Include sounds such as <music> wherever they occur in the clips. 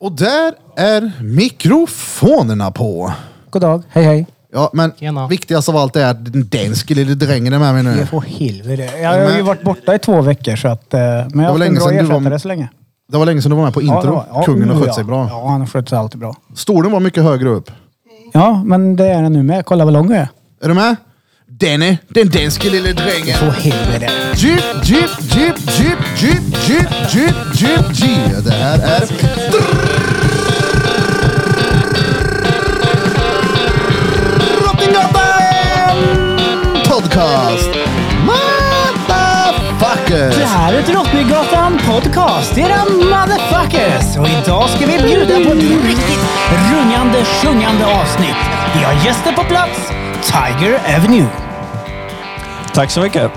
Och där är mikrofonerna på. God dag, hej hej. Ja, men Tjena. viktigast av allt är att den danske lille drängen är med mig nu. Jag får helvete. Jag har ju varit borta i två veckor så att... eh, Men jag har var haft en länge bra sedan du var- ersättare så länge. Det var länge sedan du var med på det intro. var- Kungen har oh, skött ja. sig bra. Ja, han har skött sig alltid bra. Stolen var mycket högre upp. Ja, men det är den nu med. Kolla vad lång jag är. Är du med? Danny, den danske lille drängen. Åh helvete. Jeep, jeep, jeep, jeep, jeep, jeep, jeep, jeep, jeep. Det här är... Drottninggatan Podcast! Det Motherfuckers! här är Drottninggatan Podcast, era motherfuckers! Och idag ska vi bjuda på ett riktigt rungande, sjungande avsnitt. Vi har gäster på plats, Tiger Avenue. Tack så mycket.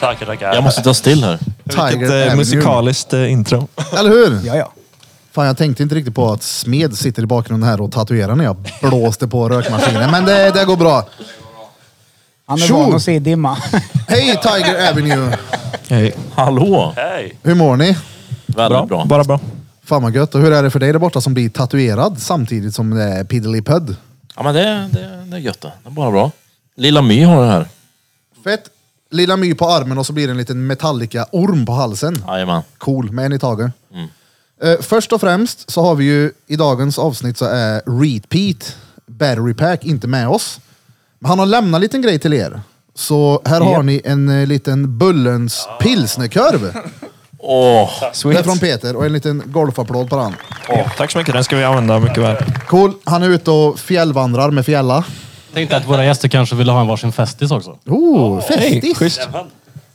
Tackar, tackar. Jag måste ta still här. Vilket Avenue. eh, musikaliskt eh, intro. Eller hur? Ja, ja. Fan, jag tänkte inte riktigt på att Smed sitter i bakgrunden här och tatuerar när jag blåste på rökmaskinen. Men det, det går bra. Han är Tjo! van att se i dimma. Hej Tiger Avenue! Hej. <laughs> Hallå! Hej! Hur mår ni? Väldigt Bra. bra. Bara bra. Fan vad gött. Och hur är det för dig där borta som blir tatuerad samtidigt som det är Piddly-pudd? Ja, men det, det, det är gött det. Det är bara bra. Lilla My har det här. Fett! Lilla My på armen och så blir det en liten Metallica-orm på halsen. Jajamän. Cool, med en i taget. Eh, först och främst så har vi ju i dagens avsnitt så är Repeat Battery Pack inte med oss. Men han har lämnat en liten grej till er. Så här har ni en eh, liten Bullens pilsnerkorv. Åh! Det är Sweet. från Peter och en liten golfapplåd på den. Åh, tack så mycket. Den ska vi använda mycket väl. Cool, han är ute och fjällvandrar med fjälla. Tänkte att våra gäster kanske ville ha en varsin festis också. Oh, festigt! Schysst.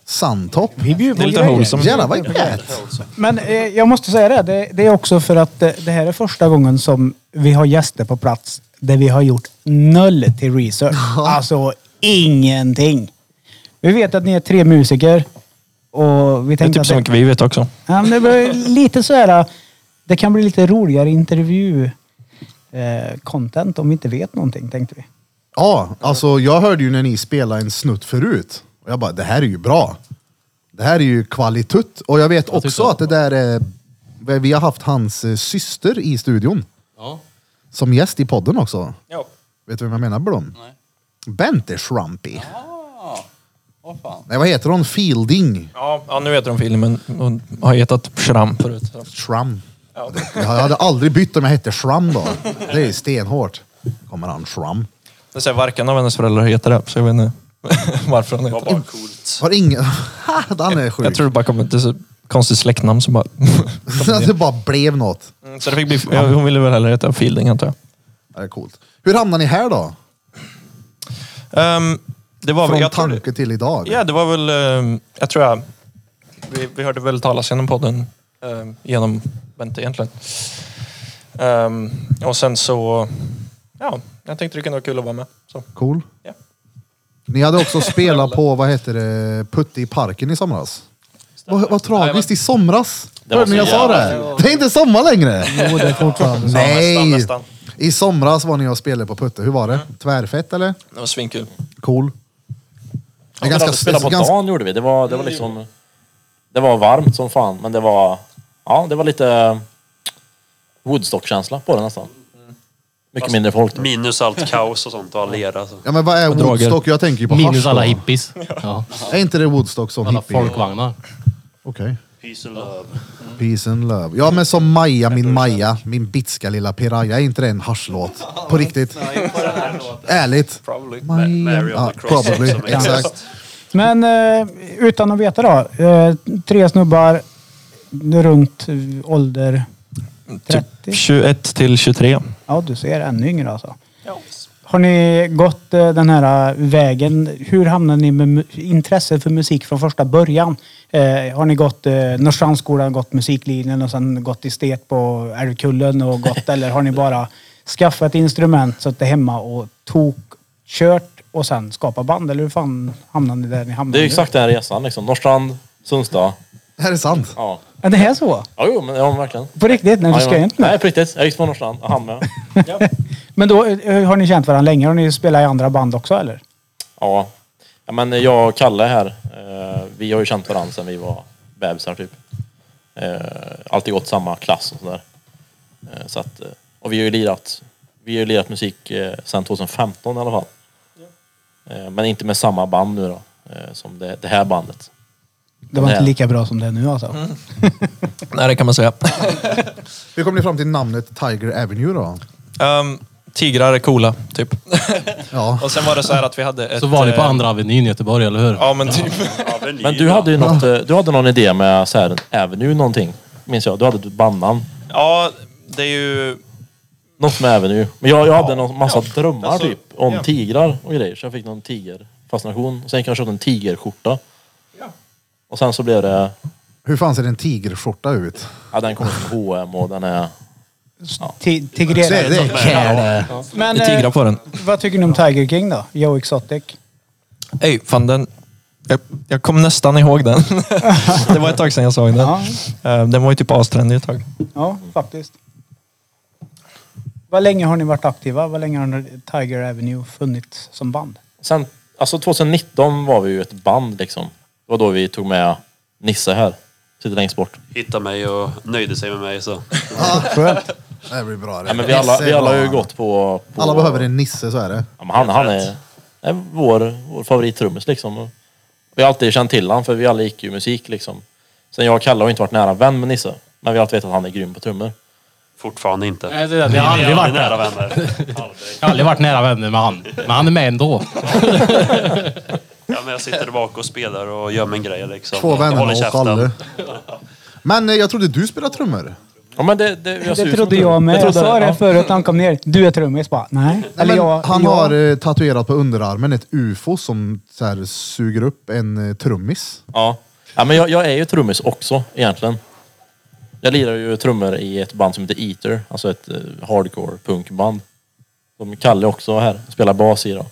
Sandtopp. Vi bjuder Det är på lite grejer. wholesome. Jävlar vad gött! Men eh, jag måste säga det, det, det är också för att eh, det här är första gången som vi har gäster på plats där vi har gjort noll till research. Alltså ingenting. Vi vet att ni är tre musiker och vi Det är tänkte typ så att mycket vi vet också. ja, men det blir lite så här, eh, det kan bli lite roligare intervju eh, content om vi inte vet någonting tänkte vi. Ja, alltså jag hörde ju när ni spelade en snutt förut. Och jag bara, det här är ju bra. Det här är ju kvalitet. Och jag vet också att det där är... Vi har haft hans eh, syster i studion. Ja. Som gäst i podden också. Ja. Vet du vem jag menar Blom? Nej. Bente Schrumpy. Åh fan. Nej, vad heter hon? Fielding. Ja, ja nu heter de filmen. Hon har hetat Shram förut. Schram. Jag hade aldrig bytt om jag hette Schram då. Det är stenhårt. Kommer han Schram. Det säger varken av hennes föräldrar heter det, så jag vet inte <laughs> varför hon heter det. Har ingen... <laughs> han är sjuk. Jag tror det bara kom ett det är så konstigt släktnamn som bara... Att <laughs> det bara blev något. Mm, så det fick bli... ja, Hon ville väl hellre heta Fielding antar jag. Ja, Det är coolt. Hur hamnar ni här då? Ehm, det var... Från jag tror det- tanke till idag. Ja, det var väl... ehm, jag tror jag... Vi, vi hörde väl talas genom podden. ehm, genom Bente egentligen. Ehm, och sen så... Ja, jag tänkte det kunde vara kul att vara med. Så. Cool. Ja. Ni hade <laughs> också spelat på, vad heter det, Putte i parken i somras. Vad, vad tragiskt, i somras. Det var Hörde ni så jag sa jävla- det? Det är inte sommar längre. Jo, det är fortfarande. Nej. nästan, nästan. Mm. I somras var ni och spelade på Putte. Hur var det? Tvärfett eller? Det var svinkul. Cool. Det är Ja, ganska vi spelade på spec- ganska- dagen gjorde vi. Det var, det var liksom... Det var varmt som fan, men det var... Ja, det var lite Woodstock-känsla på det nästan. Mycket mindre folk. Minus allt kaos och sånt och all lera. Så. Ja men vad är droger. Woodstock? Jag tänker ju på hasch Minus då. alla hippies. Ja. Är inte det Woodstock som Alla hippie? Okej. folkvagnar. Peace and love. Peace and love. Ja men som Maja, min Maja, min bitska lilla piraya. Är inte det en haschlåt? På riktigt? Ärligt? Probably. Maja- Mary on the ja, cross. Probably, Som är exakt. Men eh, utan att veta då. Eh, tre snubbar runt eh, ålder Typ 30. 21 till 23. Ja, du ser ännu yngre alltså. Har ni gått eh, den här vägen? Hur hamnade ni med mu- intresse för musik från första början? Eh, har ni gått eh, Norrstrandsskolan, gått musiklinjen och sen gått estet på Älvkullen och gått eller har ni bara skaffat instrument, suttit hemma och tok, kört och sen skapat band? Eller hur fan hamnade ni där ni hamnade? Det är ju nu? exakt den här resan liksom. Norrstrand, Sundsta. Det här är sant. Ja. Ja, det är så? Ja, jo, men ja, verkligen. På riktigt? Nej, du ska Jajamän. inte med. Nej, på riktigt. Jag gick på Norrstrand. och Han med. Men då eh, har ni känt varandra länge? Har ni spelat i andra band också eller? Ja. ja men jag och Kalle här, eh, vi har ju känt varandra sedan vi var bebisar typ. Eh, alltid gått samma klass och sådär. Eh, Så att, eh, och vi har ju lirat, vi har ju lirat musik eh, sedan 2015 i alla fall. Eh, Men inte med samma band nu då, eh, som det, det här bandet. Det var Nej. inte lika bra som det är nu alltså. Mm. Nej, det kan man säga. Hur kom ni fram till namnet Tiger Avenue då? Ehm, tigrar är coola, typ. Ja. Och sen var det så här att vi hade ett... Så var ni på eh, Andra Avenyn i Göteborg, eller hur? Ja, men typ. Men du hade ju något, eh, du hade någon idé med så här, Avenue någonting, minns jag. Du hade ett bandnamn. Ja, det är ju... Något med Avenue. Men jag, jag hade någon massa drömmar Alltså, typ om ja. tigrar och grejer. Så jag fick någon tigerfascination. Sen kanske jag köpte en tigerskjorta. Och sen så blev det, Hur fan ser en tigerskjorta ut? ja den kommer från H&M och den är... Ti- Det, det är Tigrera. kär Men Det är tigrar eh, på den. vad tycker ni om Tiger King då? Joe Exotic? Ey, fan den... Jag, jag kom nästan ihåg den. det var ett tag sedan jag såg den. Ja. Ehm, Den var ju typ astrendig ett tag. Ja, faktiskt. Vad länge har ni varit aktiva? Vad länge har Tiger Avenue funnits som band? Sen, alltså 2019 var vi ju ett band liksom. Det var då vi tog med Nisse här. Sitter längst bort. hittade mig och nöjde sig med mig så. Skönt. Det blir bra det. Ja, men vi alla, vi alla har ju Nisse, gått på... på Alla behöver en Nisse, så är det. Ja, men han, han är, är vår, vår favorittrummis liksom. Och Vi har alltid känt till han för vi alla gick ju musik liksom. Sen jag och Kalle har ju inte varit nära vän med Nisse. Men vi har alltid vetat att han är grym på trummor. Fortfarande inte. Nej, det, är det. Vi har aldrig varit nära nära vänner. vänner. <laughs> Jag har aldrig varit nära vänner med han. Men han är med ändå. Ja, men jag sitter där bak och spelar och gör min grej liksom. Två vänner Håller och käften. Kalle. <laughs> Men eh, jag trodde du spelade trummor. Ja, men det, det, jag ser Det ut som trodde en jag trummis. med. Jag trodde- sa det ja. förut när han kom ner. Du är trummis bara. Nej. Eller Men jag. han jag. har eh, tatuerat på underarmen ett ufo som så här, suger upp en eh, trummis. Ja. ja men jag, jag är ju trummis också egentligen. Jag lirar ju trummor i ett band som heter Eater, alltså ett eh, hardcore punkband. Som Kalle också var här och spelar bas i då.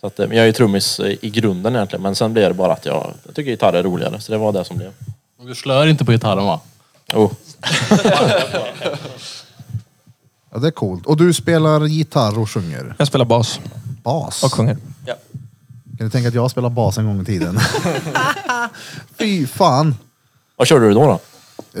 Så att, eh, men jag är ju trummis eh, i grunden egentligen, men sen blev det bara att jag, jag tycker gitarr är roligare, så det var det som blev. Du slör inte på gitarren va? Oh. Ja, det är coolt. Och du spelar gitarr och sjunger Jag spelar bas bas. och sjunger. Kan du tänka att jag spelar bas en gång i <laughs> tiden? Fy fan. Vad körde du då? då?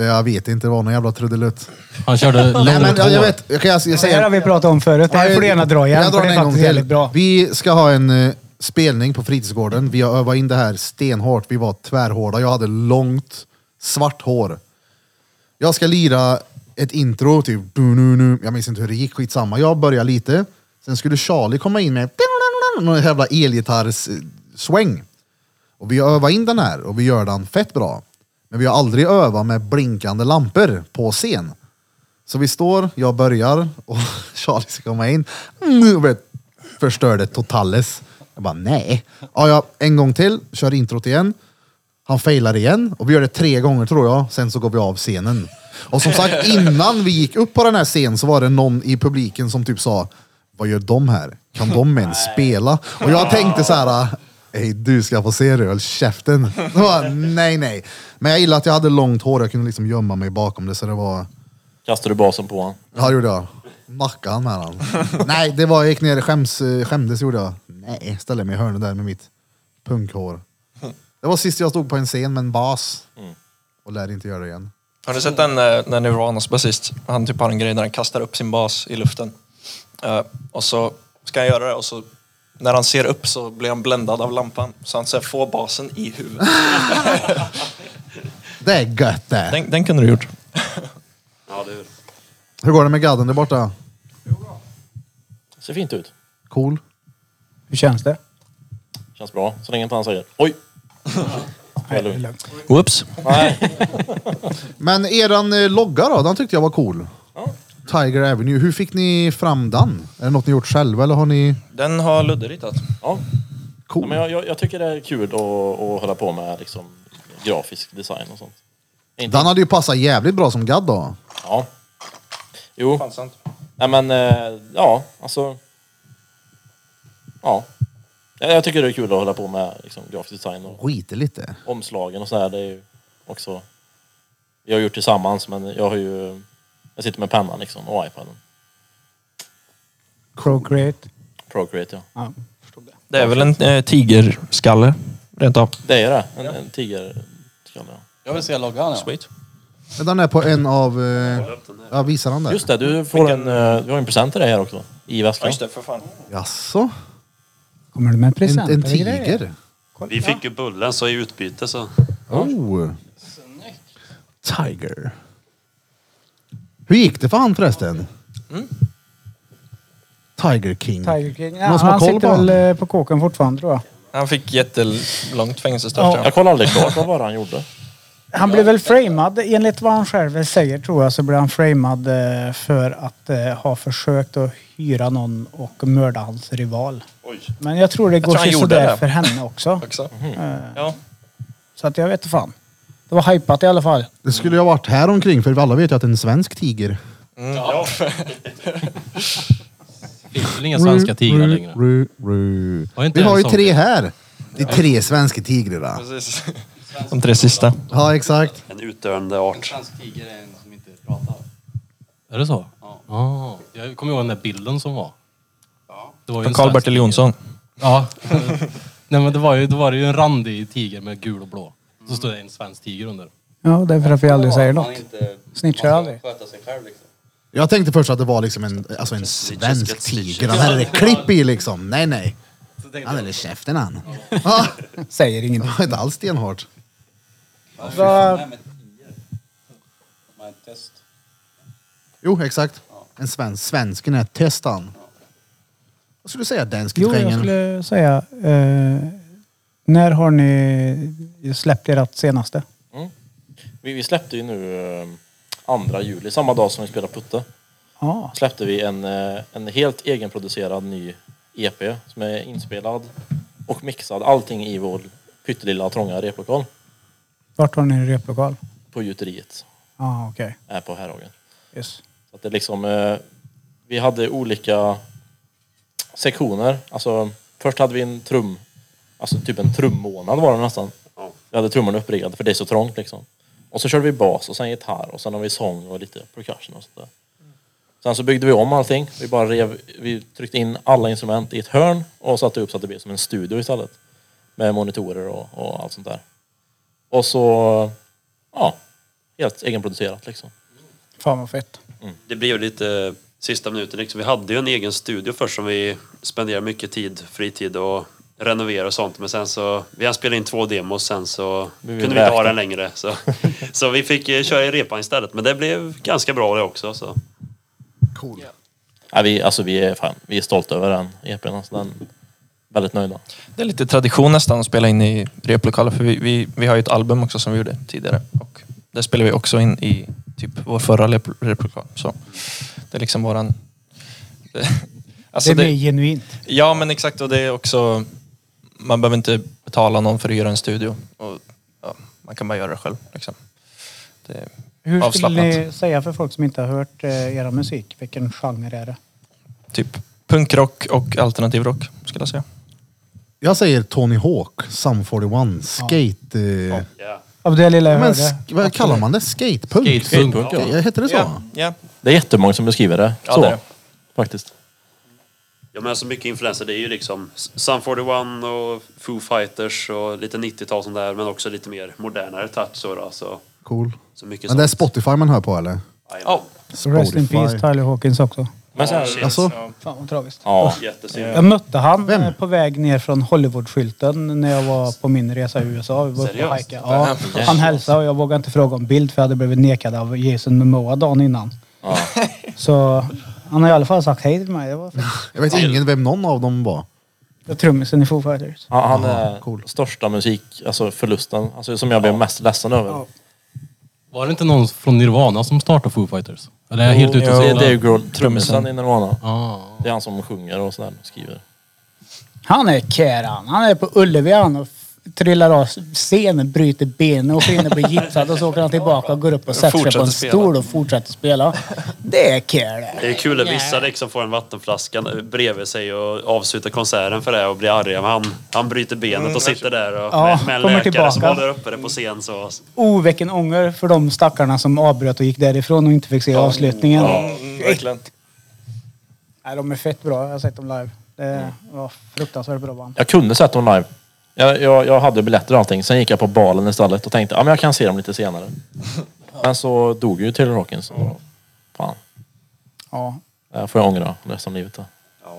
Jag vet inte, det var någon jävla trudelutt. Han körde Nej, men långt jag, jag hår. vet, jag kan jag, jag Det här säger... har vi pratat om förut. Det här får du gärna dra igen. Jag drar för det den är en gång faktiskt till. jävligt bra. Vi ska ha en eh, spelning på fritidsgården. Vi har övat in det här stenhårt. Vi var tvärhårda. Jag hade långt, svart hår. Jag ska lira ett intro, typ... du, nu, nu. Jag minns inte hur det gick, skitsamma. Jag börjar lite. Sen skulle Charlie komma in med någon jävla elgitarrs-sväng. Och vi har övat in den här och vi gör den fett bra. Men vi har aldrig övat med blinkande lampor på scen. Så vi står, jag börjar och <laughs> Charlie ska komma in. Mm, Och vet, förstörde totales. Jag bara nej. Ja, ja, en gång till, kör introt igen. Han failar igen och vi gör det tre gånger tror jag. Sen så går vi av scenen. Och som sagt, innan vi gick upp på den här scenen så var det någon i publiken som typ sa Vad gör de här? Kan de ens spela? Och jag tänkte så här Ey, du ska få se det, håll käften. Jag Bara, nej, nej. Men jag gillade att jag hade långt hår, jag kunde liksom gömma mig bakom det så det var... Kastade du basen på honom? Ja, det gjorde jag. Nackade han med <laughs> han. Nej, det var, jag gick ner skäms, skämdes gjorde jag. Nej, ställde mig i hörnet där med mitt punkhår. Det var sist jag stod på en scen med en bas. Mm. Och lär inte göra det igen. Har du sett den eh, när Niranas basist, han typ har en grej där han kastar upp sin bas i luften. Eh, och så ska han göra det och så när han ser upp så blir han bländad av lampan. Så han så här, får basen i huvudet. Det är gött det! Den, den kunde du gjort. Ja, det är Hur går det med gadden där borta? Ser fint ut. Cool? Hur känns det? Känns bra, så länge inte han säger oj. Nej, det är lugnt. Whoops. Men eran eh, logga då, den tyckte jag var cool. Tiger Avenue, hur fick ni fram den? Är det något ni gjort själva eller har ni... Den har Ludde ritat. Ja. Ja, Cool. men jag, jag, jag tycker det är kul att, att hålla på med liksom, grafisk design och sånt. Inte, Den hade ju passat jävligt bra som gadd då. Ja. Jo, Fan sant. nej men eh, ja, alltså. Ja. Jag, jag tycker det är kul att hålla på med liksom, grafisk design och Skiter lite. omslagen och sådär. Det är ju också. Vi har gjort tillsammans men jag har ju. Jag sitter med pennan liksom och iPaden. Procreate. Procreate ja. Ja. Det är väl en eh, tigerskalle rent av. Det är det. En, en tiger. Ska jag, Jag vill se loggan ja. Sweet. Den är på en av... eh, Ja, visar han där? Just det, du, får en, eh, du har en present till dig här också. I Ja, väskan. just det, för fan. Jaså? Kommer du med En, presenter? en och grejer? tiger? Vi fick ju bullen så i utbyte så. Oh. Tiger. Hur gick det för han förresten? Tiger King. Mm. Tiger King. Ja, Någon som har han koll på sitter honom? väl eh, på kåken fortfarande tror jag. Han fick jättelångt fängelsestraff. tror jag. Jag kollade aldrig klart vad var det han gjorde. Han blev väl framad, enligt vad han själv säger tror jag, så blev han framad eh, för att eh, ha försökt att hyra någon och mörda hans rival. Oj. Men jag tror det går tror han sig gjorde sådär det. för henne <laughs> också. Också. Ja. Så att jag vet inte fan. Det var hypat i alla fall. Det skulle ju ha varit här omkring för alla vet ju att det är en svensk tiger. Finns väl inga svenska tigrar längre? Ru, ru. Har inte Vi har en ju sån. tre här. Det är tre svenska tigrarna. Precis. De tre sista. Ja, exakt. En utdöende art. Svensk tiger är en som inte pratar. Är det så? Ja. Jag kommer ihåg den där bilden som var. Det var ju Från en svensk Karl-Bertil tiger. Jonsson. Ja. <laughs> Nej men det var ju, då var det ju en randig tiger med gul och blå. Så stod det en svensk tiger under. Ja, det är för att vi aldrig säger Man något. inte- Snitchar man ska aldrig. Sköta sig själv liksom. Jag tänkte först att det var liksom en, alltså en svensk tiger. Den här är det klipp i liksom. Nej, nej. Han är väl i käften han. Ja, Säger Det ingenting. var inte alls stenhårt. Vad- Nej men tiger. Man är tyst. Jo, exakt. En svensk. Svensken är testan. Vad skulle du säga, dansk Jo, jag skulle säga. Eh, när har ni släppt ert senaste? Vi, vi släppte ju nu eh, andra juli, samma dag som vi spelade Putte. Ja, släppte vi en, eh, en helt egenproducerad ny EP som är inspelad och mixad. Allting i vår pyttelilla trånga replokal vart har ni en replokal? på gjuteriet Ja, okej. här på Härhagen. Yes. Så att det liksom, eh, vi hade olika sektioner. Alltså, först hade vi en trum, alltså typ en trummånad var det nästan. Ja. Vi hade trummorna uppriggade för det är så trångt liksom. Och så körde vi bas och sen gitarr och sen har vi sång och lite percussion och sånt där. Sen så byggde vi om allting. Vi bara rev, vi tryckte in alla instrument i ett hörn och satte upp så att det blev som en studio istället. Med monitorer och, och allt sånt där. Och så, ja, helt egenproducerat liksom. Fan vad fett. Det blev lite sista minuten liksom. Vi hade ju en egen studio först som vi spenderade mycket tid, fritid och renovera och sånt. Men sen så, vi hann spela in två demos sen så blev kunde vi inte ha värsta. den längre. <laughs> Så, så vi fick eh, köra i repan istället. Men det blev ganska bra det också. Så. Cool. Ja, vi, alltså, vi, är fan, vi är stolta över den EPn. Alltså, den är väldigt nöjda. Det är lite tradition nästan att spela in i replokaler för vi, vi, vi har ju ett album också som vi gjorde tidigare och där spelar vi också in i typ vår förra rep- replokal. Så det är liksom våran... <laughs> Det, alltså det blir det, genuint. ja men exakt och det är också... Man behöver inte betala någon för att göra en studio. Och, ja, man kan bara göra det själv. Liksom. Det är Hur avslappnat. skulle ni säga för folk som inte har hört eh, era musik? Vilken genre är det? Typ punkrock och alternativ rock skulle jag säga. Jag säger Tony Hawk, Sum 41, skate... eh, ja Av det lilla jag Men hörde. sk- vad kallar man det? Skatepunk? Skatepunk, ja. Heter det så? Ja, ja. Det är jättemånga som beskriver det Ja, så. det är det. Faktiskt. Ja men så mycket influenser, det är ju liksom Sun 41 och Foo Fighters och lite 90-tal sånt där men också lite mer modernare touch så då. Så, Cool. så mycket Men det är sånt. Spotify man hör på eller? Jajamän. Ja, Rest in Spotify. Peace Tyler Hawkins också. Men sen, Shit. Alltså, Fan vad tragiskt. ja, Jättesynd. Jag mötte han Vem? eh, på väg ner från Hollywood-skylten när jag var på min resa i USA. Vi var uppe och Seriöst? hajka. Ja, han hälsade och jag vågade inte fråga om bild för jag hade blivit nekad av Jason Momoa dagen innan. ja. Så han har i alla fall sagt hej till mig. Det var fett. jag vet ingen vem någon av dem var. Det var trummisen i Foo Fighters. Han, han är cool. största musik, alltså förlusten, alltså, som jag blev mest ledsen över. Ja. Var det inte någon från Nirvana som startade Foo Fighters? Eller är jag helt ute och det, cyklar? det är ju Grohl- trummisen i Nirvana. Ah. Det är han som sjunger och sådär och skriver. Han är Keran. Han är på Ullevi han och f- trillar av scenen, bryter benet och skiner på gipsat och så åker han tillbaka och går upp och sätter sig på Fortsätter en spela. stol och fortsätter spela. Det är Keran. Det är kul att vissa liksom får en vattenflaska bredvid sig och avslutar konserten för det och blir arga. Men han, han bryter benet och sitter där och Mm. Ja, med, med en kommer läkare som tillbaka. håller uppe det på scen. Så, Oh, vilken ånger för de stackarna som avbröt och gick därifrån och inte fick se avslutningen. verkligen. Nej, de är fett bra. Jag har sett dem live. Det var fruktansvärt bra band. Jag kunde sett dem live. Jag, jag, jag hade biljetter och allting. Sen gick jag på balen istället och tänkte att ja, men jag kan se dem lite senare. Men så dog ju Taylor Hawkins. Så, fan, Ja. det här får jag ångra resten av livet. Då. Ja.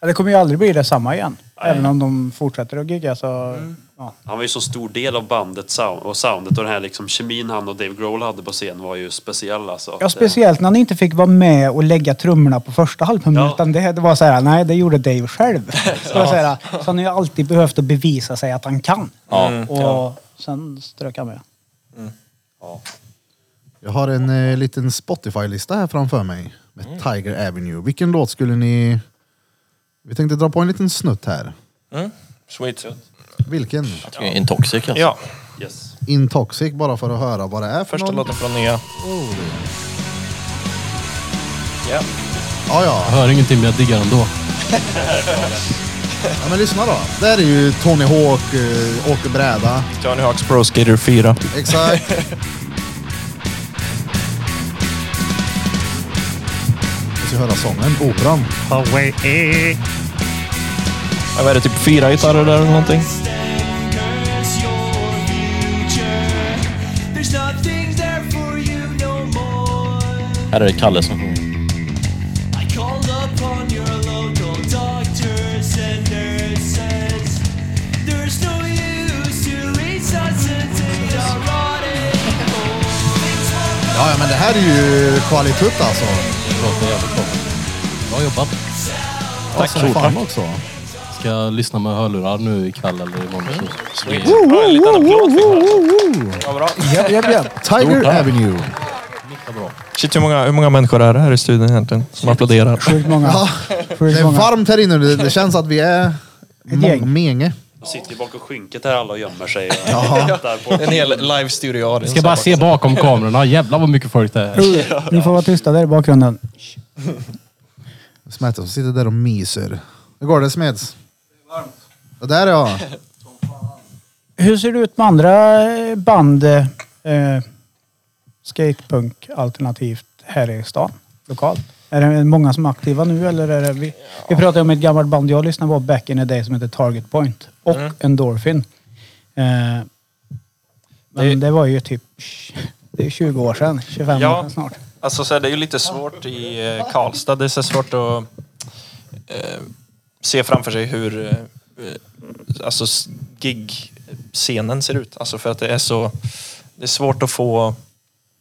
Ja, Det kommer ju aldrig bli detsamma igen. Även om de fortsätter att gigga så... Mm. Ja. Han var ju så stor del av bandet sound, och soundet och den här liksom kemin han och Dave Grohl hade på scen var ju speciell alltså. ja, speciellt när han inte fick vara med och lägga trummorna på första halvtimmen. Ja. Utan det, det var så här, nej det gjorde Dave själv. Så, jag säga. så han har ju alltid behövt att bevisa sig att han kan. och sen strök han med. Jag har en eh, liten Spotify-lista här framför mig med Tiger Avenue. Vilken låt skulle ni... Vi tänkte dra på en liten snutt här. Sweet. Vilken? Jag tycker det är Intoxic alltså. Ja, Yes. Intoxic, bara för att höra vad det är för första någon. låten från nya. Ja. Ja, ja. Jag hör ingenting men jag diggar ändå. ja, men lyssna då. Där är ju Tony Hawk, eh, åker bräda. Tony Hawks Pro Skater 4. Exakt. Vi ska höra sången, operan. Ja, Vad är det, typ fyra gitarrer där eller någonting? There's nothing there for you no more. Här är det Kalle som sjunger. I called upon your local doctors and nurses. There's no use to lease us into the rotting hole. Ja, ja, men det här är ju kvalitet alltså. Låter jävligt bra. Bra jobbat. Tack så fan också. Ska jag lyssna med hörlurar nu ikväll eller imorgon. Mm. Så. Ja, en liten applåd fick man. Japp, japp, japp. Tiger eh, Avenue. Shit, hur många, hur många människor är det här i studion egentligen som applåderar? Sjukt många. Ja, det Sjukt är många. varmt här inne nu. Det känns att vi är gäng. mångmänge. De sitter ju bakom skynket här alla och gömmer sig. <laughs> Och Ja. tittar på. En hel live studio audience. Ska bara se bakom kamerorna. Jävlar vad mycket folk det är. Ni får vara tysta där i bakgrunden. Smeds som sitter där och myser. Hur går det Smeds? Det är varmt. där ja. Hur ser det ut med andra eh, band? eh, Eh, skatepunk alternativt här i stan? Lokalt? Är det många som är aktiva nu eller är det vi? Vi pratade om ett gammalt band jag lyssnade på back in the day som heter Target Point och Mm. Endorphin. Eh, men det var ju typ det är 20 år sedan, 25 Ja. år sedan snart. Alltså så här, det är ju lite svårt i eh, Karlstad. Det är så svårt att eh, se framför sig hur eh, eh, alltså s- gig-scenen ser ut. Alltså för att det är så... Det är svårt att få...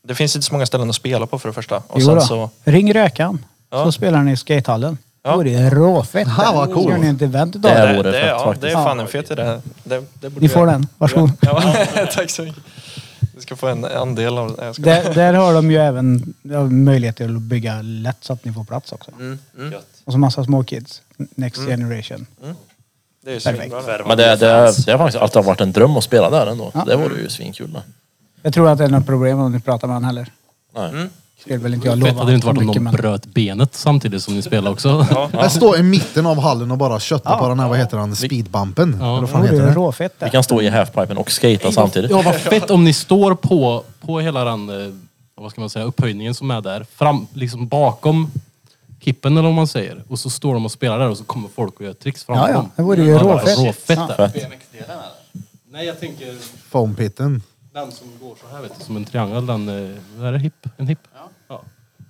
Det finns inte så många ställen att spela på för det första. Och Jo sen då. så... Ring Rökan Ja. så spelar ni i skatehallen. Ja. Det vore råfett. Ha, vad coolt. Gör ni ett event Det idag? är- vore det, fett ja, faktiskt. det är fan en fet idé. Det, det borde Ni vi får göra. den, varsågod. Ja, <laughs> tack så mycket. Du ska få en andel av det. Jag ska- Där, där har de ju även ja, möjlighet till att bygga lätt så att ni får plats också. Gött. Och så massa små kids. Next generation. Det är ju Perfekt. svinbra. Värva Men det, det, fans. det har faktiskt alltid varit en dröm att spela där ändå. Ja. Det vore ju svinkul. då. Jag tror att det är något problem om ni pratar med han heller. Nej. Skulle väl inte jag Fett lova hade det inte för varit om mycket, någon men- bröt benet samtidigt som ni spelade också. Jag står i mitten av hallen och bara köttar på den här, vad heter han, speedbumpen? Eller vad fan Ja, det heter är det? råfett Vi det. kan stå i halfpipen och skata samtidigt. <laughs> Ja, vad fett om ni står på, på hela den, eh, vad ska man säga, upphöjningen som är där. Fram, liksom bakom kippen eller vad man säger. Och så står de och spelar där och så kommer folk och gör tricks framför Ja, ja. dem. Det vore ju hade varit råfett. råfett Ja. där. BMX-delen eller? Nej, jag tänker Foampitten. den som går så här vet du, som en triangel. Den, eh, vad är det hipp? En hipp? Ja.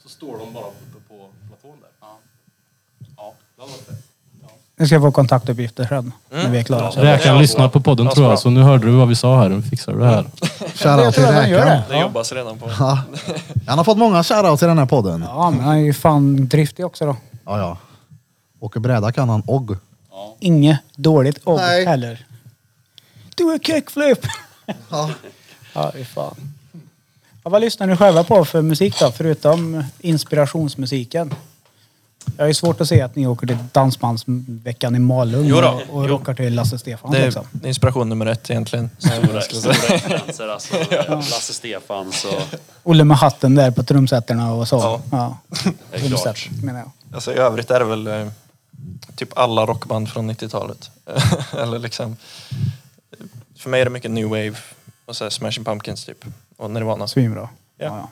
Så står de bara uppe på platån där. Nu ska jag få kontaktuppgifter sen. När vi är klara. Så. Räkan lyssnar på podden tror jag, så nu hörde du vad vi sa här. Nu fixar du det här. Shoutout till Jag tror att han gör räkan. det. Det jobbas redan på. Ja. Han har fått många shoutout till den här podden. Ja, men han är ju fan driftig också då. Ja, ja. Åker bräda kan han och. Inget dåligt och Nej. heller. Do a kickflip! <laughs> Ja. Ja, fy fan. Ja, vad lyssnar ni själva på för musik då, förutom inspirationsmusiken? Jag har ju svårt att se att ni åker till Dansbandsveckan i Malung Jo då, och, och rockar till Lasse Stefan Det liksom. är inspiration nummer ett egentligen. Stora, <laughs> stora influenser alltså. Lasse Stefans och... Olle med hatten där på trumseterna och så. Ja. Ja. <laughs> Det är klart. Trumset, menar jag. Alltså, I övrigt är det väl eh, typ alla rockband från 90-talet. <laughs> Eller liksom, för mig är det mycket new wave och så här Smashing Pumpkins typ. Och Nirvana. Svinbra. Ja. Ja. Mm. ja.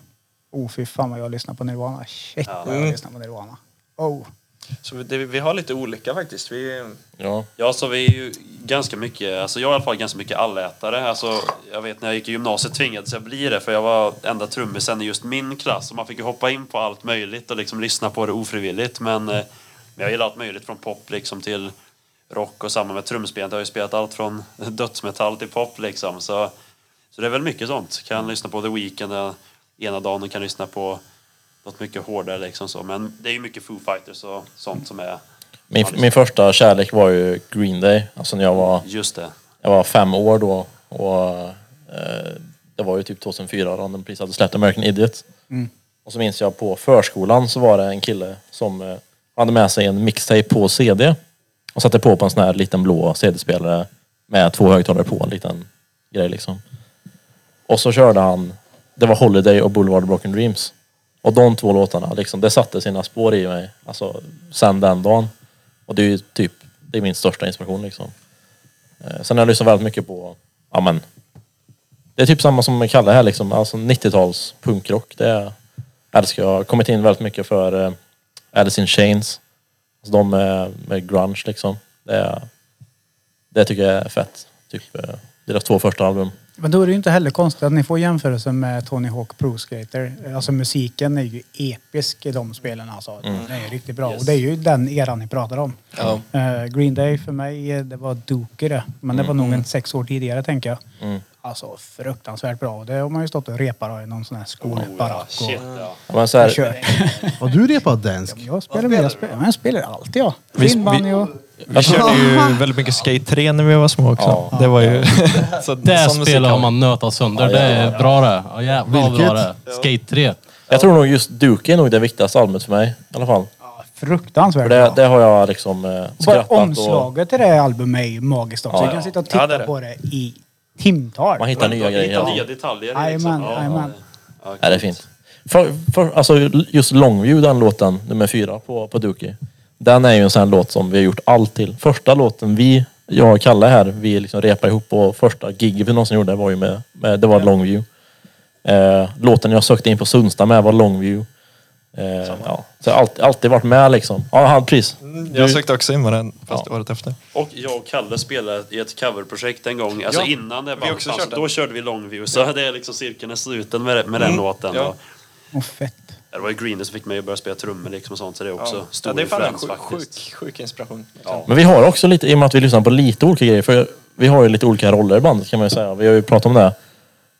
Oh, fy fan vad jag lyssnar på Nirvana. Shit vad jag lyssnar på Nirvana. Oh. Så vi- det, vi har lite olika faktiskt. Vi, Ja. Ja, så vi är ju ganska mycket, alltså jag är i alla fall ganska mycket allätare. Alltså, jag vet när jag gick i gymnasiet tvingades jag bli det för jag var enda trummisen i just min klass. Och man fick ju hoppa in på allt möjligt och liksom lyssna på det ofrivilligt. Men eh, men jag gillar allt möjligt från pop liksom till rock och samma med trumspelet. Jag har ju spelat allt från <laughs> dödsmetall till pop liksom. Så, så det är väl mycket sånt. Kan lyssna på The Weeknd eh, ena dagen och kan lyssna på något mycket hårdare liksom så. Men det är ju mycket Foo Fighters och sånt som är Min, min första kärlek var ju Green Day. Alltså när jag var, just det. jag var fem år då. Och, eh, det var ju typ 2004 då de precis hade släppt American Idiot. Och så minns jag på förskolan så var det en kille som eh, hade med sig en mixtape på CD. Och satte på på en sån här liten blå CD-spelare med två högtalare på, en liten grej liksom. Och så körde han, det var Holiday och Boulevard of Broken Dreams. Och de två låtarna, liksom, det satte sina spår i mig. Alltså, sen den dagen. Och det är ju typ, det är min största inspiration liksom. Eh, sen har jag lyssnat väldigt mycket på, ja men. Det är typ samma som med Kalle här liksom, alltså 90-tals punkrock. Det älskar jag. Jag har kommit in väldigt mycket för eh, Alice in Chains. Alltså de med, med grunge liksom. Det, det tycker jag är fett. Typ eh, deras två första album. Men då är det ju inte heller konstigt att ni får jämförelsen med Tony Hawk Pro Skater. Alltså musiken är ju episk i de spelen alltså. Mm. Den är riktigt bra. Och det är ju den eran ni pratar om. ja. Eh, Green Day för mig, eh, det var Dookie det. Men Mm. det var nog en sex år tidigare tänker jag. Alltså fruktansvärt bra. Det har man ju stått och repat i någon sån här skolbarack. och- Shit, Oh, ja. Ja, Men så här, Kör. Har du repat dansk? Jag spelar med, jag spelar, jag spelar allt jag. Vi- Finbanjo. Vi körde ju väldigt mycket Skate 3 när vi var små också. Ja. Det var ju... så, Det sån musik spelet har vi. man nötat sönder. Ja, det jävlar, är bra det. Ja, jävlar vad bra det är. Vilket? Skate 3. jag tror nog just Duke är nog det viktigaste albumet för mig i alla fall. Ja, fruktansvärt För det, bra. det har jag liksom eh, Bara skrattat och omslaget till det här albumet är ju magiskt också. Ja, jag ja. kan sitta och titta Ja, det är det. på det i timtal. man hittar nya grejer. Hitta Ja. nya detaljer. Jajamän, jajamän. Ja, Ja, det är fint. För, för, alltså, just Longview, den låten, nummer fyra på, på Dookie. Den är ju en sån här låt som vi har gjort allt till. Första låten vi, jag och Kalle här, vi liksom repade ihop och första gig vi någonsin gjorde var ju med, med det var Longview. Eh, låten jag sökte in på Sundsta med var Longview. Eh, ja. Så jag har alltid, alltid varit med liksom. Ja, han- precis. <laughs> Jag sökte också in med den, fast Ja. året efter. Och jag och Kalle spelade i ett coverprojekt en gång, alltså Ja, innan det bandet också fanns. kört den. Mm. Då körde vi Longview, så det är liksom cirkeln är sluten med, med den låten. ja. Och Åh, fett. Det var ju Green Day som fick mig att börja spela trummor liksom och sånt, så det är också Ja. stor ja, det är fan en influens sjuk, faktiskt. sjuk, sjuk inspiration. Men vi har också lite, i och med att vi lyssnar på lite olika grejer, för vi har ju lite olika roller i bandet kan man ju säga. Vi har ju pratat om det.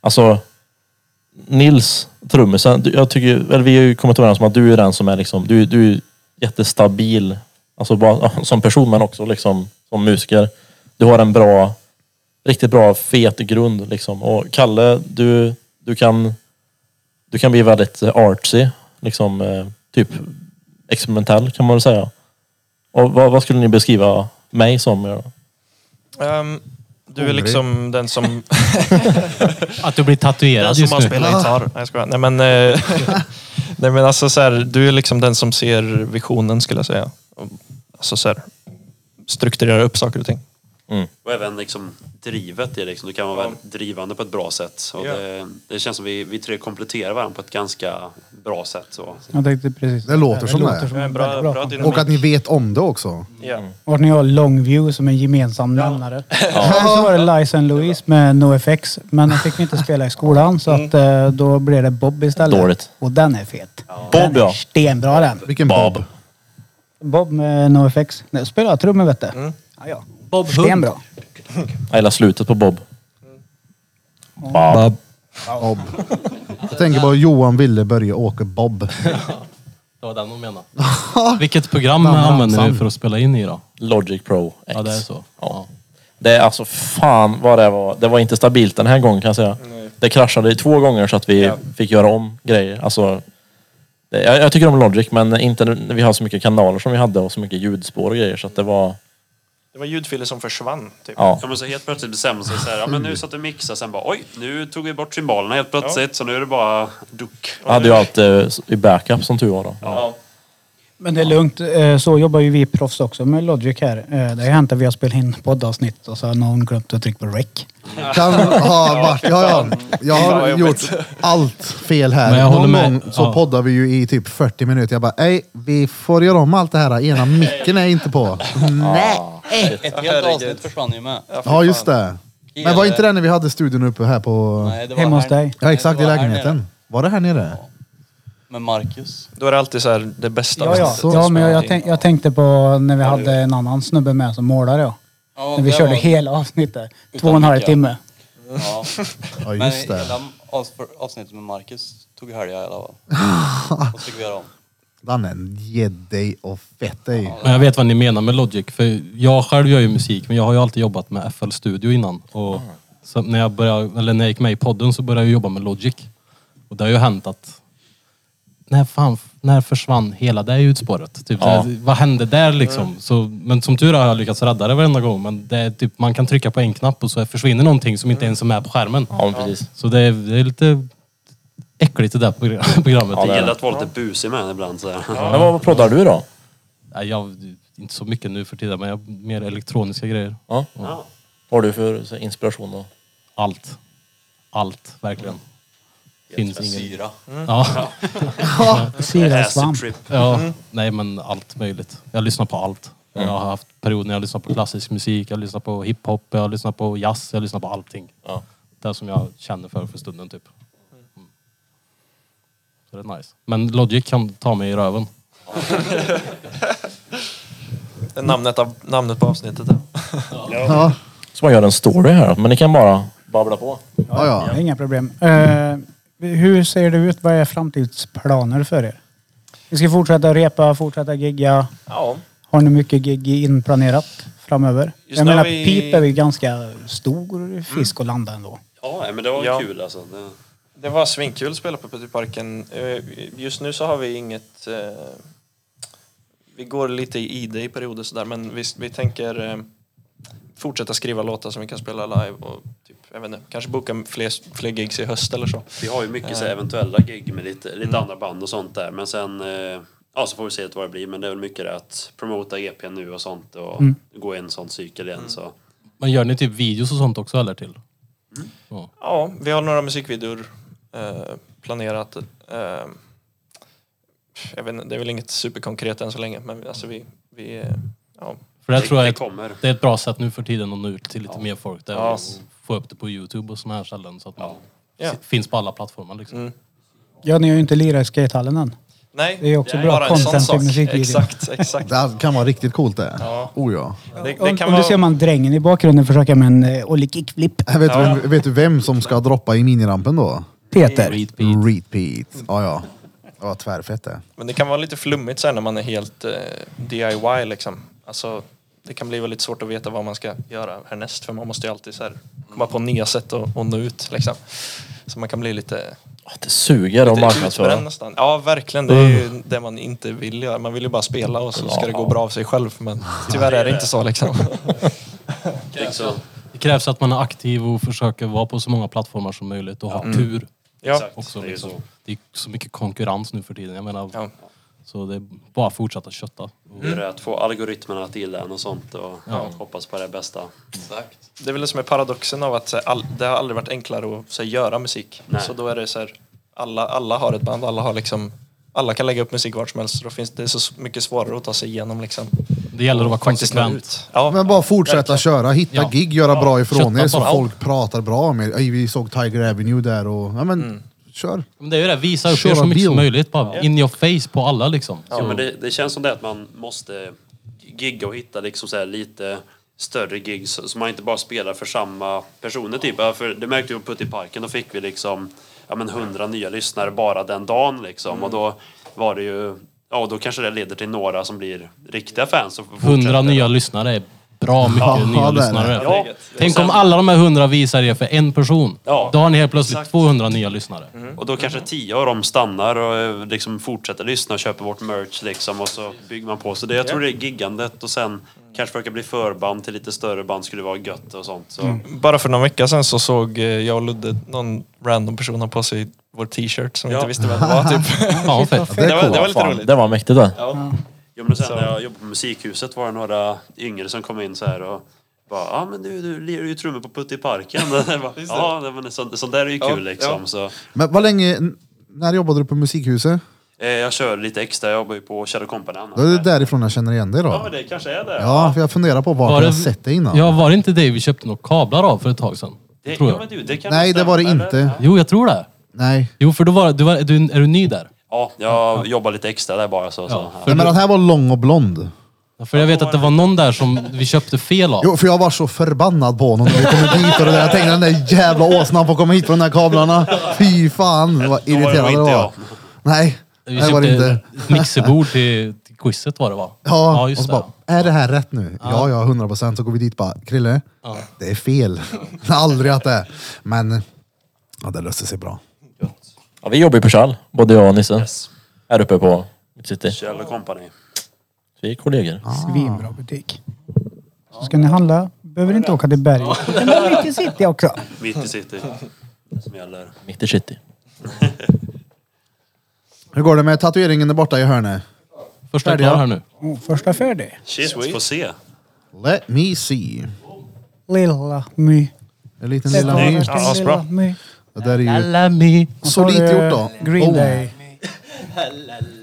Alltså, Nils, trummisen, du- jag tycker, eller vi har ju kommit överens om att du är den som är liksom, du, du är jättestabil, alltså bara, som person men också liksom som musiker. Du har en bra, riktigt bra fet grund liksom. Och Kalle, du, du kan, du kan bli väldigt eh, artsy, liksom eh, typ experimentell kan man väl säga. Och vad, vad skulle ni beskriva mig som? Ja, Ehm, du är liksom den som, Att du blir den tatuerad som just har nu. spelat gitarr. Nej, jag skojar. Nej, men, eh, nej, men alltså så här, du är liksom den som ser visionen skulle jag säga. Och, Alltså så här, strukturerar upp saker och ting. Och även liksom drivet i det, liksom. Du kan vara väldigt drivande på ett bra sätt. Och Ja. det, det känns som vi, vi tre kompletterar varandra på ett ganska bra sätt. Så. Jag tänkte precis. Det låter som det. låter som en Bra, väldigt bra bra kombo. dynamik. Och att ni vet om det också. Ja. Och ni har Longview som en gemensam <laughs> nämnare. Här så var det Lice and Louise med NoFX. Men den fick vi inte spela i skolan så att eh, då blev det Bob istället. Mm. Dåligt. Och den är fet. Bob Den är ja. stenbra den. Vilken Bob. Bob med NoFX. Nu spelar jag trummor vet du. Mm. Ja, ja. Bob Hund. Stenbra. Jag gillar slutet på Bob. Bob. Bob. Jag tänker bara Johan Wille Börje Åke Bob. Det var den hon menade. Vilket program använder vi för att spela in i då? Logic Pro X. Ja, det är så. Ja. Det är alltså fan vad det var. Det var inte stabilt den här gången kan jag säga. Det kraschade två gånger så att vi Ja. fick göra om grejer. Alltså, det, jag, jag tycker om Logic men inte när vi har så mycket kanaler som vi hade och så mycket ljudspår och grejer så att det var... Det var ljudfiler som försvann. Typ. Ja. Ja, men så helt plötsligt bestämde sig så här, ja, men nu satt vi och mixade, sen bara oj, nu tog vi bort symbolerna helt plötsligt, så nu är det bara duck. Jag hade ju allt eh, i backup som tur var då. Men det är lugnt. Eh, Så jobbar ju vi proffs också med Logic här. Eh, Det har hänt att vi har spelat in poddavsnitt och så har någon glömt att trycka på rec. <laughs> Kan ha varit, ja, ja. Jag har gjort allt fel här. Men jag håller Någon med. gång så Ja. poddar vi ju i typ 40 minuter. Jag bara, ej, vi får göra om allt det här. Ena micken är inte <laughs> på. Nej. Ett helt herregud. avsnitt försvann ju med. Ja, just det. Men var inte det när vi hade studion uppe här på... Nej, det var Hemma hos här- dig. Ja, exakt. det I var här lägenheten. nere. Var det här nere? Med Marcus. Då är det alltid så här det bästa. Ja, ja. Så- ja men jag, jag, tänk, jag tänkte på när vi hade en annan snubbe med som målare. Ja. Ja, När vi det körde var- hela avsnittet. Två och en halv mickar. timme. Ja. Ja, Men just hela det. avs- avsnittet med Marcus tog helga i <laughs> alla fall. Och så fick vi göra om. Danne, ge dig och fett dig. Men jag vet vad ni menar med Logic. För jag själv gör ju musik, men jag har ju alltid jobbat med FL Studio innan. Ah. Och så när, jag började, eller när jag gick med i podden så började jag jobba med Logic. Och det har ju hänt att... När, fan, när försvann hela det utspåret? Typ, Ja. så här, vad hände där liksom? Så, men som tur är har jag lyckats rädda det varenda gång. Men det är typ, man kan trycka på en knapp och så försvinner någonting som inte ens är med på skärmen. Ja, men precis. Så det är, det är lite äckligt det där progr- <laughs> programmet. Ja, det Det är gäller att vara lite busig med den ibland. Så här. Men vad proddar du då? Nej, jag, inte så mycket nu för tiden, men jag, mer elektroniska grejer. Ja. Ja. Vad har du för så här, inspiration då? Allt. Allt, verkligen. Finns ingen... Mm. Syra. Ja, Sirensvamp. Acid trip. ja. Nej men allt möjligt. Jag lyssnar på allt. Jag har haft perioder när jag lyssnar på klassisk musik, jag lyssnar på hiphop, jag lyssnar på jazz, jag lyssnar på allting. Ja. Det som jag känner för för stunden typ. Mm. Så det är nice. Men Logic kan ta mig i röven. Det är Namnet, av, namnet på avsnittet. där. Ja, Så man gör en story här, men ni kan bara babbla på. ja. ja. Inga problem. Eh, hur ser det ut? Vad är framtidsplaner för er? Vi ska fortsätta repa, fortsätta gigga. Ja. Har ni mycket gig inplanerat framöver? Just jag nu menar, har vi- Pip är ju ganska stor fisk att landa ändå. Ja, men det var Ja. kul alltså. Det... Det var svinkul att spela på Puttyparken. Eh, Just nu så har vi inget... eh, Vi går lite i ide i perioder sådär men vi, vi tänker eh, fortsätta skriva låtar som vi kan spela live och typ, jag vet inte, kanske boka fler, fler gigs i höst eller så. Vi har ju mycket så här, eventuella gig med lite, lite andra band och sånt där. Men sen, eh, ja så får vi se vad det blir. Men det är väl mycket det att promota EP nu och sånt och gå i en sån cykel igen. Så. Men gör ni typ videos och sånt också eller till? Ja, vi har några musikvideor eh, planerat. Eh, jag vet inte, det är väl inget superkonkret än så länge men vi- alltså vi... vi eh, ja. För det här Det- tror jag det är ett- kommer. det är ett bra sätt nu för tiden att nå ut till lite mer folk. Det är Ja. att få upp det på Youtube och såna här ställen så att man Ja. Mm. si- finns på alla plattformar liksom. Ja, ni har ju inte lirat i skatehallen än. Nej, Det är också nej, bra bara en sån content till sak. musikvideon. Exakt, exakt. Det här kan vara riktigt coolt det. Ja. Oh ja. Det, Om, det kan om vara... du ser man drängen i bakgrunden försöka med en eh, ollie kickflip. <laughs> Vet, du vem, vet du vem som ska droppa i minirampen då? Peter. Repeat. Repeat. Ja, ja. Ja, tvärfett det. Men det kan vara lite flummigt sen när man är helt eh, DIY liksom. Alltså, det kan bli väldigt svårt att veta vad man ska göra härnäst för man måste ju alltid så här, komma på nya sätt att och nå ut liksom. Så man kan bli lite, Åh, det suger att lite utbränd marknadsföra. nästan. Ja, verkligen. Det är ju det man inte vill göra. Man vill ju bara spela och så ska det gå bra av sig själv. Men tyvärr är det inte så liksom. Liksom. Det krävs att man är aktiv och försöker vara på så många plattformar som möjligt och ha tur. Ja, Exakt. Också, Mm. det är ju liksom. så. det är så mycket konkurrens nu för tiden. Jag menar, Ja. Så det är bara att fortsätta kötta. Och- Det är det att få algoritmerna att gilla en och sånt och hoppas på det bästa. Exakt. Det är väl det som är paradoxen av att så här, all, det har aldrig varit enklare att så här, göra musik. Nej. Så då är det så här, alla, alla har ett band, alla har liksom alla kan lägga upp musik vart som helst så då finns det så mycket svårare att ta sig igenom liksom. Det gäller att vara Faktiskt nå konsekvent. ut. Ja, Men bara fortsätta köra, hitta Ja. gig, göra bra ifrån Kötta er så bara. folk pratar bra om er. Ej, Vi såg Tiger Avenue där och... Ja, men Mm. kör. Men det är ju det, visa upp Köra er så mycket bil. som möjligt. Bara in your face på alla liksom. Ja, men det, det känns som det att man måste gigga och hitta liksom så här lite större gigs så man inte bara spelar för samma personer. Typ. Ja, För det märkte vi på Putte i parken, då fick vi liksom ja, men 100 nya lyssnare bara den dagen. Liksom. Och då var det ju, ja och då kanske det leder till några som blir riktiga fans. och fortsätter. 100 nya lyssnare är bra mycket Ja, det nya är det. lyssnare. Ja. Tänk om alla de här 100 visar er för en person. Ja. Mm. Då har ni helt plötsligt 200 nya lyssnare. Och då kanske 10 av dem stannar och eh, liksom fortsätter lyssna och köper vårt merch liksom och så bygger man på. Så det, jag tror det är giggandet och sen kanske försöka bli förband till lite större band skulle vara gött och sånt. Så. Bara för någon vecka sedan så såg eh, jag och Ludde någon random person ha på sig vår t-shirt som vi inte visste vem det var typ. <laughs> Fan vad fett. Det Det är var, det coolt. var lite Fan, roligt. det var mäktigt det. Jo, men sen när jag jobbade på Musikhuset var det några yngre som kom in så här och bara ja ah, men du, du lirar ju trummor på Putte i parken. <laughs> Jag bara, Ja, men sånt, sånt där är ju kul Ja, liksom. ja. Så, Men vad länge... n- När jobbade du på Musikhuset? Eh, jag kör lite extra, jag jobbar ju på Shadow Company annars. Då är det därifrån jag känner igen dig då. Ja, men det kanske är det. Ja, för jag funderar på var, jag sett det innan. Ja, var det inte det vi köpte några kablar av för ett tag sedan? det, tror ja, jag. men du, det kan Nej, nog det var det stämma, inte. eller? Jo, jag tror det. Nej. Jo, för då var du, var, du är du ny där? Ja, jag jobbar lite extra där bara. Så, så. Ja, Ja. för, Nej, men den här var lång och blond. ja, för jag vet att det var någon där som vi köpte fel av. Jo, för jag var så förbannad på honom när vi kom dit och det där. Jag tänkte den där jävla åsnan får komma hit på de där kablarna. Fy fan vad Då var det nog irriterande det inte var. jag. Nej, Vi det var det inte. ett mixerbord till, till quizet var det va? Ja, och just så det. bara, är det här rätt nu? Ja, ja, 100 procent. Så går vi dit och bara, Krille, det är fel. Aldrig att det är. Men, ja, det löste sig bra. Ja, vi jobbar ju på Kjell, både jag och Nisse. Yes. Här uppe på mitt city. Kjell Company. Vi är kollegor. Svinbra butik. Så ska ni handla, behöver ni inte åka till berget. Det är mitt i city <laughs> också. Mitt i city. Det som gäller. Mitt i city. Hur går det med tatueringen där borta i hörnet? Första är Färdiga. klar här nu. Oh, första färdig. Shit, får se. Let me see. Lilla My. En liten lilla ny. Ja, asbra. My. Det där är ju Alla mi. så lite gjort då. Green Oh. <laughs> Day.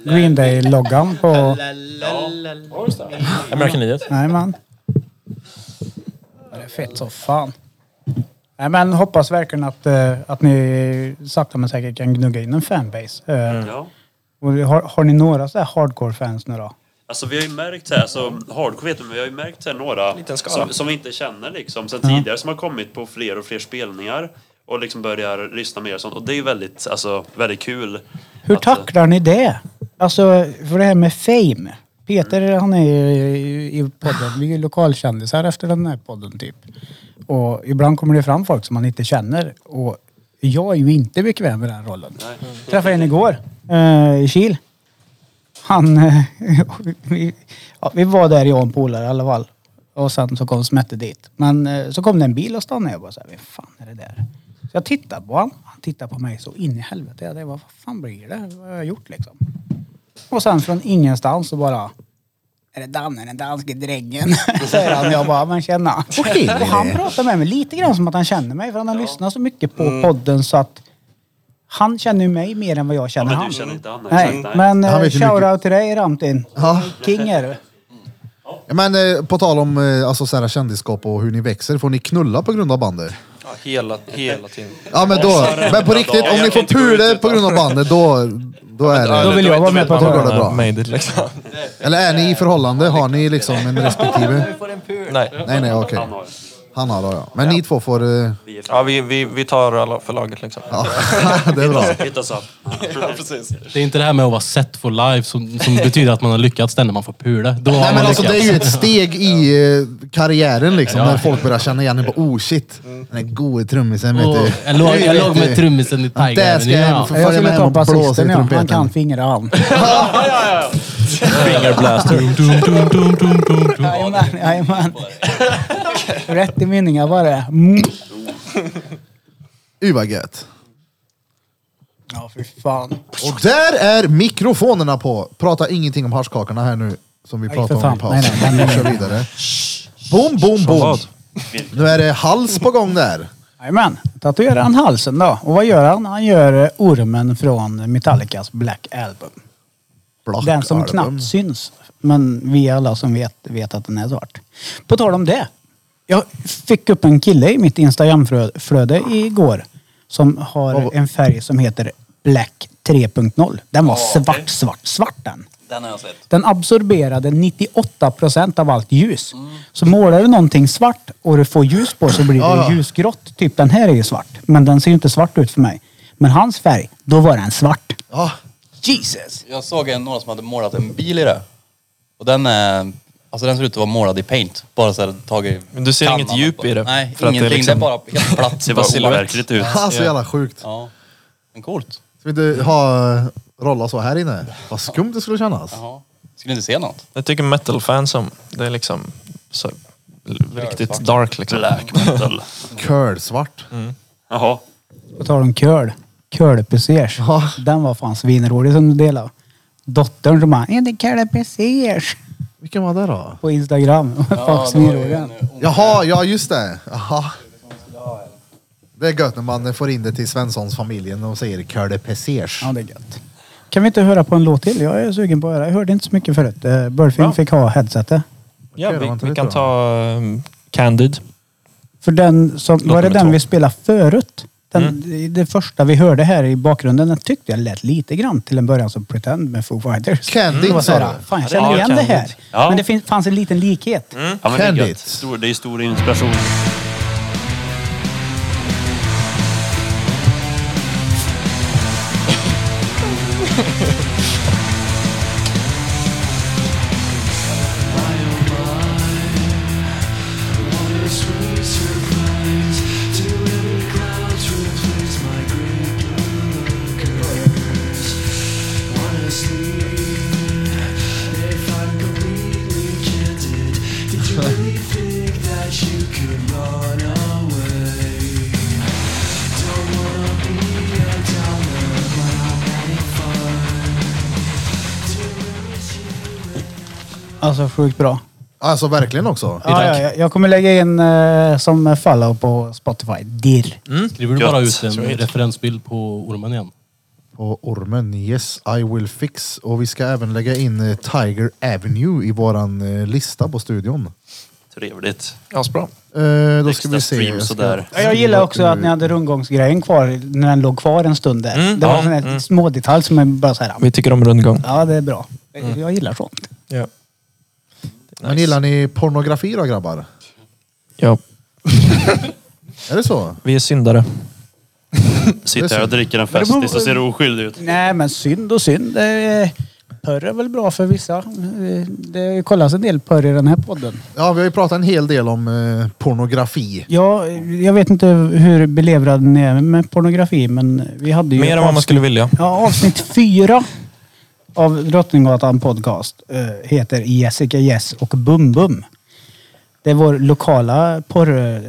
Green Day-loggan på... Mm. American Idiot. Nej man. Det är fett så fan. Nej men hoppas verkligen att, eh, att ni sakta men säkert kan gnugga in en fanbase. Eh, Ja. och har, har ni några så här hardcore fans nu då? Alltså vi har ju märkt här, så hardcore vet du, men vi har ju märkt här några Liten skala. som, som vi inte känner liksom sen tidigare som har kommit på fler och fler spelningar och liksom börjar lyssna mer och sånt. Och det är ju väldigt, alltså, väldigt kul. Hur att, eh, tacklar ni det? Alltså, för det här med fame. Peter, han är ju i- i podden. Vi är ju lokalkändisar efter den här podden typ. Och ibland kommer det fram folk som man inte känner. Och jag är ju inte bekväm med den rollen. Träffade en igår eh, i Kil. Han... eh, <laughs> vi, ja, vi var där, jag och en polare i alla fall. Och sen så kom Smette dit. Men eh, så kom det en bil och stannade. Jag bara såhär, vem fan är det där? Så jag tittar på honom. Han tittar på mig så in i helvete. Jag bara, vad fan blir det? Vad har jag gjort liksom? Och sen från ingenstans så bara... Är det Danne, den danske drängen? <laughs> Säger han. Jag bara, men tjena. Okej. Och han pratar med mig lite grann som att han känner mig. För han har lyssnat så mycket på Mm. podden så att... Han känner ju mig mer än vad jag känner men du han. känner inte han, Nej, exakt, nej. men Han eh, vet ju mycket. shoutout till dig Ramtin. Ja. King är du. Ja, Men eh, på tal om eh, alltså, så här, kändisskap och hur ni växer, får ni knulla på grund av bandet? Ja, hela, hela tiden. Ja men då, men på riktigt, om ni får pula på grund av bandet, då, då är Ja, det... vill jag vara med på ett hörn. man, Bra. eh, Made it, liksom. Eller är ni i förhållande? Har ni liksom en respektive? Nej. Nej, nej, okej. Han har- Han har då, ja. Men ni två får... eh, Vi är fan Ja, vi, vi, vi tar alla för laget liksom. Ja, <laughs> det är bra. hit us up. precis. Det är inte det här med att vara set for life som, som betyder att man har lyckats den när man får pula. Då har Nej man men alltså det lyckats. är ju ett steg i eh, karriären liksom, när folk börjar känna igen en på oh shit, den gode trummisen vet Åh, du. jag låg- jag Nu vet låg med du. trummisen i Tiger Där ska Avenue, jag ja. följa Jag skulle med ta hem och blåsa i basisten ja. Han kan trumpeten. fingra han. Finger blaster. Dum, dum, dum, dum, dum, dum, dum. Jajamän, jajamän. Rätt i mynningar var det. Mm. Uh vad gött. Ja, fy fan. Och där är mikrofonerna på. Prata ingenting om haschkakorna här nu som vi pratade för om i fan. pausen. Nej, nej, nej, Vi kör vidare. Boom, boom, boom. Nu är det hals på gång där. Jajamän. Tatuerar han halsen då. Och vad gör han? Han gör eh, ormen från Metallicas Black Album. Black Den som album. knappt syns. Men vi alla som vet, vet att den är svart. På tal om det. Jag fick upp en kille i mitt Instagramflöde igår. Som har en färg som heter Black 3.0. Den var svart, svart, svart den. <laughs> Den har jag sett. Den absorberade 98 procent av allt ljus. Så målar du någonting svart och du får ljus på så blir Ja, det ja. ljusgrått. Typ den här är ju svart. Men den ser ju inte svart ut för mig. Men hans färg, då var den svart. Ja, Jesus! Jag såg en några som hade målat en bil i det. Och den är... Alltså den ser ut att vara målad i paint. Bara så här tagit... Men du ser kannan inget djup och- i det, Nej, för att det är ingenting. Det är, liksom- bara helt platt. <laughs> Det Bara var ovärt. overkligt ut. Ah, så jävla sjukt. Ska Ja. Men coolt. vi inte ha eh, rolla så här inne? Vad skumt det skulle kännas. Jaha. Skulle inte se något? Jag tycker metal-fans om det är liksom så, riktigt dark liksom. Black metal. Curlsvart. Mm. Jaha. På tal om curl. Curlpessers. Ja. Den var fan svinrolig som du delade. Dottern som bara, är det curlpessers? Vilken var det då? På Instagram. <laughs> fan svinrolig den. Jaha, ja just det. Jaha. Det är gött när man får in det till Svenssons familjen och säger curle pesers. Ja, det är gött. Kan vi inte höra på en låt till? Jag är sugen på att höra. Jag hörde inte så mycket förut. Eh, Burfing Ja. fick ha headsetet. Ja, Okej, det var inte vi, vi det, kan tror jag. ta ehm, Candid. För den som, var det nummer den två. vi spelade förut? Den, Det första vi hörde här i bakgrunden, den tyckte jag lät lite grann till en början som Pretend med Foo Fighters. Candy Det var så sa här, du? fan jag Ja, känner igen det Candid. här. Ja. Men det fin- fanns en liten likhet. Mm. Ja, men det, är Candid. gött. stor, det är stor inspiration. Alltså sjukt bra. Alltså verkligen också. Ja, ja, jag- jag kommer lägga in eh, som follow på Spotify. Dirr. Mm. Skriver du Gött. bara ut en Så hit. referensbild på ormen igen? På ormen, yes I will fix. Och vi ska även lägga in eh, Tiger Avenue i våran eh, lista på studion. Trevligt. Asbra. Eh, då ska Extra vi se. stream ska- sådär. Ja, Jag Mm. gillar också att ni hade rundgångsgrejen kvar när den låg kvar en stund där. Mm, det var ja, en sån där mm. smådetalj som är bara så här. Vi tycker om rundgång. Ja, det är bra. Mm. Jag gillar sånt. Ja. Men gillar ni pornografi då grabbar? Ja, Är det så? vi är syndare. Sitter här och dricker en Men det Festis beror- och ser oskyldig ut. Nej, men synd och synd. Eh, Porr är väl bra för vissa. Eh, Det kollas en del porr i den här podden. Ja, vi har ju pratat en hel del om eh, pornografi. Ja, jag vet inte hur belevrad ni är med pornografi, men vi hade ju... Mer än vad man skulle vilja. Ja, avsnitt fyra av Drottninggatan podcast eh, heter Jessica Yes och Bum Bum. Det är vår lokala porr...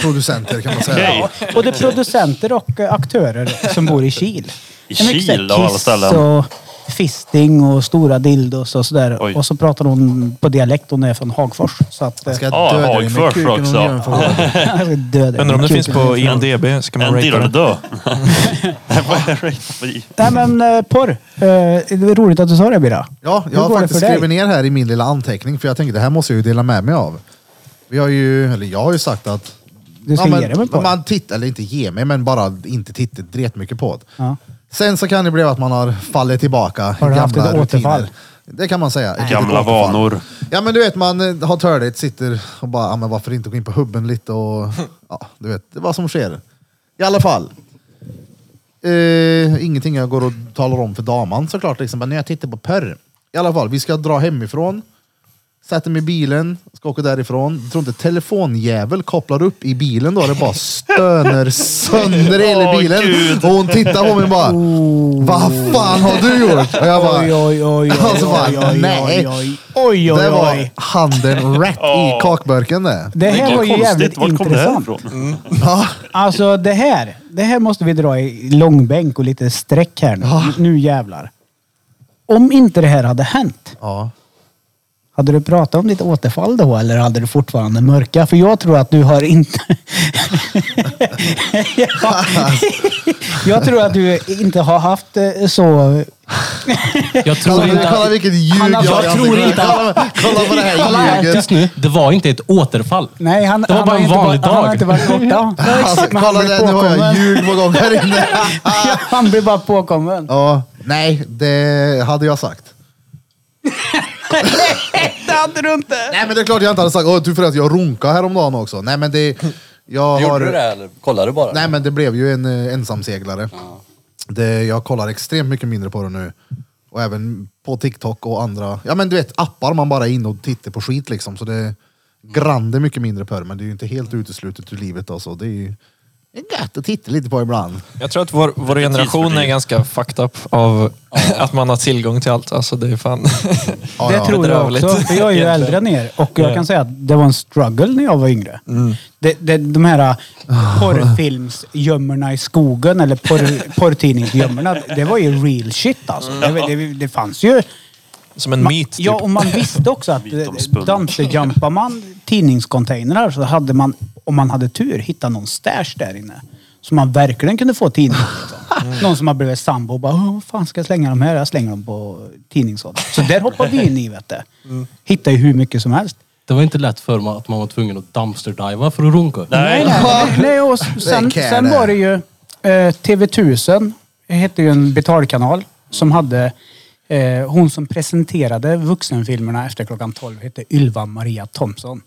Producenter kan man säga. Okej. Både producenter och eh, aktörer som bor i Kil. <laughs> I En mix där, Kil av alla Kiss ställen. och fisting och stora dildos och sådär. Oj. Och så pratar hon på dialekt. Hon är från Hagfors. Så att... eh, alltså, Jag ska <laughs> Ja, döda dig med Hagfors kuken också. om du gör en fråga. jag ska döda dig Undrar om det med finns kuken. på IMDB. Ska man En deal ratea or det? dö. Nej, Nej men eh, porr. Eh, det är roligt att du sa det Bira. Ja, Hur jag har går det faktiskt för dig? skrivit ner här i min lilla anteckning för jag tänkte det här måste jag ju dela med mig av. Vi har ju, eller jag har ju sagt att Du ska ja, men, ge dig med porr. man tittar, eller inte ge mig, men bara inte titta rätt mycket på det. Ja. Sen så kan det bli att man har fallit tillbaka i Har du haft ett återfall? Det kan man säga. Ett Gamla litet återfall. vanor. Ja men du vet man eh, har törligt, sitter och bara, ja, men varför inte gå in på hubben lite och ja, du vet, det är vad som sker. I alla fall. Eh, ingenting jag går och talar om för damen såklart, liksom. men när jag tittar på Perr. I alla fall, vi ska dra hemifrån, sätter mig i bilen, ska åka därifrån. Jag tror inte telefonjävel kopplar upp i bilen då, det bara stöner sönder hela Åh, bilen. Gud. och hon tittar på mig och bara, vad fan har du gjort? Och jag bara, Oj, oj, oj, oj, Alltså, fan, oj, oj, nej. oj, oj, oj, oj, det var oj. handen rätt i kakburken det. Det här var ju jävligt Vart kom det här intressant. ifrån? Ja, Alltså det här, det här måste vi dra i långbänk och lite streck här nu. Nu jävlar. Om inte det här hade hänt, ja. hade du pratat om ditt återfall då eller hade du fortfarande mörka? För jag tror att du har inte... <laughs> Ja. jag tror att du inte har haft eh, så... Jag tror Kolla, inte... kolla att- vilket ljug Han har- har i jag tror ansiktet. inte att- kolla, kolla på det Kolla här här, ljuget. tyst nu. Det var inte ett återfall. Nej, han, Det var han bara har en inte vanlig varit- Han har dag. inte varit borta. <laughs> Alltså, Men han kolla blir där, nu har jag påkommen. ljug på gång här inne. Ja, <laughs> han blir bara påkommen. Ja, nej, det hade jag sagt. Det hade du inte. Nej men det är klart jag inte hade sagt, åh du förresten jag runkade häromdagen också. Nej men det, jag Gjorde har... du det eller kollade du bara? Nej men det blev ju en eh, ensamseglare. Det, jag kollar extremt mycket mindre på det nu. Och även på TikTok och andra, ja men du vet appar man bara är inne och tittar på skit liksom. Så det grande mycket mindre på det, men det är ju inte helt uteslutet ur livet alltså. Det är ju det är gött att titta lite på ibland. Jag tror att vår, vår generation tidsfördriv. är ganska fucked up av <laughs> att man har tillgång till allt. Alltså det är fan... <laughs> Ja, Det ja. tror jag Bedrövligt. också. För jag <laughs> är ju äldre än er och jag kan säga att det var en struggle när jag var yngre. Mm. Det, det, de här ah, Ah. porrfilmsgömmorna i skogen <laughs> eller porr, porrtidningsgömmorna. Det var ju real shit alltså. Mm. Det, det, det fanns ju... Som en Man- myt. Typ. Ja, och man visste också att <laughs> Myt om spund. dumpsterjumpar man alltså, tidningscontainrar så <laughs> hade man, om man hade tur, hittat någon stash där inne. Så man verkligen kunde få tidningar. Liksom. Någon som har blivit sambo och bara, "Åh, vad fan ska jag slänga dem här? Jag slänger dem på tidningslådan. Så där hoppar vi in i vet du. Mm. Hittar ju hur mycket som helst. Det var inte lätt för mig att man var tvungen att dumpsterdiva för att runka. Nej. Nej, <laughs> nej, nej, och sen, kan sen det. var det ju eh, TV1000. Det hette ju en betalkanal som hade eh, hon som presenterade vuxenfilmerna efter klockan 12 hette Ylva Maria Thomsson.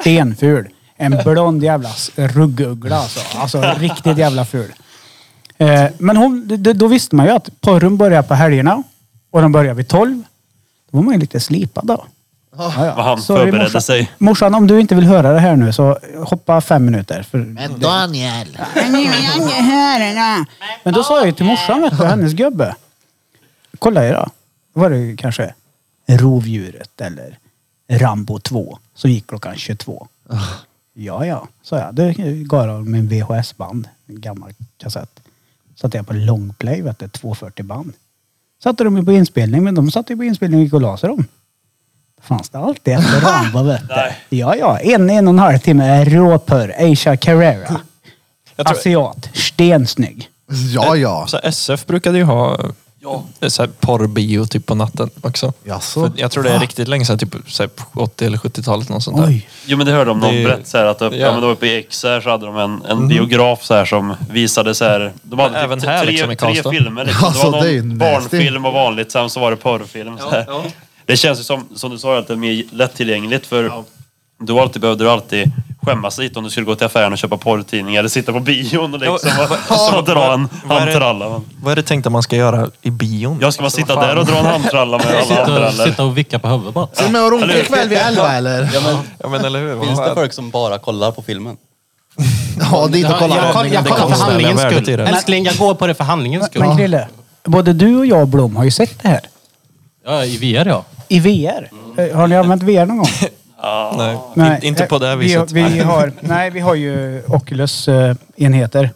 Stenful. En blond jävla s- rugguggla alltså. Alltså riktigt jävla ful. Eh, men hon, d- d- då visste man ju att porren börjar på helgerna och den börjar vid 12. Då var man ju lite slipad då. Ja, ja. Vad han Sorry, förberedde morsan. sig. Morsan, om du inte vill höra det här nu så hoppa fem minuter. För Men Daniel! men då sa jag ju till morsan, vet du, hennes gubbe. Kolla er då. Då var det ju kanske Rovdjuret eller Rambo 2 som gick klockan 22. Ah. Ja, ja, sa jag. Då gav jag min VHS-band, en gammal kassett. Satte jag på longplay, vet du, 240 band. Satte de ju på inspelning, men de satte ju på inspelning och gick och la sig de. Fanns det alltid efter Rambo, vet du. Ja, ja. En, en och en halv timme råpör, Aisha Carrera. Jag tror- Asiat. Stensnygg. <laughs> Ja, ja. Så SF brukade ju ha ja. så här porrbio typ på natten också. Jaså? För jag tror det är riktigt länge sedan, typ så här, 80 eller 70-talet. Något sånt där. Oj. Jo men det hörde om någon Det- berätt så här att uppe, Ja. Mhm. ja. men då uppe i X här så hade de en, en biograf så här som visade så här. De hade Men även typ här tre, liksom i tre Karlstad. <laughs> filmer liksom. Alltså, det det är var ju någon nasty. barnfilm och vanligt, sen så var det porrfilm. Så här. Det känns ju som, som du sa, att det är mer lättillgängligt för du alltid behövde du alltid skämmas lite om du skulle gå till affären och köpa porrtidningar eller sitta på bion och liksom Ja, och, <laughs> vad- och dra en vad är det- handtralla. Men Vad är det tänkt att man ska göra i bion? Jag ska bara Alltså, sitta vad fan? där och dra en <laughs> handtralla med alla andra Sitta, eller? sitta och vicka på huvudet bara. Ska du med och runka ikväll vid elva eller? Ja, men, Ja men eller hur? Vad finns det fan? folk som bara kollar på filmen? Ja, dit och jag, kolla. koll- jag det kollar för konstnärliga handlingens värdet i skull. det. Älskling, jag går på det för handlingens skull. Men Krille, både du och jag Blom har ju sett det här. Ja, i VR ja. I VR. Eh, Har ni använt VR någon gång? Nej, in- inte på det här eh, viset. Vi, vi, <laughs> har, nej, vi har ju Oculus-enheter.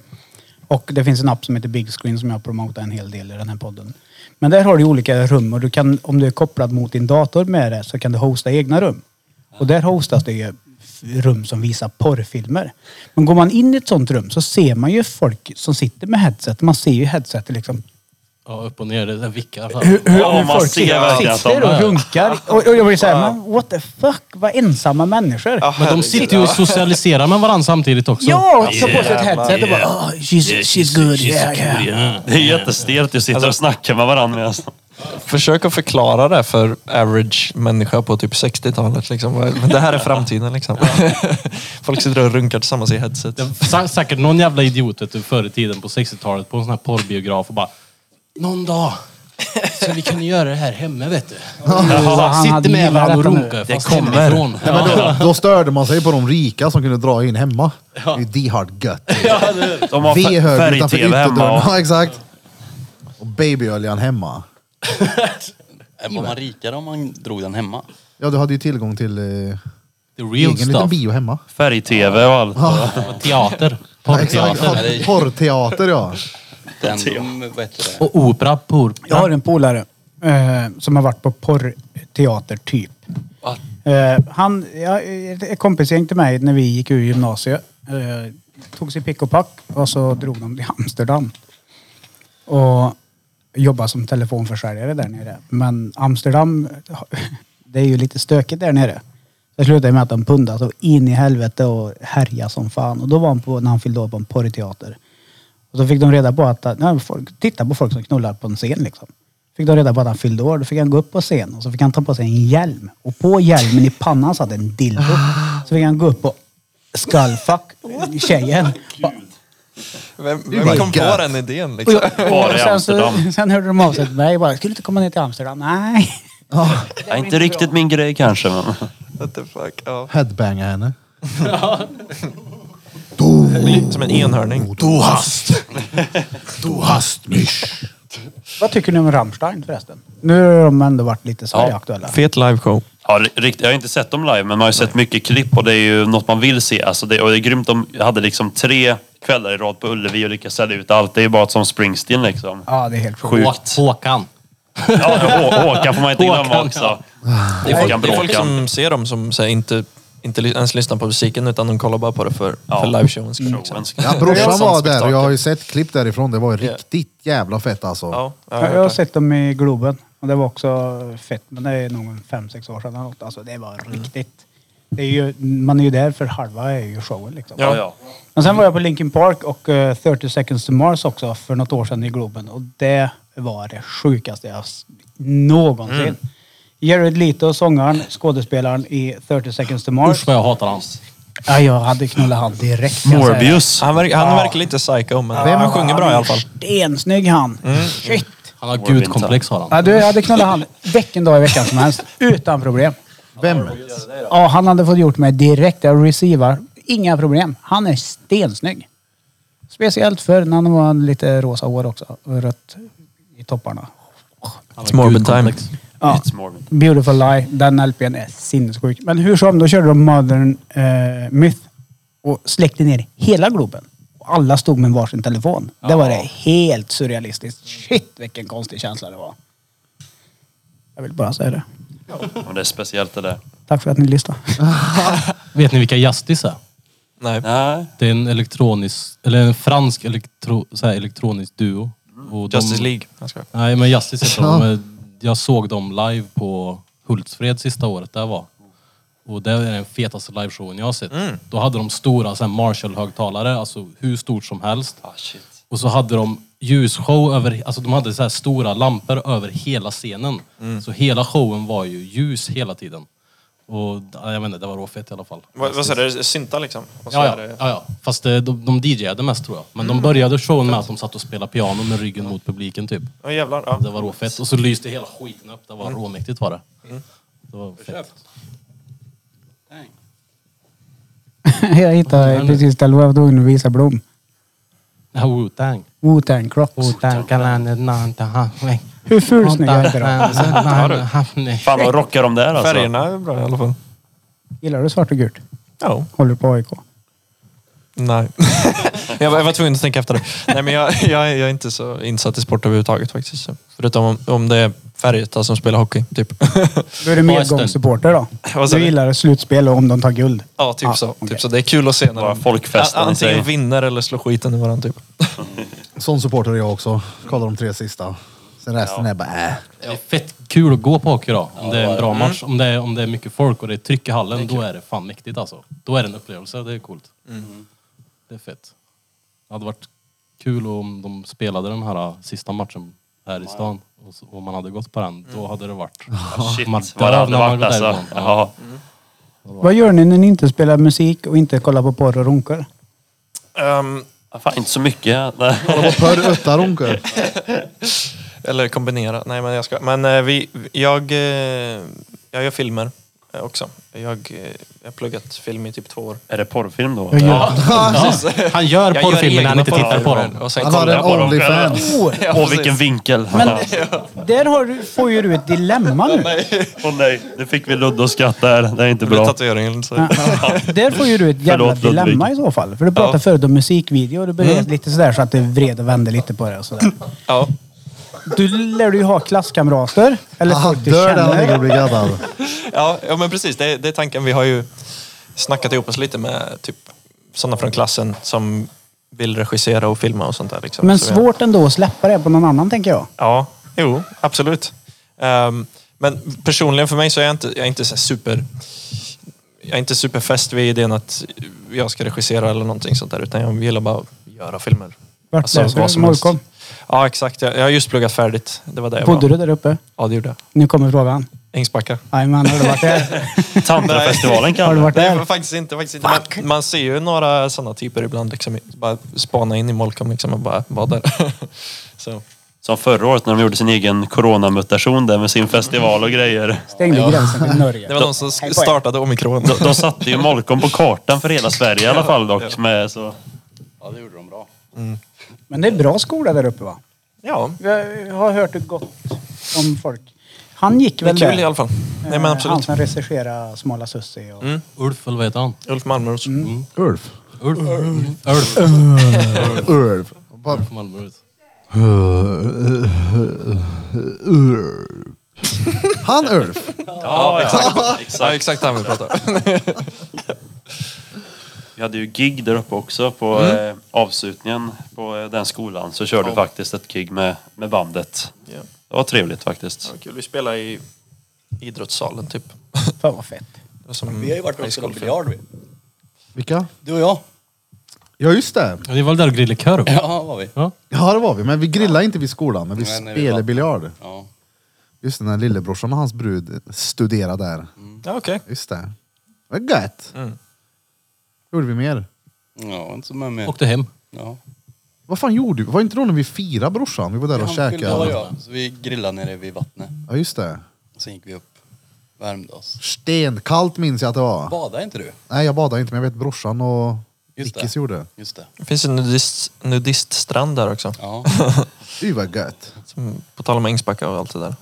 Och det finns en app som heter Big Screen som jag promotar en hel del i den här podden. Men där har du olika rum och du kan, om du är kopplad mot din dator med det så kan du hosta egna rum. Och där hostas det ju f- rum som visar porrfilmer. Men går man in i ett sånt rum så ser man ju folk som sitter med headset. Man ser ju headsetet liksom ja. Upp och ner, det där vickar. så här. hur, Ja, hur man folk ser verkligen sitter, att sitter de och är- runkar. Och, och jag blir såhär, men what the fuck, vad ensamma människor. Men de sitter ju och socialiserar med varandra samtidigt också. Ja, och tar på sig ett headset och bara, oh, she's, she's good. Yeah, yeah. Det är jättestelt, du sitter och snackar med varandra medan... Försök att förklara det för average människa på typ 60-talet. Liksom. Vad- Men det här är framtiden liksom. Folk sitter och runkar tillsammans i headset. Sä- Säkert någon jävla idiot vet du, förr i tiden på 60-talet på en sån här porrbiograf och bara Någon dag så vi kunde göra det här hemma vet du. han hade Sitter med gillat varandra och detta nu. runkar fast hemifrån. Nej, men då, då störde man sig på de rika som kunde dra in hemma. Det är ju de hard gött. De har Vi fär- hög utanför färg-tv ytterdörren. hemma. och- <laughs> Ja, exakt. Och babyoljan hemma. Äh, Var man rikare om man drog den hemma? Ja, du hade ju tillgång till eh, The egen real liten stuff. bio hemma. Färg-tv och allt. Teater. Exakt. Porrteater. Ja, Porrteater <laughs> ja. Den, de, vad heter det? <laughs> Och opera. Por. Jag har en polare eh, som har varit på porrteater typ. Eh, han, ja, ett kompisgäng till mig när vi gick ur gymnasiet. Eh, tog sig pick och pack och så drog de till Amsterdam. Och jobbade som telefonförsäljare där nere. Men Amsterdam, <laughs> det är ju lite stökigt där nere. Det slutade med att de pundade så in i helvete och härjade som fan. Och då var han på, när han fyllde år på en porrteater. Och så fick de reda på att, nej, folk, titta på folk som knullar på en scen liksom. Fick de reda på att han fyllde år, då fick han gå upp på scen och så fick han ta på sig en hjälm. Och på hjälmen i pannan satt en dildo. Så fick han gå upp och skullfuck tjejen. Vem, Det är bara vem kom på gött. den idén? Och Liksom? jag, Bara och i sen, så, Amsterdam. sen hörde de av sig till mig bara, skulle du inte komma ner till Amsterdam? Nej. Ja, inte riktigt min grej kanske, men... What the fuck? Ja. Headbanga henne. Som en enhörning. Du hast. Du hast mich. Vad tycker ni om Rammstein förresten? Nu har de ändå varit lite Sverige-aktuella. Fet liveshow. Ja, rikt, jag har inte sett dem live, men man har ju sett mycket klipp och det är ju något man vill se. Alltså det, och det är grymt om jag hade liksom tre kvällar i rad på Ullevi och lyckades sälja ut allt. Det är ju bara som Springsteen liksom. Ja, det är helt sjukt. Sjukt. Hå- Håkan. Ja, Hå- Håkan får man inte glömma Håkan, också. Det är folk, Håkan det är folk Bråkan. som ser dem som så här, inte inte li- ens lyssnar på musiken utan de kollar bara på det för, Ja. för liveshowens skull. Showen. liksom. Ja, brorsan Sånt var där spektakel. och jag har ju sett klipp därifrån. Det var ju Ja. riktigt jävla fett alltså. Ja, jag har Jag, jag har hört det. sett dem i Globen och det var också fett. Men det är nog en fem, sex år sedan eller något. Alltså det var Mm. riktigt. Det är ju, man är ju där för halva är ju showen liksom. Ja, ja. Men sen var jag på Linkin Park och eh, 30 seconds to Mars också för något år sedan i Globen. Och det var det sjukaste jag s- någonsin. Mm. Jared Leto, sångaren, skådespelaren i 30 seconds to Mars. Usch vad jag hatar han. Ja, jag hade knullat han direkt. kan jag säga. Han, verk, han verkar lite psycho men Ja, han sjunger bra i alla fall. Mm. Stensnygg han. Shit. Han har gudkomplex har han. Ja, du, jag hade knullat han vilken dag i veckan som helst. Utan problem. Vem? Ja, han hade fått gjort mig direkt. Jag receivar. Inga problem. Han är stensnygg. Speciellt för när han var lite rosa hår också. och Rött i topparna. han It's morbid time. Ja. It's morbid. Beautiful Lie, den LPn är sinnessjuk. Men hur som, då körde de Modern eh, Myth och släckte ner hela Globen. Och alla stod med varsin telefon. Det var det helt surrealistiskt. Shit vilken konstig känsla det var. Jag vill bara säga det. Och det är speciellt det där. Tack för att ni lyssnade. Vet ni vilka Justice är? Nej. Nej. Det är en elektronisk, eller en fransk elektro, så här, elektronisk duo. Och de- Justice League. Jag skojar. Nej, men Justice heter de. De är- Jag såg dem live på Hultsfred sista året där var. Och det är den fetaste liveshowen jag har sett. Mm. Då hade de stora så här Marshall-högtalare, alltså hur stort som helst. Ah, shit. Och så hade de ljusshow över, alltså de hade så här stora lampor över hela scenen. Mm. Så hela showen var ju ljus hela tiden. Och ja, jag vet inte, det var råfett i alla fall. Vad vad sa du? Är det Synta liksom? Och så Ja, är ja, det- ja, ja. Fast eh, de, de DJade mest tror jag. Men Mm. de började showen med att de satt och spelade piano med ryggen mot publiken typ. Åh, jävlar. Ja. Det var råfett. Och så lyste hela skiten upp. Det var Mm. råmäktigt var det. Det var fett. <laughs> jag hittade precis där jag var tvungen att visa Blom. Ja, Wu-Tang. Wu-Tang Crocs. Hur ful snygg jag är inte då? Fan vad rockar de där alltså. Färgerna är bra i alla fall. Gillar du svart och gult? Ja. Håller på AIK? <laughs> Nej. jag, var, jag var tvungen att tänka efter det. Nej, men jag, jag, är- jag är inte så insatt i sport överhuvudtaget faktiskt. Så, Förutom om, om det är Färjestad som spelar hockey, typ. Då är du medgångssupporter då? Vad sa Du du? gillar slutspel och om de tar guld? <laughs> ja, typ Ah, så. okej. Typ så. Det är kul att se när Bara de folkfesten i antingen sig. vinner eller slår skiten i varandra, typ. Sån supporter är jag också. Kollar de tre sista. Sen resten är bara äh. Det är fett kul att gå på hockey då. Om det är en bra match. Om det är, om det är mycket folk och det är tryck i hallen. Då är det fan mäktigt alltså. Då är det en upplevelse. Det är coolt. Mm. Det är fett. Det hade varit kul om de spelade den här äh, sista matchen här i stan. Och, så, och man hade gått på den. Då hade det varit... Ah, Mm. Man Shit, dör vad det hade när man varit går alltså. därifrån. Ja. Vad gör ni när ni inte spelar musik och inte kollar på porr och runkar? Ehm, Ja, Fan, inte så <laughs> mycket. Kolla på Pörr Uttaronke. eller kombinera. Nej, men jag ska. Men eh, vi, jag, eh, jag gör filmer eh, också. Jag, eh, jag har pluggat film i typ två år. Är det porrfilm då? Ja. Han gör Jag gör porrfilmer när han egna inte tittar på porrfilmer dem. Och sen Han har kollar jag en på dem. Onlyfans. Åh, vilken vinkel! Åh Men där har du, får ju du ett dilemma nu. nej, nu fick vi Ludde att skratta här. Det är inte Det blir bra. tatueringen. Så. Där får ju du ett jävla Förlåt, Ludvig. dilemma i så fall. För du pratade Ja. förut om musikvideo och du började lite sådär så att det vred och vände lite på det och sådär. Ja. Du lär du ju ha klasskamrater. Eller Han folk du dör där han ligger känner. och blir gaddad. Ja, ja men precis. Det, det är tanken. Vi har ju snackat ihop oss lite med typ sådana från klassen som vill regissera och filma och sånt där. Liksom. Men Så vi- svårt ändå att släppa det på någon annan tänker jag. Ja, jo, absolut. Ehm, men personligen för mig så är jag inte, jag är inte så här super... Jag är inte superfäst vid idén att jag ska regissera eller någonting sånt där. Utan jag gillar bara att göra filmer. Alltså, Vart läser du? Alltså, Molkom? Ja, exakt. Jag, jag har just pluggat färdigt. Det var det jag Bodde var. du där uppe? Ja, det gjorde jag. Nu kommer frågan. Ängsbacka. Jajamän, har du varit <laughs> där? Tantrafestivalen Har du kanske? varit Nej, där? men faktiskt inte. Faktiskt inte. Man, man ser ju några sådana typer ibland. Liksom, bara spana in i Molkom liksom, och bara vara där. <laughs> så. Som förra året när de gjorde sin egen coronamutation där med sin festival och grejer. Stängde gränsen till Norge. Det var de som sk- startade omikron. De, de satte ju Molkom på kartan för hela Sverige i alla fall dock. Med, så. Men det är bra skola där uppe va? Ja, Jag har hört ett gott om folk. Han gick det är väl kul där? i alla fall. Nej, men Eh, Han absolut. Mm. som regisserade Smala Sussie och... Ulf, eller vad heter han? Ulf Malmros. Ulf. Ulf. Ulf. Ulf. Bara- Ulf Malmrot. Han Ulf. Ja, exakt. Ja, exakt. exakt han vi pratar om. Jag hade ju gig där uppe också på eh, avslutningen på eh, den skolan. Så körde Mm. Ja. faktiskt ett gig med, med bandet. Ja. Det var trevligt faktiskt. var kul. Vi spelade i idrottssalen typ. Fan vad fett. Det var som Vi har ju varit och spelat biljard vi. Vilka? Du och jag. Ja, just det. Ja, Det var väl där och grillade korv? Ja, var vi. Ja, det var vi. Men vi grillade inte vid skolan, men vi Nej, nej, vi spelade var- biljard. Ja. Just det, när lillebrorsan och hans brud studerade där. Ja, okej. Just det. Vad gött! Mm. gjorde vi mer? Ja, inte så med mer. Åkte hem. Ja. Vad fan gjorde vi? Var inte då när vi firade brorsan? Vi var där och Han fyllde år, käkade. ja. Så vi grillade nere vid vattnet. Ja, just det. Sen gick vi upp, värmde oss. Stenkallt minns jag att det var. Badade inte du? Nej, jag badade inte, men jag vet brorsan och Just det. Nickis gjorde. Just det. Det finns en nudist, nudiststrand där också. Ja. Fy vad gött. Som, på tal om Ängsbacka och allt det där.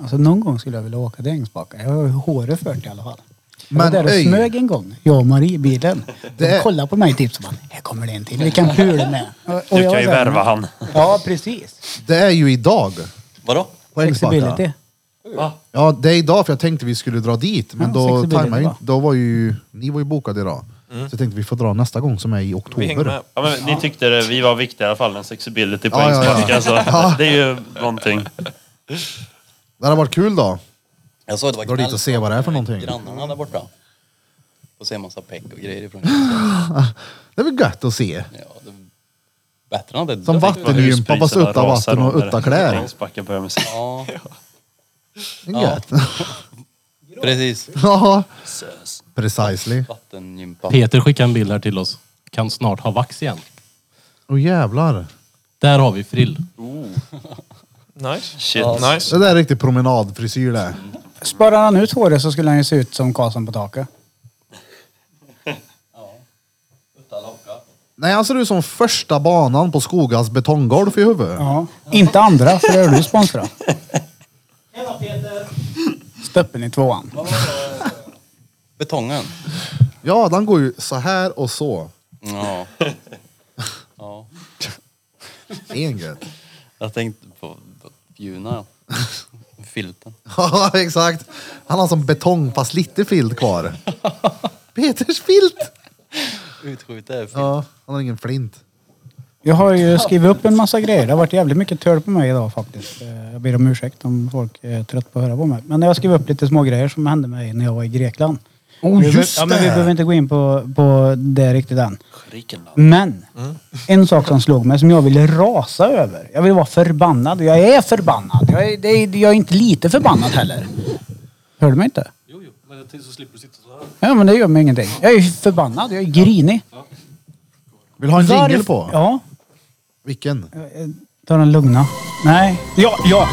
Alltså någon gång skulle jag vilja åka till Ängsbacka. Jag har ju håret för det i alla fall. Jag Men var där och öj. smög en gång, jag och Marie i bilen. Det är- De kollade på mig typ som att här kommer det en till, vi kan pula med. Och- och Du jag var kan ju så här, värva han. Ja, precis. Det är ju idag. Vadå? På Ängsbacka. Flexibility. Ja, det är idag för jag tänkte vi skulle dra dit, men Ja, då flexibilitet, tajmade jag va? inte. Då var ju, ni var ju bokade idag. Så jag tänkte vi får dra nästa gång som är i Vi hängde oktober. med. Ja, men ni tyckte det, vi var viktiga i alla fall än sexability på Ja, ja, ja. Ängsbacka. <laughs> Så det är ju någonting. Det hade varit kul då. Jag såg att det var Dra dit knall- och se vad det är för någonting. Grannarna där borta. Och se massa peck och grejer ifrån. Det är väl gött att se. Ja, det... Bättre än det. Som vattenrympa fast Huspriserna utta rasar vatten och under. utta kläder. Ängsbacka börjar med sig. Ja, Det är gött. <laughs> precis. Ja, precisely. Vattengympa. Peter skickade en bild här till oss. Kan snart ha vax igen. Åh jävlar. Där har vi frill. Nice. Shit. Det Nice. där är riktig promenadfrisyr det. Sparar han ut håret så skulle han ju se ut som Karlsson på taket. Nej, han ser ut som första banan på Skogas betonggolf i huvudet. Ja. Inte andra, för det är du sponsrad. Hej Peter! Stöppen i tvåan. Betongen. Ja, den går ju så här och så. Ja. ja. Engelt. Jag tänkte på bjuna. Filten. <laughs> Ja, exakt. Han har som betong fast lite filt <laughs> kvar. Peters filt! Utskjutet är filt. Ja, han har ingen flint. Jag har ju skrivit upp en massa grejer. Det har varit jävligt mycket törd på mig idag faktiskt. Eh, Jag ber om ursäkt om folk är trött på att höra på mig. Men jag har skrivit upp lite små grejer som hände mig när jag var i Grekland. Oh, vi, behöver- just ja, men vi det. behöver inte gå in på, på det riktigt än. Men en sak som slog mig som jag ville rasa över. Jag vill vara förbannad. Jag är förbannad. Jag är, det är, jag är inte lite förbannad heller. Hör du mig inte? Jo, jo. Men jag tänkte så slipper du sitta så här. Ja men det gör mig ingenting. Jag är förbannad. Jag är grinig. Vill du ha en jingel Varför- på? Ja. Vilken? Ta den lugna. Nej. Ja, ja.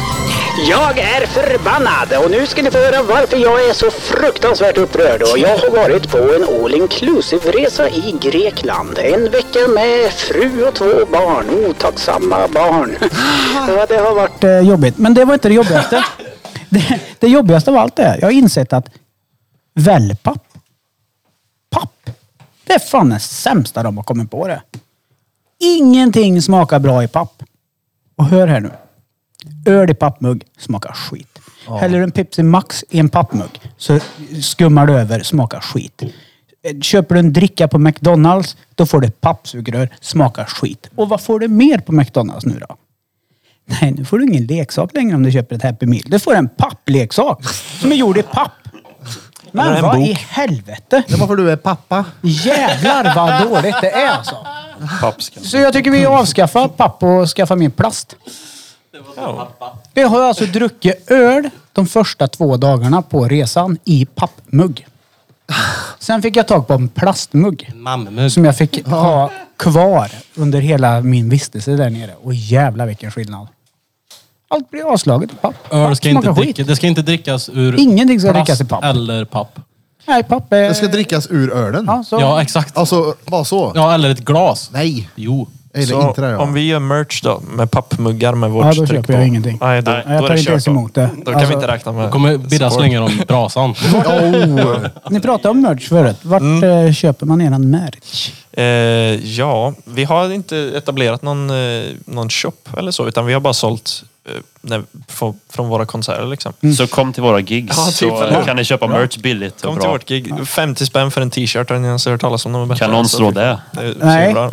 Jag är förbannad och nu ska ni få höra varför jag är så fruktansvärt upprörd. Och jag har varit på en all inclusive resa i Grekland. En vecka med fru och två barn. Otacksamma <laughs> barn. Ja, det har varit varit eh, jobbigt. Men det var inte <laughs> det jobbigaste. det, det jobbigaste av allt är, jag har insett att wellpapp, papp, det är fan det sämsta de har kommit på det. Ingenting smakar bra i papp. Och hör här nu. Öl i pappmugg smakar skit. Häller du en Pepsi Max i en pappmugg så skummar du över, smakar skit. Eh, Köper du en dricka på McDonalds, då får du ett pappsugrör, smakar skit. Och vad får du mer på McDonalds nu då? Nej, nu får du ingen leksak längre om du köper ett Happy Meal. Du får en pappleksak som är gjord i papp. Men vad i helvete? Det är bara för du är pappa. Jävlar vad dåligt det är alltså. Pappskan. Så jag tycker vi avskaffar papp och skaffar mer plast. Det har jag alltså druckit öl de första två dagarna på resan i pappmugg. Sen fick jag tag på en plastmugg Mammamugg. som jag fick ha kvar under hela min vistelse där nere. Och jävla vilken skillnad. Allt blir avslaget i papp. Öl Papp ska inte, smakar dricka, det ska inte drickas ur Ingenting ska plast drickas i papp. eller papp. Nej, papp är... Det ska drickas ur ölen. Ja, så. Ja, exakt. Alltså, bara så. Ja, eller ett glas. Nej, Jo. jag gillar Så inte det. Ja. om vi gör merch då med pappmuggar med vårt Ja, då tryck köper på. jag ingenting. Nej, då, Nej, då Nej, jag är tar det inte ens kört. då. emot det. Då kan vi Alltså, inte räkna med Kommer Birra support. slänga dem i brasan. Oh, Ni pratade om merch förut. Vart eh, köper man eran merch? Eh, ja, vi har inte etablerat någon, eh, någon shop eller så, utan vi har bara sålt eh, när, från, från våra konserter liksom. Mm. Så kom till våra gigs Ja, typ. så Ja. kan ni köpa merch billigt och Kom till bra. vårt gig. 50 spänn för en t-shirt har ni ens hört talas om. De är bättre. Kan någon Så slå det- det? Det är Nej. bra.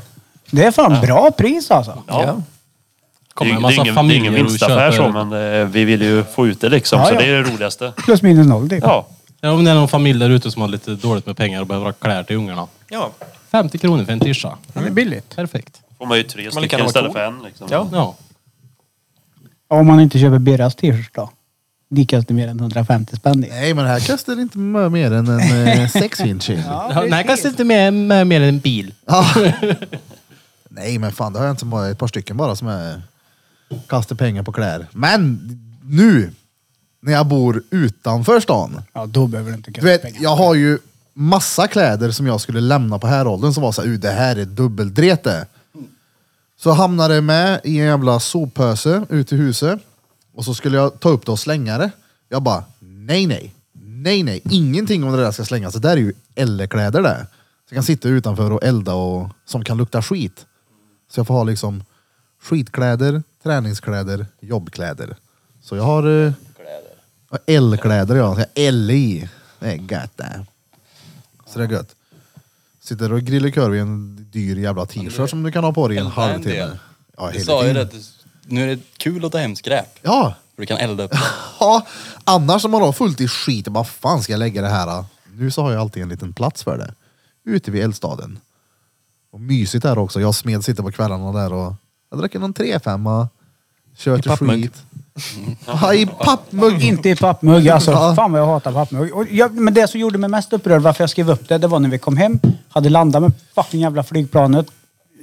Det är fan bra pris alltså. Ja. Kommer det, en är- det, är massa ingen, det är ingen familjer och vinstaffär så, köper... men eh, vi vill ju få ut det liksom. Ja, så ja. det är det roligaste. Plus minus noll typ. Ja. Ja, om det är någon familj där ute som har lite dåligt med pengar och behöver ha kläder till ungarna. Ja. 50 kronor för en tisha. Det är billigt. Perfekt. Får man ju tre man lika stycken gärna istället vara för en. Liksom. Ja. Ja. Om man inte köper Birras t-shirt då? Det kostar mer än 150 spänn. det. Nej, men det här kostar inte m- mer än en <laughs> eh, sexfint kilo. Nej, kanske inte med, med mer än en bil. Nej, men fan, det har jag inte bara ett par stycken bara som är kastar pengar på kläder. Men nu när jag bor utanför stan. Ja, då behöver du inte Du vet, jag har ju massa kläder som jag skulle lämna på häråldern som var så här, "Uh, det här är dubbeldrete. Så hamnade det med i en jävla soppöse ute i huset. Och så skulle jag ta upp det och slänga det. Jag bara, nej nej. Nej nej, ingenting om det där ska slängas. Det där är ju äldrekläder det. Så jag kan sitta utanför och elda och som kan lukta skit. Så jag får ha liksom skitkläder, träningskläder, jobbkläder. Så jag har... eh, och L-kläder ja, så jag har L i. Det är gött det. Så det är gött. Sitter och grillar korv i en dyr jävla t-shirt som du kan ha på dig i en Elda en halvtimme. del. Ja, Du hela sa ju det, tiden. att du- nu är det kul att ta hem skräp. Ja, För du kan elda upp <laughs> ja, annars om man har fullt i skit, vad fan ska jag lägga det här? då? Nu så har jag alltid en liten plats för det. Ute vid eldstaden. Och mysigt där också. Jag och Smed sitter på kvällarna där och jag dricker någon 3-5 kör till pappmugg. skit. Ja, i pappmugg. Inte i pappmugg alltså. Ja. Fan vad jag hatar pappmugg. Och jag, men det som gjorde mig mest upprörd varför jag skrev upp det, det var när vi kom hem, hade landat med fucking jävla flygplanet.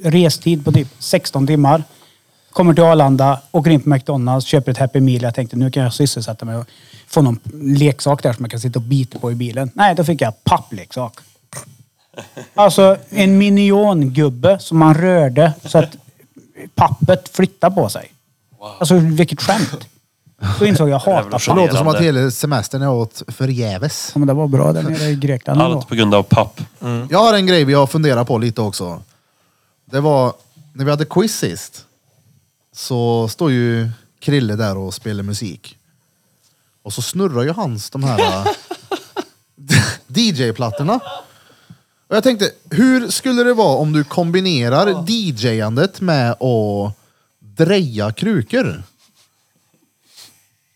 Restid på typ 16 timmar. Kommer till Arlanda, åker in på McDonalds, köper ett Happy Meal. Jag tänkte nu kan jag sysselsätta mig och få någon leksak där som jag kan sitta och bita på i bilen. Nej, då fick jag pappleksak. Alltså en miniongubbe som man rörde så att pappet flyttade på sig. Alltså vilket skämt. Då insåg jag, jag hatar Det Det papp. låter som att hela semestern jag åt förgäves. Ja, men det var bra där nere i Grekland. ändå. Allt på grund av papp. Mm. Jag har en grej vi har funderat på lite också. Det var när vi hade quiz sist. Så står ju Krille där och spelar musik. Och så snurrar ju hans de här DJ-plattorna. Och jag tänkte, hur skulle det vara om du kombinerar DJ-andet med att dreja krukor?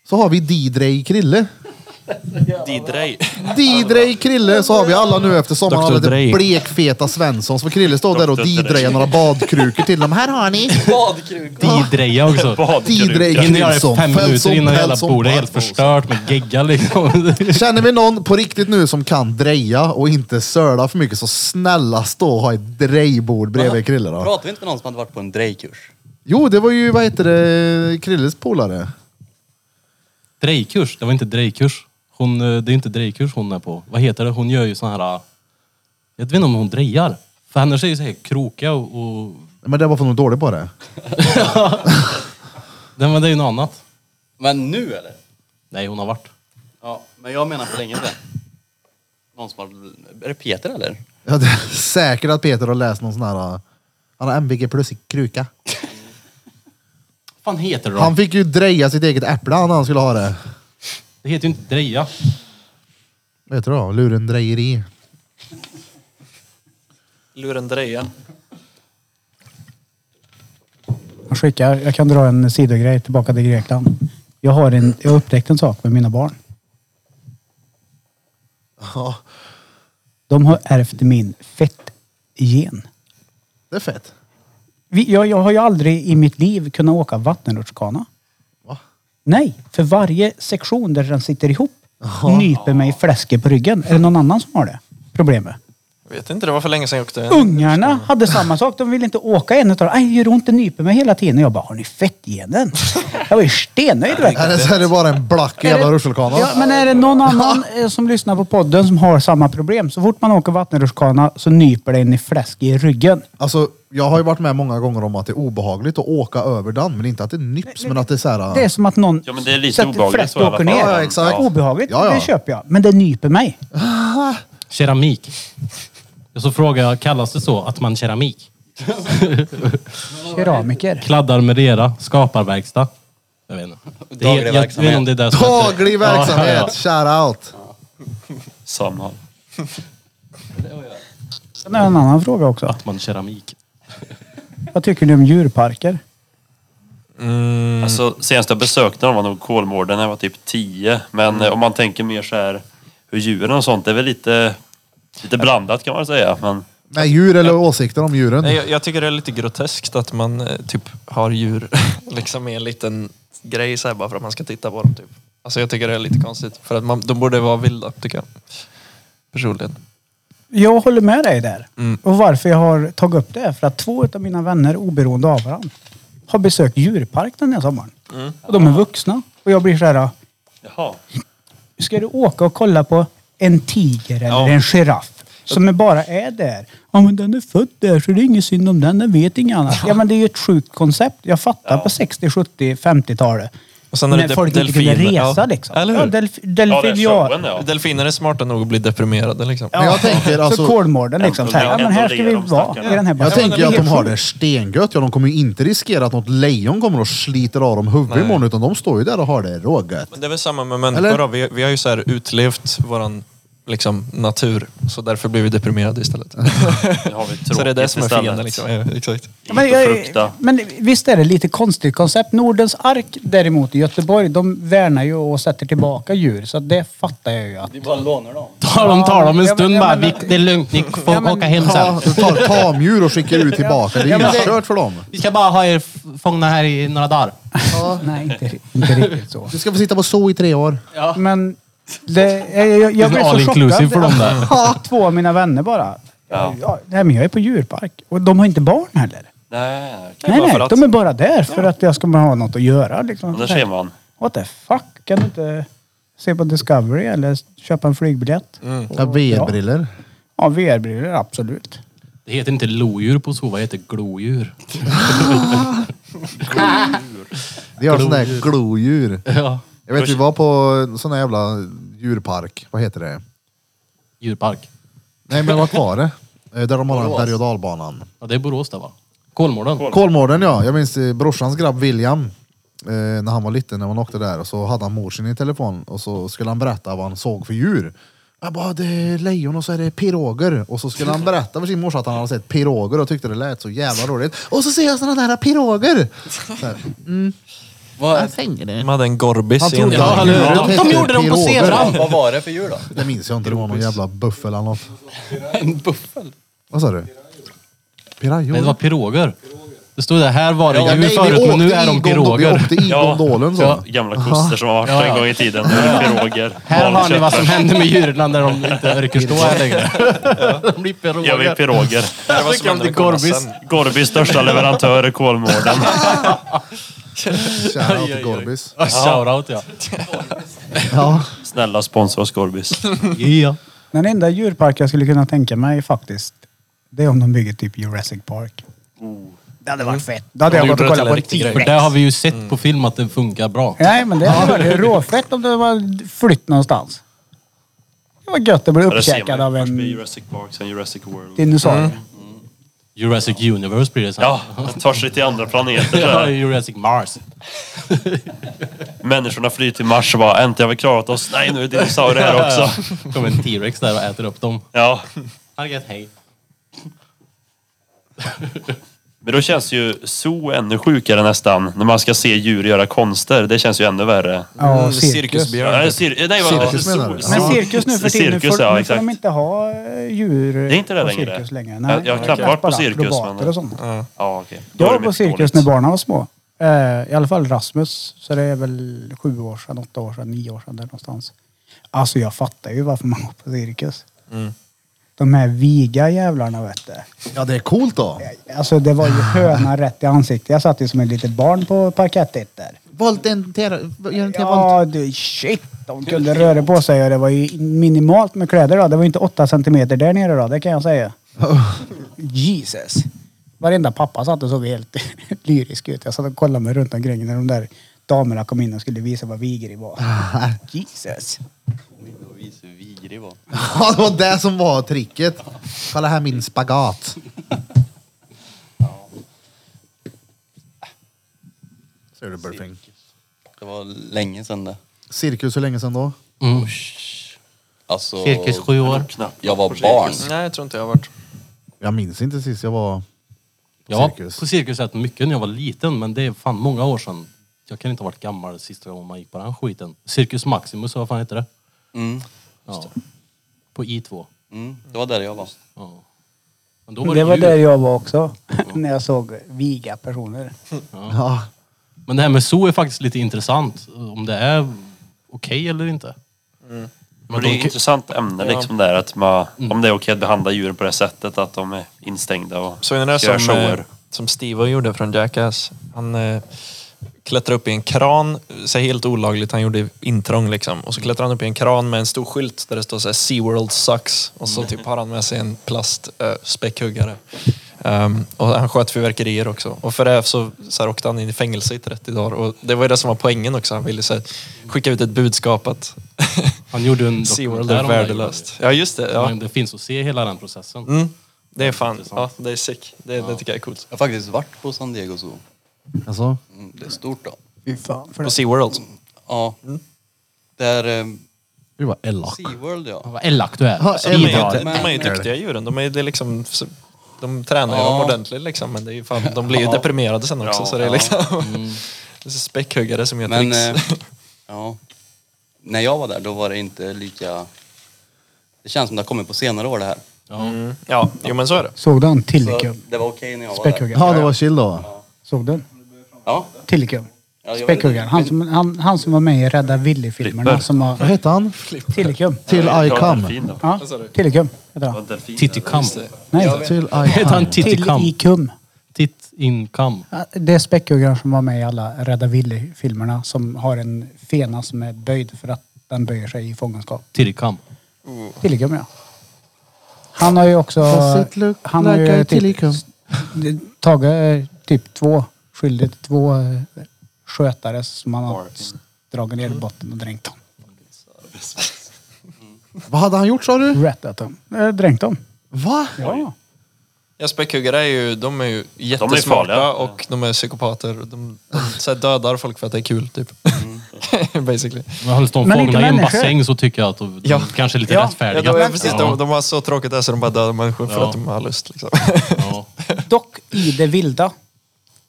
Så har vi DJ Krille. Didrej. Didrej, Krille, så har vi alla nu efter sommaren. Dr. Alla Dre. lite blekfeta Svenssons. För Krille står där och Dr. didrejar några badkrukor till dem. Här har ni! badkrukor. Didreja också. Didrej Hinner göra det Knilsson, fem minuter Fältson, innan hela Pälsson, bordet är helt Pälsson. förstört med gegga liksom. <laughs> Känner vi någon på riktigt nu som kan dreja och inte söla för mycket så snälla stå och ha ett drejbord bredvid Krille då. Pratar vi inte med någon som hade varit på en drejkurs? Jo, det var ju, vad heter det, Krilles polare. Drejkurs. Det var inte drejkurs. Hon, eh, det är inte drejkurs hon är på. Vad heter det? Hon gör ju sån här... eh, Jag vet inte om hon drejar. För hennes är ju så här krokiga och... och Men det var för nog dålig på det. nej, men det är ju något annat. Men nu eller? Nej, hon har varit. Ja, men jag menar för länge sedan. Någon som har... Är det Peter eller? Jag <laughs> är säker att Peter har läst någon sån här... eh, Han har MVG plus i kruka. Vad fan heter det då? Han fick ju dreja sitt eget äpple han, när han skulle ha det. Det heter ju inte dreja. Vad heter det då? Lurendrejeri. Lurendreja. Jag skickar, jag kan dra en sidogrej tillbaka till Grekland. Jag har en, jag upptäckte en sak med mina barn. Ja, De har ärvt min fettgen. det är fett. Vi- Jag, jag har ju aldrig i mitt liv kunnat åka vattenrutschkana. Va? Nej, för varje sektion där den sitter ihop nyper mig i fläsket på ryggen. Är det någon annan som har det problemet? Vet inte, det var för länge sedan jag Oh, åkte. Ungarna hade samma sak. De ville inte åka en utav dem. Aj, det gör ont, det nyper mig hela tiden. Och jag bara, har <laughs> ni fettgenen? Jag var ju stennöjd. vet du. Eller så är det bara en black Är jävla det- rutschkana. Ja, men är det någon annan eh, som lyssnar på podden som har samma problem? Så fort man åker vattenrutschkana så nyper det en i fläsk i ryggen. Alltså, jag har ju varit med många gånger om att det är obehagligt att åka över den, men inte att det nyps, men att det är så här... Det är som att någon Ja, men det är lite sätter obehagligt fläsk så i alla åker fall. ner. Ja, ja, exakt. Obehagligt, Ja, ja. det köper jag. Men det nyper mig. Keramik. Och så frågar jag, kallas det så att man keramik? Keramiker. Kladdar med rera, skapar verkstad. Jag vet inte. Det Daglig är, jag, jag vet inte om verksamhet. det är det som heter det. äh, Daglig verksamhet, shout out. Samhall. Sen är det en annan fråga också. Atman keramik. Vad tycker ni om djurparker? Alltså, senast jag besökte dem var nog Kolmården när jag var typ 10. Men eh, om man tänker mer så här hur djuren och sånt, det är väl lite, lite blandat kan man säga. Men Med djur eller åsikter om djuren? Nej, jag, jag tycker det är lite groteskt att man eh, typ har djur <laughs> liksom i en liten grej så här bara för att man ska titta på dem. Typ. Alltså jag tycker det är lite konstigt. För att man, de borde vara vilda, tycker jag. Personligen. Jag håller med dig där. Mm. Och varför jag har tagit upp det är för att två av mina vänner, oberoende av varandra, har besökt djurpark den här sommaren. Mm. Och de är vuxna. Och jag blir så här, jaha. ska du åka och kolla på en tiger eller Ja. en giraff? Som är bara är där. Ja men den är född där så det är inget synd om den, den vet inget annat. Ja men det är ju ett sjukt koncept. Jag fattar på 60, 70, 50-talet. Och sen är det När de- folk inte kunde delfiner, ja. resa liksom. Eller hur? Ja, delf- Ja, det är showen delfiniar. ja. Delfiner är smarta nog att bli deprimerade liksom. Men jag tänker så alltså... Kolmården liksom. Så här, ja, men här ska vi vara i den här Jag tänker ju att de har det. det stengött. Ja, de kommer ju inte riskera att något lejon kommer och sliter av dem huvudet Nej. imorgon, utan de står ju där och har det rågött. Men det är väl samma med människor Eller? då. Vi, vi har ju så här utlevt våran liksom, natur. Så därför blir vi deprimerade istället. Nu har vi <laughs> tråkigt så det är det som är istället. fienden liksom. Ja, exakt. Inte Men, jag, frukta. men visst är det lite konstigt koncept. Nordens ark däremot i Göteborg, de värnar ju och sätter tillbaka djur. Så det fattar jag ju. Att. Vi bara lånar dem. Tar de tar dem en Ja, men- stund ja, bara. men- Vic, det är lugnt, ni får Ja, men- åka hem sen. Ja, du tar tamdjur och skickar ut tillbaka. Det är ju kört för dem. Vi ska bara ha er f- fångna här i några dagar. <laughs> Nej, inte, inte riktigt så. Du ska få sitta på zoo i tre år. Men det, jag, jag, jag Det blev är så all inclusive chockad. för dem där. <laughs> Ja, Två av mina vänner bara. Ja. Ja. nej, men jag är på djurpark. Och de har inte barn heller. Nej, nej, Nej, bara nej, för att- de är bara där för att jag ska bara ha något att göra. Liksom. Och Där ser man. What the fuck? Kan du inte se på Discovery eller köpa en flygbiljett? Mm. Ja, VR-briller. Ja, VR-brillor, absolut. Det heter inte lodjur på zoo, det heter glodjur. Det gör sådana där glodjur. Ja. Jag vet, vi var på en sån här jävla djurpark. Vad heter det? Djurpark. Nej, men vad var det? Eh, Där de har den berg och dalbanan. Ja, det är Borås det va? Kolmården. Kolmården ja. Jag minns eh, brorsans grabb William. Eh, när han var liten, när man åkte där, och så hade han mor sin i telefon och så skulle han berätta vad han såg för djur. Jag bara, det är lejon och så är det piroger. Och så skulle han berätta för sin morsa att han hade sett piroger och tyckte det lät så jävla roligt. Och så ser jag sådana där piroger! Så här, Vad, De hade en Han gorbis i en trodde dag. att djuret De hette gjorde dem på piroger. zebran. Vad var det för djur då? Det minns jag inte, det var någon jävla buffel eller något. En buffel. Vad sa du? Nej, det var Pirajor? piroger. Det stod där, här var det Ja, djur nej, vi förut men åkte nu är i de gondo- Vi piroger. åkte i Ja. gondolen så. Gamla koster som har varit Ja, ja. en gång i tiden. Nu är det Piroger. Här har ni Valkött. vad som händer med djuren när de inte orkar stå här längre. <laughs> De blir Gör vi piroger. piroger. Det var som hände med Gorbis. Kolmården. Gorbys största leverantör i Kolmården. Shoutout till Gorbis. Shoutout ja. Ja. Snälla sponsra oss Gorbis. <laughs> ja. Den enda djurpark jag skulle kunna tänka mig faktiskt, det är om de bygger typ Jurassic Park. Oh. Det hade varit Mm. fett. Då hade De jag gått gjorde och det kollat på en till en riktig grej. För T-rex. det har vi ju sett på film att det funkar bra. Nej, men det hade varit råfett om det var flytt någonstans. Det var gött att bli Ja, det ser man ju. uppkäkad av Först Mm. blir en Jurassic Park, sen Jurassic World. dinosaurie. Jurassic Universe blir det sen. Ja, det tar sig till andra planeter. så Ja, här. Jurassic Mars. Människorna flyr till Mars och bara äntligen har vi klarat oss. Nej, nu är det dinosaurier här också. <laughs> Kommer en T-Rex där och äter upp dem. Ja, Harriet, hej. men då känns ju zoo ännu sjukare nästan. När man ska se djur göra konster. Det känns ju ännu värre. Ja, och cirkus. Cirkusbjörn. Ja, cir- nej, vad Cirkus menar du? zoo- Men Ja. cirkus nu för tiden, nu Cirkus, får, ja, nu får exakt. de inte ha eh, djur Det är inte det på längre. cirkus längre. Jag- jag har knappt det är varit på bara cirkus, akrobater men- och sånt. Ja, okej. Då Jag är var det på mycket cirkus dåligt. när barnen var små. Eh, I alla fall Rasmus. Så det är väl sju år sedan, åtta år sedan, nio år sedan där någonstans. Alltså jag fattar ju varför man går på cirkus. Mm. De här viga jävlarna vet du. ja, det är coolt då. Alltså det var ju <sighs> hönan rätt i ansiktet. Jag satt ju som ett litet barn på parkettet där. Volt en till, gör en till volt. Ja du shit, de kunde röra på sig och det var ju minimalt med kläder då. Det var ju inte åtta centimeter där nere då, det kan jag säga. <laughs> Jesus. Varenda pappa satt och såg helt <laughs> lyrisk ut. Jag satt och kollade mig runt omkring när de där damerna kom in och skulle visa vad vigri var. <laughs> Jesus. Ja, det var det som var tricket. Kolla här min spagat. Ser du Burfing? Det var länge sedan det. Cirkus, hur länge sedan då? Mm. Alltså, Cirkus sju år. Knappt. jag var På barn. cirkus. Nej, jag tror inte jag har varit. Jag minns inte sist jag var Jag var cirkus. på cirkus rätt mycket när jag var liten, men det är fan många år sedan. Jag kan inte ha varit gammal sista gången man gick på den skiten. Cirkus Maximus, vad fan heter det? Mm. Ja. På I2. Mm. Det var där jag var. Ja. Men då var det, Det var djur. där jag var också. <laughs> När jag såg viga personer. Ja. Men det här med zoo är faktiskt lite intressant. Om det är okej eller inte. Men det är ett intressant ämne liksom där, att man, Mm. om det är okej att behandla djuren på det sättet, att de är instängda och Såg ni det ska som, göra eh, shower. som Steve gjorde från Jackass? Han eh, klättrade upp i en kran, så här helt olagligt, han gjorde intrång liksom. Och så klättrade han upp i en kran med en stor skylt där det står så här SeaWorld sucks. Och så typ har han med sig en plast eh, späckhuggare. Ehm, och han sköt fyrverkerier också. Och för det så, så här, åkte han in i fängelse i 30 dagar. Och det var ju det som var poängen också. Han ville så här, skicka ut ett budskap att <laughs> Han gjorde en SeaWorld dokumentär är om det här värdelöst. Ja just det. Ja. Ja. Men det finns att se hela den processen. Mm. Det är fan, ja, Intressant. det är sick. Det, det tycker jag är coolt. Jag har faktiskt varit på San Diego Zoo. Alltså, Mm, det är stort då. Fy fan. För På SeaWorld. Ja. Där... Eh, Du var elak. SeaWorld ja. Vad elak du är. Ja, Alltså, elak. De är, ju, bidrar. inte- de är ju Men- duktiga djuren. De, är, det är liksom, de tränar ju Ja. dem ordentligt liksom. Men det är ju fan, de blir ju deprimerade sen också. Ja, så det är ja. liksom... <laughs> Det är så späckhuggare som gör Men... tricks. Eh, ja. När jag var där då var det inte lika... Det känns som det har kommit på senare år det här. Mm. <laughs> Ja, jo men så är det. Såg du han Så Tillikum? det var okej när jag var där. Späckhuggaren. ja, det var chill då. Såg du den? Ja. Tillikum. Ja, jag vet Späckhuggaren. inte. Han som, han, han som var med i Rädda Willy-filmerna. Flipper. Som Vad var... hette han? Tillikum. Till I Ja, come. delfin då. Ja, Tillikum heter Ja, han. delfin. Titticum. Nej, Till I Heter han come. Titticum? Tillikum. Tittincum. Ja, Det är späckhuggaren som var med i alla Rädda Willy-filmerna som har en fena som är böjd för att den böjer sig i fångenskap. Titticum. Tillikum ja. Han har ju också... Does it look Han har like ju a tillikum? det- tagit eh, typ två, skyldigt två eh, skötare som han har s- dragit ner i botten och dränkt dem. Vad hade han gjort sa du? Rättat dem. Eh, Dränkt dem. Va? Ja. Ja, späckhuggare är ju, de är ju jättesmarta farliga. och de är psykopater. De, de, så här dödar folk för att det är kul typ. <laughs> Basically. Men hålls de Men inte fångna i en människor. bassäng så tycker jag att de Ja. kanske är lite Ja, rättfärdiga. Ja, de, är precis, de, Ja. de har så tråkigt där så de bara dödar människor för Ja. att de har lust. Liksom. <laughs> Ja. Dock i det vilda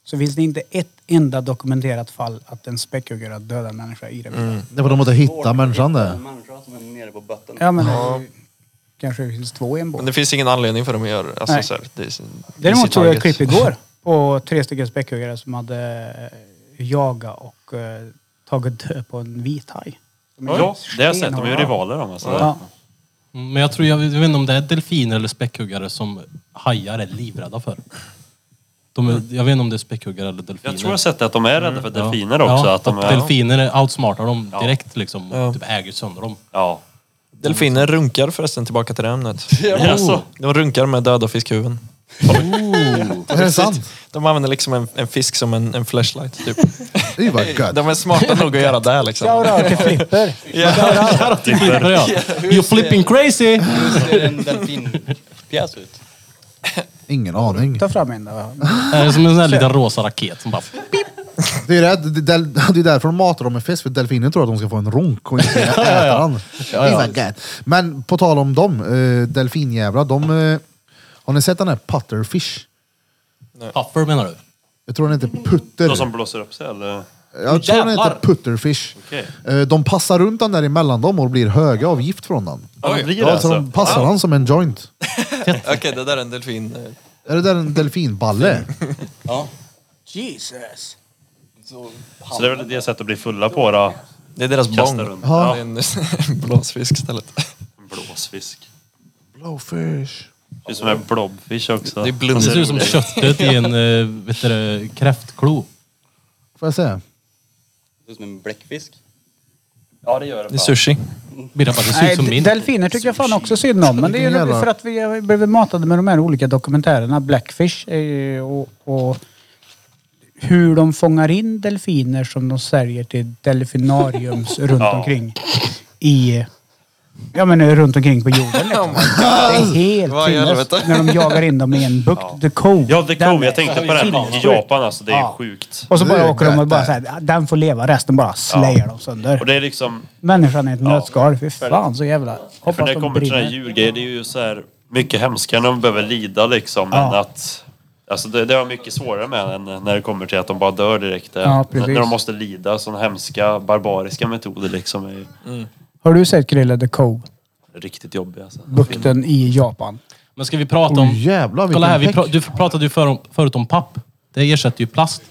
så finns det inte ett enda dokumenterat fall att en späckhuggare har dödat en människa i det vilda. Mm. Det var de måste hitta människan där. En människa som är nere på botten. Ja men det kanske det finns två i en Men båt. det finns ingen anledning för dem att göra alltså, Nej. så här, det. Är, sin- easy Däremot såg jag ett target. klipp <laughs> igår på tre stycken späckhuggare som hade eh, jagat och eh, tagit död på en vithaj. De är Ja, det har jag sett. De är ju stenhårda. rivaler de alltså. Ja. Mm, Men jag tror, jag, vet inte om det är delfiner eller späckhuggare som hajar är livrädda för. De är, Mm. jag vet inte om det är späckhuggare eller delfiner. Jag tror jag har sett att de är rädda för Mm, Ja. delfiner också. Ja, Att de är, delfiner är- outsmartar dem Ja. direkt liksom. och Ja. Typ äger sönder dem. ja. Delfiner runkar förresten, tillbaka till det ämnet. Oh, Jaså? De runkar med döda fiskhuven. Är det sant? De använder liksom en, en fisk som en, en flashlight. Typ. Det var gött. De är smarta nog att göra det liksom. Shoutout till Flipper! Flipper, ja. You're <laughs> flipping crazy! Hur ser en delfinpjäs ut? Ingen aning. Ta fram en då. Det är som en sån här liten rosa raket som bara... Det är, ju det, det, det är därför de matar dem med fisk, för delfiner tror att de ska få en ronk och <laughs> inte äta den. Det var gött. Men på tal om dem, eh, delfinjävlar. De, eh, har ni sett den här putterfish? Puffer menar du? Jag tror den heter putter. De som blåser upp sig eller? Jag tror den heter Jävlar! putterfish. Okej. Eh, De passar runt den där emellan dem och blir höga av gift från den. Ja, de blir det Ja, så alltså. de passar den som en joint. <laughs> Okej, det där är en delfin. eh, Är det där en delfinballe? Ja. Jesus! Så, Så det är väl det sättet att bli fulla på då. Det är deras Kasta bång. runt. Ja. Ja. Det är en <laughs> en blåsfisk istället. En blåsfisk. <laughs> Blowfish. Det är som en blobfish också. Alltså, Det är Det ser ut som blunderolig. köttet i en eh, vet du, det, kräftklo. Får jag se? det är som en bläckfisk. Ja det gör Det är sushi. Birra bara, det ser ut Nej, som d- min. delfiner tycker jag fan också synd om. Men det är ju Jävlar. för att vi har blivit matade med de här olika dokumentärerna. Blackfish är ju- och, och hur de fångar in <laughs> delfiner som de säljer till delfinariums runt Ja. omkring i Ja men eh, runt omkring på <laughs> jorden liksom. Oh Det är helt Vad i helvete? sinnes när de jagar in dem i en bukt. The Cove. Ja, The Den Cove. är Jag tänkte på den i sinnessjuk. Japan alltså. Det är Ja. sjukt. Och så Det är bara åker de och gött bara det. såhär, den får leva, resten bara slayar dem Och sönder. det är liksom... Människan är ett Ja. nötskal. Fy fan så jävla... För Hoppas när det de kommer till den här brinner. djurgrejen, det är ju så här mycket hemskare när de behöver lida liksom. Men Ja. att... Alltså det, det är mycket svårare med än när det kommer till att de bara dör direkt. Ja, när, precis. när de måste lida sådana hemska, barbariska metoder liksom. är ju Har du sett Grilla The Cove? riktigt jobbiga. Alltså. Bukten i Japan. Men ska vi prata om... Oj jävlar vilken Kolla här, vi häck. pra- du pratade ju för om, förut om papp. Det ersätter ju plast.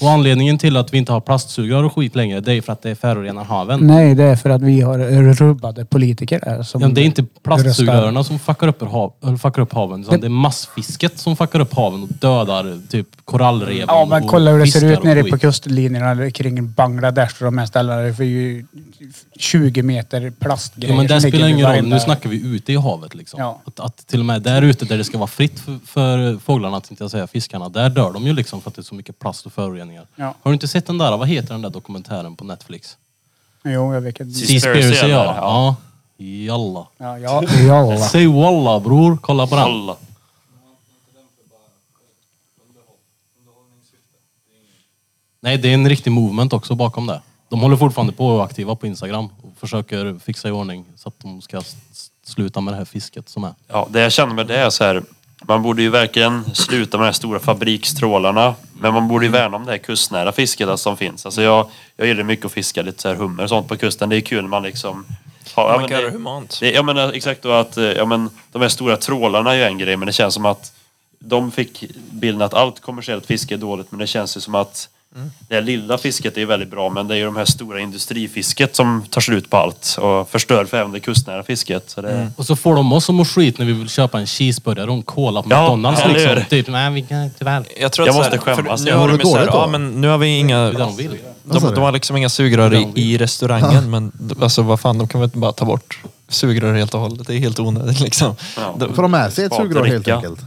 Och anledningen till att vi inte har plastsugrör och skit längre, det är ju för att det förorenar haven. Nej, det är för att vi har rubbade politiker här. Som Ja, men det är inte röstar. plastsugrörarna som fuckar upp, hav, eller fuckar upp haven, utan det är massfisket som fuckar upp haven och dödar typ korallreven. Ja, men och kolla hur det ser fiskar ut och nere skit. på kustlinjerna eller kring Bangladesh och de här ställena. Det är ju 20 meter plastgrejer Ja, men det som ligger spelar vid ingen roll. varenda- Nu snackar vi ute i havet. Liksom. Ja. Att, att till och med där ute där det ska vara fritt för, för fåglarna, tänkte jag säga, fiskarna, där dör de ju liksom för att det är så mycket plast och föroreningar. Ja. Har du inte sett den där, vad heter den där dokumentären på Netflix? Jo, jag vet. inte. Seaspiracy, Seaspiracy, ja. eller? ja. Jalla. Ja, <laughs> ja, ja. Säg walla bror, kolla på den. Alla. Nej, det är en riktig movement också bakom det. De håller fortfarande på och är aktiva på Instagram och försöker fixa i ordning så att de ska s- sluta med det här fisket som är. Ja, det jag känner med det är så här. Man borde ju verkligen sluta med de här stora fabrikstrålarna. Men man borde ju värna om det här kustnära fisket alltså, som finns. Alltså jag, jag gillar mycket att fiska lite så här hummer och sånt på kusten. Det är kul när man liksom... Har, ja, Man men kan göra det det- humant. Det, jag menar exakt då att eh, ja, men, de här stora trålarna är ju en grej, men det känns som att de fick bilden att allt kommersiellt fiske är dåligt, men det känns ju som att Mm. det här lilla fisket är väldigt bra, men det är ju de här stora industrifisket som tar slut på allt och förstör för även det kustnära fisket. Så det, Mm. Och så får de oss som mår skit när vi vill köpa en cheeseburgare och en cola på Ja, McDonalds. eller Liksom. hur? Typ, nej vi kan tyvärr. Jag, tror Jag att så måste här- för skämmas. Nu Jag har mår de ju så här, dåligt då. ja, men nu har vi inga... de vill. Vad sa De, du? de har liksom inga sugrör i, i restaurangen, men d- alltså vad fan, de kan väl inte bara ta bort sugrör helt och hållet. Det är helt onödigt liksom. Ja. De, Får de med sig ett Spak och sugrör helt dricka. enkelt?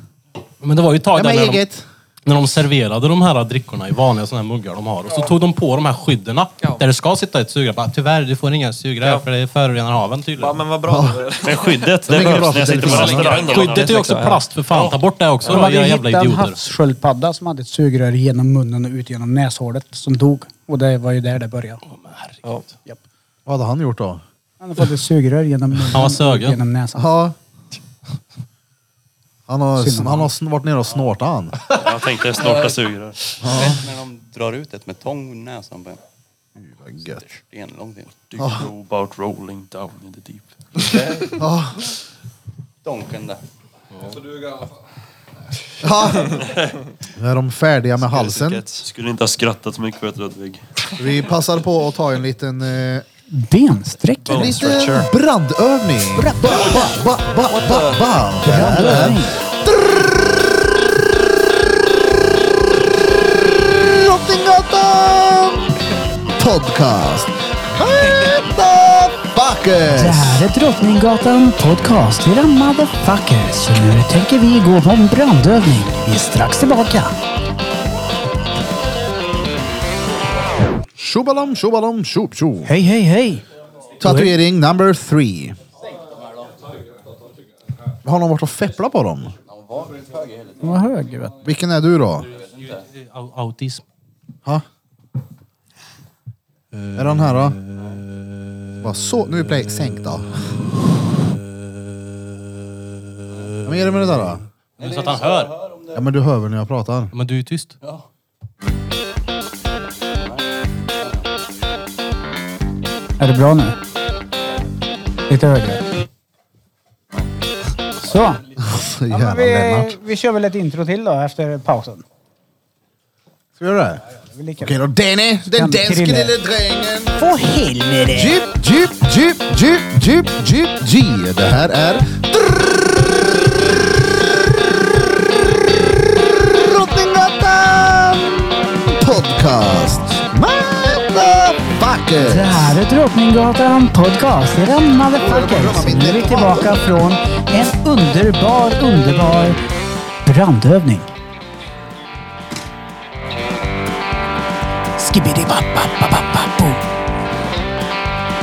Men det var ju ett tag Ja, där men när, de, eget. när de serverade de här drickorna i vanliga såna här muggar de har. Och så tog de på de här skydden där det ska sitta ett sugrör. Bara, Tyvärr, du får inga sugrör för det förorenar haven tydligen. ja, men vad bra. Men skyddet, är bra det behövs för när jag sitter på delfiner. restaurang. då. Skyddet är ju också Ja. plast för fan. Ta bort det också De då, hade ju era jävla hittat en idioter. havssköldpadda som hade ett sugrör genom munnen och ut genom näshålet som dog. Och det var ju där det började. Japp. Vad hade han gjort då? Han hade fått ett sugrör genom munnen var sögen. och genom näsan. Ja. Han har, Synd. han har sn- varit nere och snortat <laughs> han. Jag tänkte snart jag Ah. sugrör. Rätt när de drar ut ett med tång ur näsan på en. Gött. Det är en lång del. Do you know about rolling down in the deep? Donken där. Ja. Nu är de färdiga med halsen. Skulle inte ha skrattat så mycket åt Ludvig. Vi passar på att ta en liten, eh, Bensträck. en liten brandövning. Ba, ba, ba, ba, ba, ba. Där är Drottninggatan Podcast. Det Motherfuckers! här är Drottninggatan Podcast. Era motherfuckers. Så nu tänker vi gå på en brandövning. Vi är strax tillbaka. Tjobalam, tjobalam, tjop, tjo. Hej, hej, hej. Tatuering number three. Har någon varit och fepplat på dem? Vad hög vet du. Vilken är du då? Au- Autism. Ha? Är den här då? Bara så, nu är play sänkt då. Ja, men är det med det där då? Så att han hör. Ja men du hör väl när jag pratar? Men du är tyst. Är det bra nu? Lite högre. Så. Så jävla Vi, Lennart. vi kör väl ett intro till då efter pausen. Ska vi göra det? Det är väl lika Okej då Danny, den Kan danske Krille. lille drängen. Få helvete! Jeep, jeep, jeep, jeep, jeep, jeep, jeep. Det här är Drottninggatan Podcast. Motherfuckers! Det här är Drottninggatan Podcast. Era motherfuckers. Nu är vi tillbaka från en underbar, underbar brandövning. Skibidi-bap-bap-bap-bap-boom.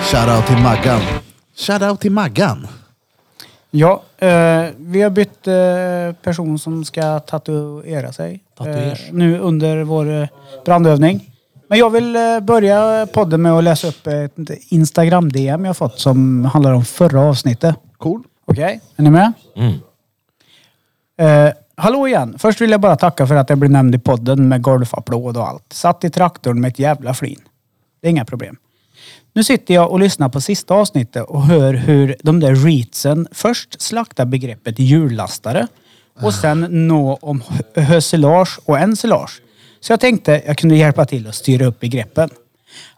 Shoutout till Maggan. Shoutout till Maggan. Ja, eh, vi har bytt eh, person som ska tatuera sig. Tatuers. Eh, nu under vår eh, brandövning. Men jag vill eh, börja podden med att läsa upp ett Instagram-DM jag fått som handlar om förra avsnittet. Cool. Okej, är ni med? Eh, hallå igen! Först vill jag bara tacka för att jag blev nämnd i podden med golfapplåd och allt. Satt i traktorn med ett jävla flin. Det är inga problem. Nu sitter jag och lyssnar på sista avsnittet och hör hur de där reetsen först slaktar begreppet hjullastare och sen nå om hö- hösilage och ensilage. Så jag tänkte jag kunde hjälpa till att styra upp begreppen.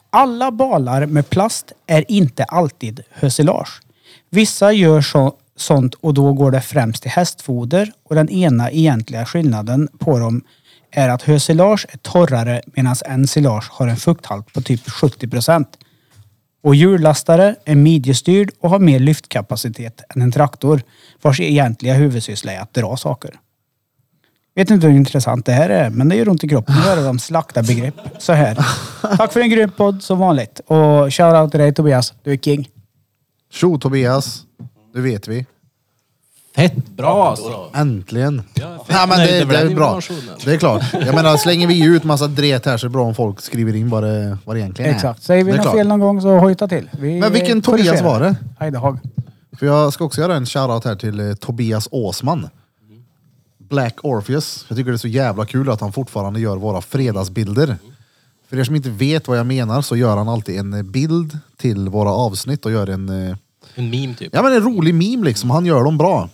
Alla balar med plast är inte alltid hösilage. Vissa gör så, sånt och då går det främst till hästfoder och den ena egentliga skillnaden på dem är att hösilage är torrare medan ensilage har en fukthalt på typ 70 procent. Och hjullastare är midjestyrd och har mer lyftkapacitet än en traktor vars egentliga huvudsyssla är att dra saker. Vet inte hur intressant det här är, men det gör ont i kroppen att höra dem slakta begrepp så här. Tack för en grym podd som vanligt. Och shoutout till dig Tobias, du är king. Tjo Tobias. Nu vet vi. Fett bra alltså. Äntligen. fett Nej, men nöjd det, över det den är bra. informationen. Det är klart. Jag menar, slänger vi ut massa dret här så är det bra om folk skriver in vad det, vad det egentligen är. Exakt. Säger vi Det är något klart. fel någon gång så hojta till. Vi Men vilken korrigerar. Tobias var det? Heidehag. För jag ska också göra en shoutout här till eh, Tobias Åsman. Black Orpheus. Jag tycker det är så jävla kul att han fortfarande gör våra fredagsbilder. För er som inte vet vad jag menar så gör han alltid en eh, bild till våra avsnitt och gör en, eh, En meme typ. ja, men en rolig meme liksom. Han gör dem bra.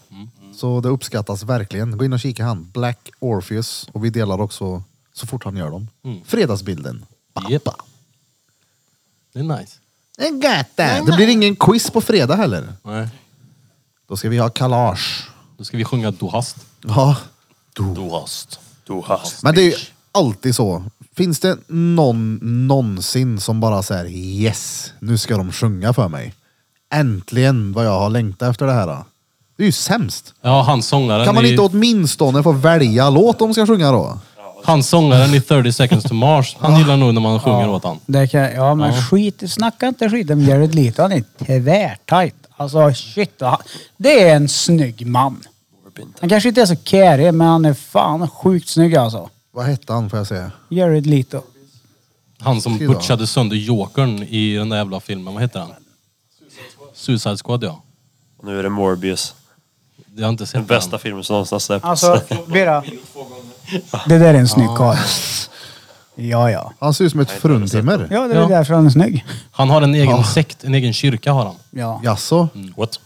Så det uppskattas verkligen. Gå in och kika han. Black Orpheus. Och vi delar också så fort han gör dem. Mm. Fredagsbilden. Japp. Det är nice. En gata. Det blir ingen quiz på fredag heller. Nej. Då ska vi ha kalage. Då ska vi sjunga Du hast. Ja. Du hast. Du hast. Men det är ju alltid så. Finns det någon någonsin som bara säger yes, nu ska de sjunga för mig. Äntligen vad jag har längtat efter det här. då." Det är ju sämst. Ja, han sångaren Kan man i, inte åtminstone få välja låt de ska sjunga då? han sångaren i 30 seconds to Mars. Han gillar nog när man sjunger åt han. Det kan, ja men skit, snacka inte skit om Jared Leto. Han är tvärtajt. Alltså shit. vad han- Det är en snygg man. Han kanske inte är så kärig men han är fan sjukt snygg alltså. Vad hette han får jag säga? Jared Leto. Han som Fy då. butchade sönder jokern i den där jävla filmen. Vad heter han? Suicide Squad ja. Nu är det Morbius. Ah. Jag har inte Den sett bästa den. filmen som någonsin släppts. Alltså <laughs> Bera. Det där är en snygg karl. Ja ja. Han ser ut som ett fruntimmer. Ja det är Ja. därför han är snygg. Han har en egen Ja. sekt, en egen kyrka har han. Ja. Jaså? Mm. What?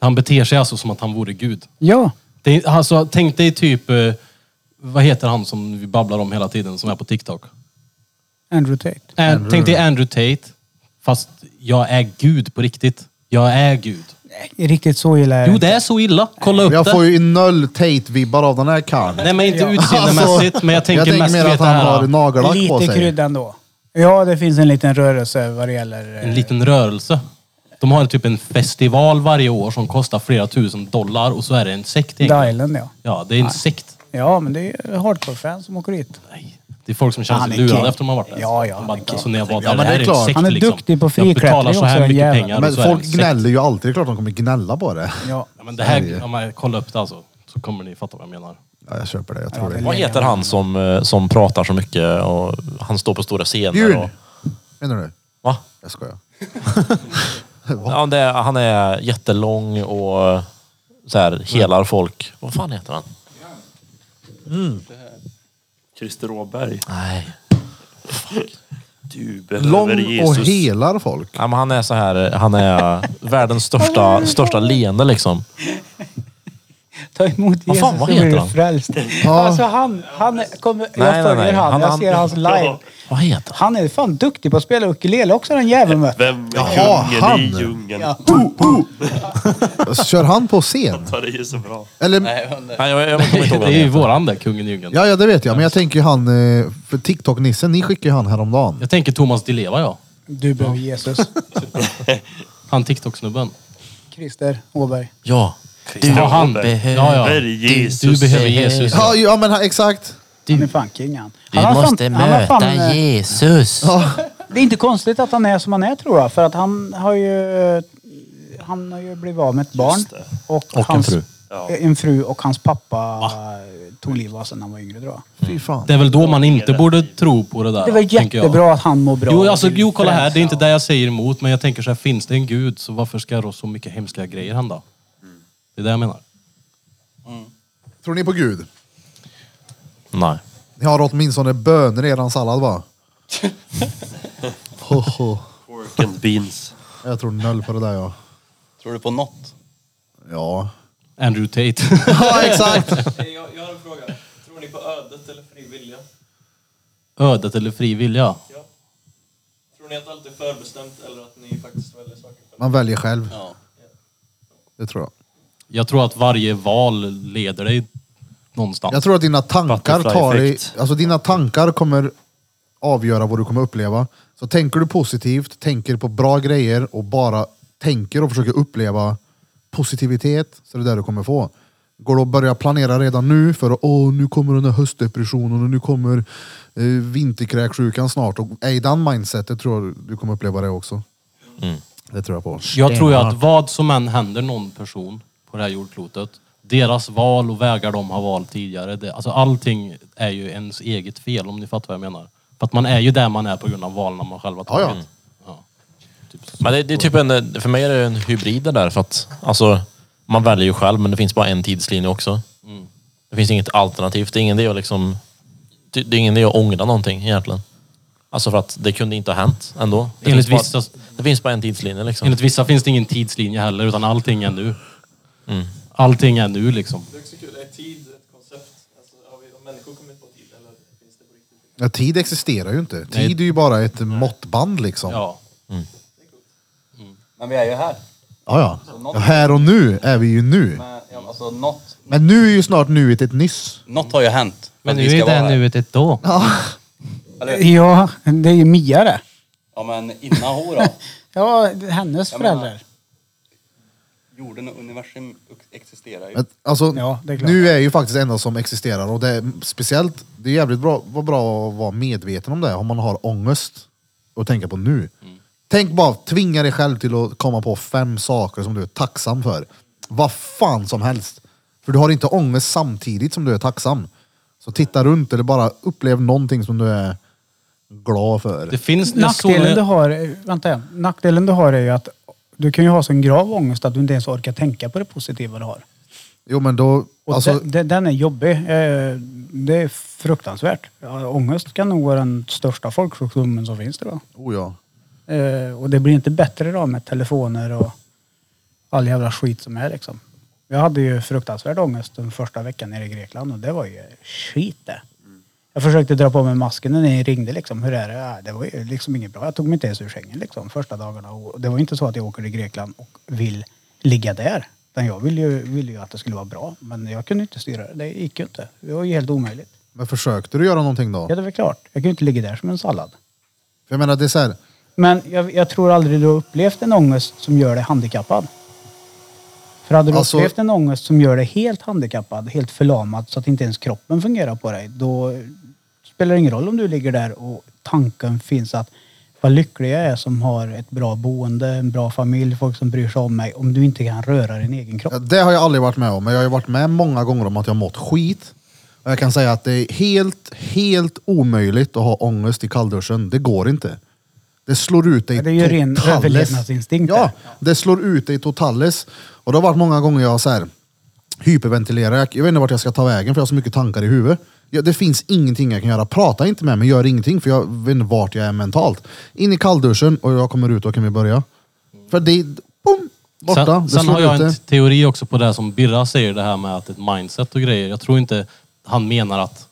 Han beter sig alltså som att han vore gud. Ja. Det är, alltså, tänk dig typ, eh, vad heter han som vi babblar om hela tiden som är på TikTok? Andrew Tate. An- Tänk dig Andrew Tate, fast jag är gud på riktigt. Jag är gud. Nej, Riktigt så gillar jag Jo, det är så illa. Kolla upp Jag det. får ju noll Tate-vibbar av den här karln. Nej, men inte utseendemässigt, men jag tänker, Alltså, Jag tänker mest mer vet att det han här. har nagellack på Lite sig. krydda ändå. Ja, det finns en liten rörelse vad det gäller... eh, En liten rörelse. De har typ en festival varje år som kostar flera tusen dollar och så är det en sekt egentligen. The Island, eh, ja. Ja, det är en sekt. Ja, men det är hardcore-fans som åker dit. Nej. Det är folk som känner Han sig är lurade king. efter de har varit där. Ja, ja, De han bara, är king. alltså, när jag var där, Ja, men det det är här är en klart. sekt Han är liksom. duktig på Jag betalar friklättring så också, här den mycket jäveln. pengar och Men så är det en folk sekt. gnäller ju alltid. Det är klart de kommer gnälla på det. Ja. Ja, men det här, ja, men kolla upp det alltså. Så kommer ni fatta vad jag menar. Ja, jag köper det. Jag tror det. Vad heter han som, eh, som pratar så mycket och han står på stora scener? Björn! Och, Menar du? va? Jag skojar. Ja, det, är- han är jättelång och eh, så här, helar folk. Vad fan heter han? Mm. Christer Råberg. Nej. Du behöver Lång Jesus. och helar folk. Ja, men han är så här, han är världens största, största leende liksom. Ta emot Vad Jesus fan, så vad blir heter du han? frälst. Alltså han, han kommer... jag nej, följer nej. han. Han- Jag han- ser hans live. Vad heter han? Han är fan duktig på att spela ukulele också den jäveln med. Vem är Jaha, kungen han. i djungeln? Ja. Kör han på scen? Det är ju så bra. Eller, Nej, jag, jag kommer inte ihåg vad han Det är ju heter. våran där, kungen i djungeln. ja, ja, det vet jag. Men jag tänker ju han, eh, för TikTok-nissen, ni skickade ju han häromdagen. Jag tänker Thomas Di Leva, ja. Du behöver Jesus. Han TikTok-snubben. Christer Åberg. Ja. Ja, han. behöver- Ja, ja. Behöver Jesus. Du behöver Jesus. Ja, ja men han- exakt. Han är fan king han. han har fan- han har fan, eh, Jesus. Ja. Det är inte konstigt att han är som han är tror jag. För att han har ju, han har ju blivit av med ett barn. Och, en hans, fru. Ja. En fru och hans pappa tog livet av sig när han var yngre tror jag. Fy fan. Det är väl då man inte borde tro på det där. Det var tänker jag. jättebra att han mår bra. Jo, och alltså, vill jo, kolla här. Det är inte frälsa. det jag säger emot, men jag tänker så här, finns det en gud så varför ska då så mycket hemska grejer hända? Det är det jag menar. Tror ni på Gud? Nej. Ni har åtminstone bönor i eran sallad va? Ho, ho. Pork and beans. Jag tror noll på det där ja. Tror du på något? Ja. Andrew Tate. <laughs> <laughs> Ja exakt. Jag, har en fråga. Tror ni på ödet eller fri vilja? Ödet eller fri vilja? Tror ni att allt är förbestämt eller att ni faktiskt väljer saker själva? Man väljer själv. Ja. Det tror jag. Jag tror att varje val leder dig någonstans. Jag tror att dina tankar tar dig, Butterfly-effekt. alltså dina tankar kommer avgöra vad du kommer uppleva. Så tänker du positivt, tänker på bra grejer och bara tänker och försöker uppleva positivitet, så det är det du kommer få. Går det att börja planera redan nu för att åh, nu kommer den här höstdepressionen och nu kommer eh, vinterkräksjukan snart. Och är i den mindsetet tror jag du kommer uppleva det också. Det tror jag på. Jag tror ju att vad som än händer någon person på det här jordklotet, deras val och vägar de har valt tidigare, det, alltså allting är ju ens eget fel om ni fattar vad jag menar. För att man är ju där man är på grund av valen man själv har Ja, tagit. ja. Ja. Typ så. Men det, det är typ en, för mig är det en hybrid det där för att alltså, man väljer ju själv men det finns bara en tidslinje också. Det finns inget alternativ. Det är ingen idé att liksom, det det är ingen idé att ångra någonting egentligen. Alltså för att det kunde inte ha hänt ändå. Det, Enligt finns, bara, vissa- det finns bara en tidslinje liksom. Enligt vissa finns det ingen tidslinje heller, utan allting är nu. Allting är nu liksom. Det är också kul. Är tid ett koncept? Alltså, har, vi, har människor kommit på tid eller finns det på riktigt? Ja, tid existerar ju inte. Nej. Tid är ju bara ett måttband liksom. Ja. Men vi är ju här. Ja, ja. Här och nu är vi ju nu. Men, ja, alltså, något, Men nu är ju snart nuet ett nyss. något har ju hänt. Men Att nu vi ska är vara det här. nuet ett då. Eller, Ja, det är ju Mia det. ja men innan hora Ja, hennes Jag menar- föräldrar. <laughs> jorden och universum existerar ju. Men, alltså, Ja, det är klart. nu är ju faktiskt det enda som existerar och det är speciellt, det är jävligt bra, vad bra att vara medveten om det om man har ångest och tänka på nu. Tänk bara, tvinga dig själv till att komma på fem saker som du är tacksam för. Vad fan som helst. För du har inte ångest samtidigt som du är tacksam. Så titta runt eller bara upplev någonting som du är glad för. Det finns... jag såg- Nackdelen du, har, vänta, nackdelen du har är ju att du kan ju ha sån grav ångest att du inte ens orkar tänka på det positiva du har. Jo men då, Och alltså, den, den- den är jobbig. Eh, Det är fruktansvärt. Ja, Ångest kan nog vara den största folksjukdomen som finns idag. oh ja. Eh, Och det blir inte bättre idag med telefoner och all jävla skit som är liksom. Jag hade ju fruktansvärd ångest den första veckan nere i Grekland och det var ju skit det. Jag försökte dra på mig masken när ni ringde liksom. Hur är det? Ja, det var ju liksom inget bra. Jag tog mig inte ens ur sängen liksom första dagarna. Och det var ju inte så att jag åker till Grekland och vill ligga där. Utan jag ville ju, ville ju att det skulle vara bra. Men jag kunde inte styra det. Det gick ju inte. Det var ju helt omöjligt. Men försökte du göra någonting då? Ja, det var klart. Jag kunde inte ligga där som en sallad. För jag menar det är så här, Men jag, jag tror aldrig du har upplevt en ångest som gör dig handikappad. För hade du Alltså- upplevt en ångest som gör dig helt handikappad, helt förlamad så att inte ens kroppen fungerar på dig, då spelar det ingen roll om du ligger där och tanken finns att vad lycklig jag är som har ett bra boende, en bra familj, folk som bryr sig om mig, om du inte kan röra din egen kropp. Ja, Det har jag aldrig varit med om, men jag har ju varit med många gånger om att jag mått skit. Och jag kan säga att det är helt, helt omöjligt att ha ångest i kallduschen. Det går inte. Det slår ut dig Ja, det är ju ren totales. överlevnadsinstinkt Ja, där. det slår ut dig totales. Och det har varit många gånger jag har så här hyperventilerar. Jag, jag vet inte vart jag ska ta vägen för jag har så mycket tankar i huvudet. Ja, det finns ingenting jag kan göra. Prata inte med mig, gör ingenting för jag vet inte vart jag är mentalt. In i kallduschen och jag kommer ut, och kan vi börja? För det... Boom! Borta. Sen, det sen slår har jag ut en dig. teori också på det här som Birra säger, det här med att ett mindset och grejer. Jag tror inte han menar att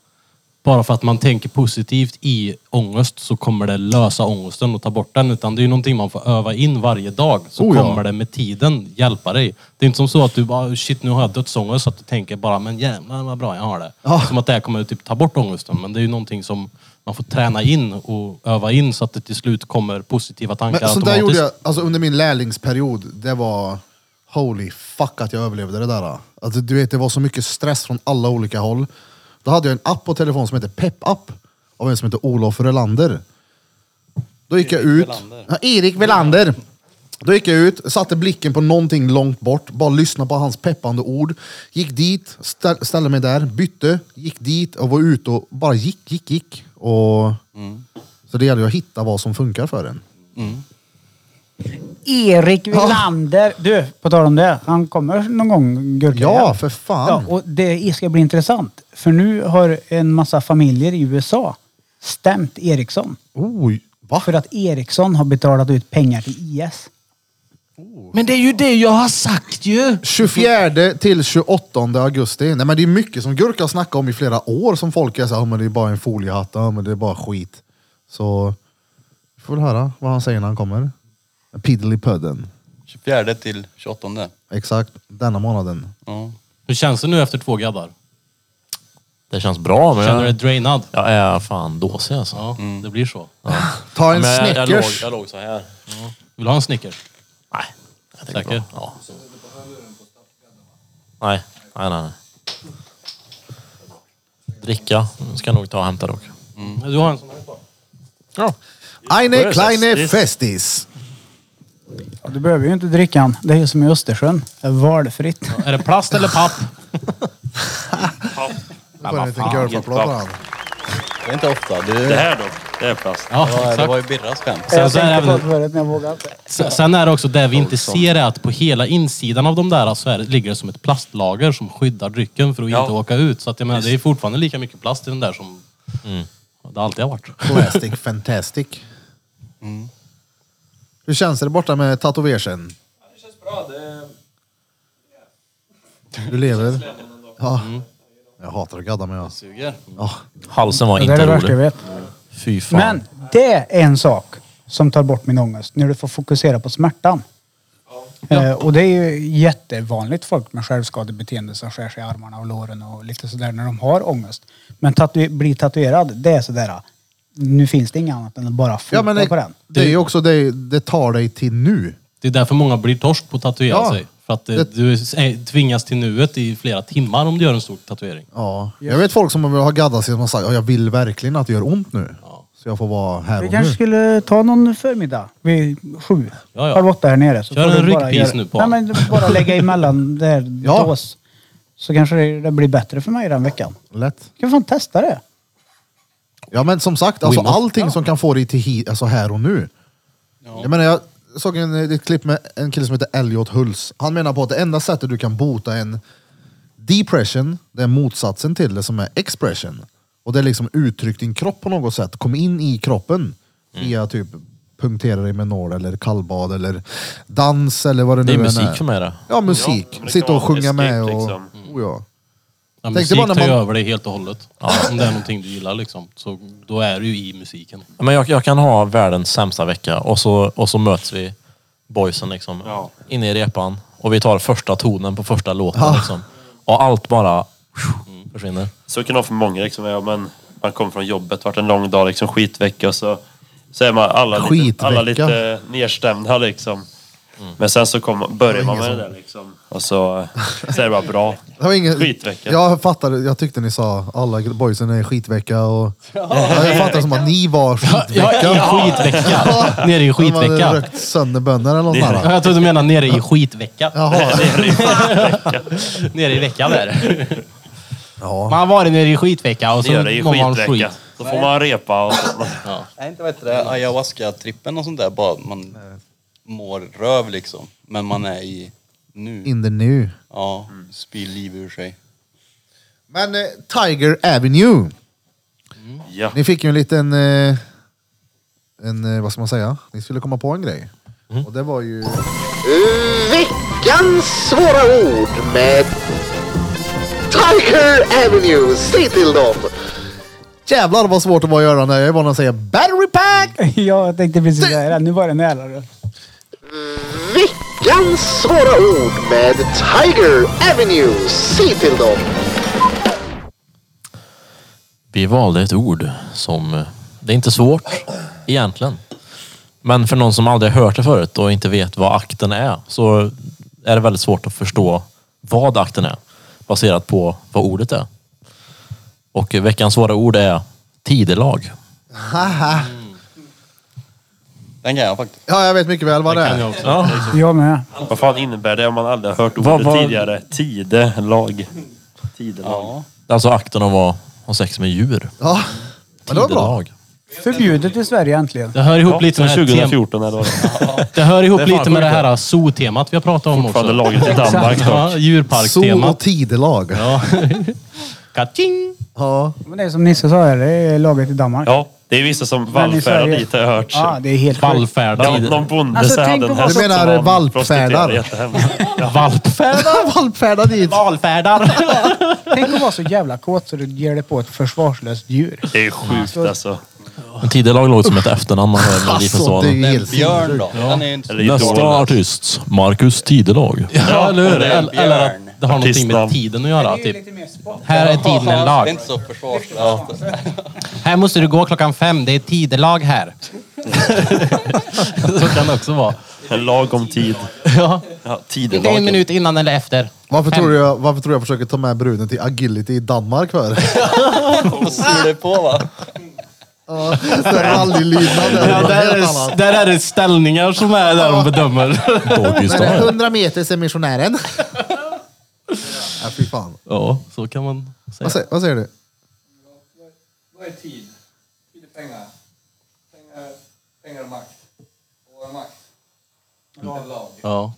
bara för att man tänker positivt i ångest så kommer det lösa ångesten och ta bort den. Utan det är ju någonting man får öva in varje dag. Så Oh ja. kommer det med tiden hjälpa dig. Det är inte som så att du bara, "Oh, shit nu har jag dödsångest. Så att du tänker bara, men jävlar vad bra jag har det. Ja. Som att det här kommer typ ta bort ångesten. Men det är ju någonting som man får träna in och öva in så att det till slut kommer positiva tankar Men så där automatiskt. gjorde jag alltså, under min lärlingsperiod. Det var holy fuck att jag överlevde det där. Alltså, du vet, det var så mycket stress från alla olika håll. Då hade jag en app på telefon som heter Pepp-app av en som heter Olof Relander. Då gick jag Erik ut. Welander. Ja, Erik Velander. Då gick jag ut, satte blicken på någonting långt bort, bara lyssnade på hans peppande ord. Gick dit, stä- ställde mig där, bytte, gick dit och var ute och bara gick, gick, gick. Och... Så det gäller ju att hitta vad som funkar för en. Erik Wilander. Du, på tal om det. Han kommer någon gång, Gurka. Ja, för fan. Ja, och det ska bli intressant. För nu har en massa familjer i USA stämt Ericsson. Oj, va? För att Ericsson har betalat ut pengar till IS. Men det är ju det jag har sagt ju! 24 till 28 augusti. Nej men det är mycket som Gurka har snackat om i flera år som folk är såhär, ah, men det är bara en foliehatt, ah, men det är bara skit. Så, vi får väl höra vad han säger när han kommer. Piddly-pudden. 24 till 28. Exakt, denna månaden. Ja. Hur känns det nu efter två gaddar? Det känns bra, men Känner du dig jag, drainad? jag är fan dåsig alltså. Ja, Mm. det blir så. Ta en Men jag, jag, låg, Snickers. jag låg så här. Vill du ha en Snickers? Nej. Jag tänkte Säker? bara, Ja. Nej. Nej, nej, nej. Dricka ska jag nog ta och hämta dock. Du har en sån här. Eine kleine festis. Ja, du behöver ju inte dricka den. Det är ju som i Östersjön. Det är valfritt. Är det plast eller papp? Nu får jag en liten girlfapplåt på honom. Det är inte ofta. Det, Det det, här då? Det är plast. Ja, var, det var exakt. ju Birras skämt. Sen jag så är tänkte det på det även- förut men jag vågar inte. Sen- Sen är det också det vi inte ser är att på hela insidan av de där så är det, ligger det som ett plastlager som skyddar drycken för att Ja. inte åka ut. Så att jag menar, det är fortfarande lika mycket plast i den där som Mm. det alltid har varit. Plastic fantastic. Hur känns det borta med tatueringen? Det känns bra. Det... Du lever? Ja. Jag hatar att gadda mig. jag. Ja. Halsen var Det är det inte värsta jag rolig. vet. Fy fan. Men det är en sak som tar bort min ångest. När du får fokusera på smärtan. Eh, och det är ju jättevanligt folk med självskadebeteende som skär sig i armarna och låren och lite sådär när de har ångest. Men tatu- bli tatuerad, det är sådär. ah, Nu finns det inget annat än att bara fota Ja, men på det, den. det är ju också det det tar dig till nu. Det är därför många blir torsk på att tatuera Ja. sig. För att eh, Det- du är- tvingas till nuet i flera timmar om du gör en stor tatuering. Ja. Jag vet folk som har gaddat sig som har sagt att jag vill verkligen att det gör ont nu. Så jag får vara här Vi och nu. kanske skulle ta någon förmiddag vid sju, Mm. Ja, ja. halv åtta här nere. Så Kör får en du bara ryggpis göra- nu på Nej, honom. men bara lägga <laughs> emellan där Ja. dås. Så kanske det, det blir bättre för mig den veckan. Lätt. Kan fan testa det. Ja men som sagt, alltså, allting som kan få dig till hi- alltså, här och nu. Jag menar, jag såg en, eh, ett klipp med en kille som heter Elliot Hulls. Han menar på att det enda sättet du kan bota en depression, det är motsatsen till det som är expression. Och det är liksom uttryck din kropp på något sätt. Kom in i kroppen Mm. via typ punktera dig med nål eller kallbad eller dans eller vad det nu Det är än musik för mig det. Ja, musik. Ja, men det Sitta kan och vara sjunga med och... escape, liksom. Oh, ja. Ja, Tänkte musik bara när tar ju man- över dig helt och hållet. Om det är någonting du gillar liksom. Så då är du ju i musiken. Men jag, jag kan ha världens sämsta vecka och så, och så möts vi boysen liksom Ja. inne i repan och vi tar första tonen på första låten liksom. Och allt bara försvinner. Så kan det vara för många liksom. Ja, men man kommer från jobbet, varit en lång dag, liksom skitvecka och så, så är man alla lite, Skitvecka. alla lite nedstämda liksom. Men sen så kommer- börjar man med det där liksom. Och så, så är det bara bra. Det var ingen... Skitvecka. Jag fattade, jag tyckte ni sa alla boysen är skitvecka och... Ja, jag fattade som att ni var skitvecka. Ja, i skitvecka! Nere i De hade skitvecka. rökt sönder bönder eller något sånt Ja, här. jag trodde du menade nere i skitvecka. Jaha. Nere i veckan där. Ja. Man har varit nere i skitvecka och så Det gör det i mår man skit. skitvecka. Så får man repa och så. Nej, inte vet det. Ayahuasca-trippen och sånt där. Bara att man mår röv liksom. Men man är i nu. In the new. Ja, spyr liv ur sig. Men eh, Tiger Avenue. Ja. Ni fick ju en liten... Eh, en, eh, vad ska man säga? Ni skulle komma på en grej. Och det var ju... Veckans svåra ord med Tiger Avenue. Säg till dem. Jävlar vad svårt det var att göra när jag är van att säga battery pack! Jag tänkte precis säga det. Nu var det nära. du. Veckans svåra ord med Tiger Avenue. Säg till dem. Vi valde ett ord som, eh, det är inte svårt egentligen. Men för någon som aldrig har hört det förut och inte vet vad akten är så är det väldigt svårt att förstå vad akten är baserat på vad ordet är. Och veckans svåra ord är tidelag. Haha. Den kan jag faktiskt. Ja, jag vet mycket väl vad det är. Ja. Jag med. Vad fan innebär det om man aldrig har hört ordet Vad- vad- tidigare? Tidelag. Tidelag. Alltså akten av att ha sex med djur. Ja, men det var bra. Tidelag. Förbjudet i Sverige äntligen. Det hör ihop Ja, lite sen med det här 2014 eller vad det var. tem- Det hör ihop Det är fan lite med det sjukt. här zoo-temat vi har pratat om också. Fortfarande lagret i Danmark Ja, dock. Sol och djurparkstemat. tidelag. Ja. Ja. Kaching! Men det är som Nisse sa, här, det är laget i Danmark. Ja, det är vissa som Men i vallfärdar Sverige- dit har jag hört. Ja, det är helt sjukt. Vallfärdar. Någon, någon bonde Alltså, så tänk hade på en vad häst som- Du menar som han valpfärdar? prostituerade jättehemskt. Ja, <laughs> Valpfärdar! Valpfärda dit. Valfärdar! Tänk att vara så jävla kåt så du ger dig på ett försvarslöst djur. det är sjukt alltså. Men Tidelag låter som ett efternamn man hör med Alltså, det är Melodifestivalen. ju Men helt Björn då? Den är ju inte... Eller Nästa Idol. artist, Marcus Tidelag. Ja, eller hur? det är en Eller eller att björn. det har någonting med Artistnamn. tiden att göra. Typ. mer sport. Här är tiden en Ja, Det är lag. inte så försvarslöst. Här måste du gå klockan fem, det är tidelag här. Så kan det också vara. En lagom tid. Ja. Ja, Inte en tidelagen. minut innan eller efter. Varför Fem. tror, du jag, varför tror du jag försöker ta med bruden till agility i Danmark <laughs> för? Vad sur det är på va? Ja, så här Rallylydnad. där. Ja, där, är <laughs> det, där är det ställningar som är där de bedömer. Doggy Nej, det är style. 100 meter till missionären. ja, fy fan. Ja, så kan man säga. Vad säger, vad säger du? Vad är tid? Tid är pengar. Pengar, pengar är makt. Och vad är makt? Lag. lag. Alltså, Ja.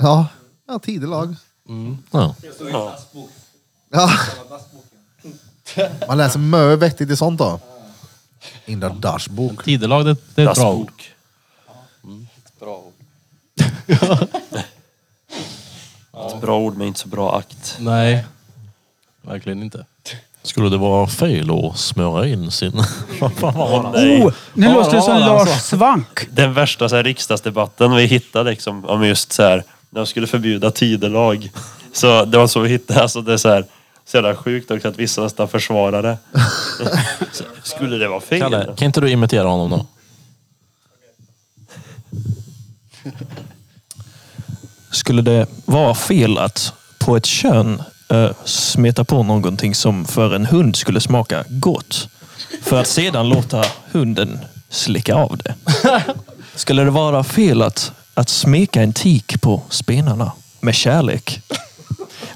Ja, ja tidelag. Ja. Ja. <laughs> Man läser mycket vettigt i sånt då. In the Dutch book. <laughs> Tidelag, det, det är ett bra ord. Dassbok. Bra ord. Ett bra ord men inte så bra akt. Nej, verkligen inte. Skulle det vara fel att smöra in sin... <laughs> Vad fan var det? Oh, nu Ja, låter det du var som det Lars alltså. Svank. Den värsta så här, riksdagsdebatten vi hittade liksom, om just så här, när de skulle förbjuda tidelag. Så det var så vi hittade, alltså det är så här, så jävla sjukt också att vissa nästan försvarar det. Så, <laughs> Skulle det vara fel? Kalle, kan inte du imitera honom då? Skulle det vara fel att på ett kön eh, smeta på någonting som för en hund skulle smaka gott? För att sedan låta hunden slicka av <laughs> det. Skulle det vara fel att, att smeka en tik på spenarna med kärlek?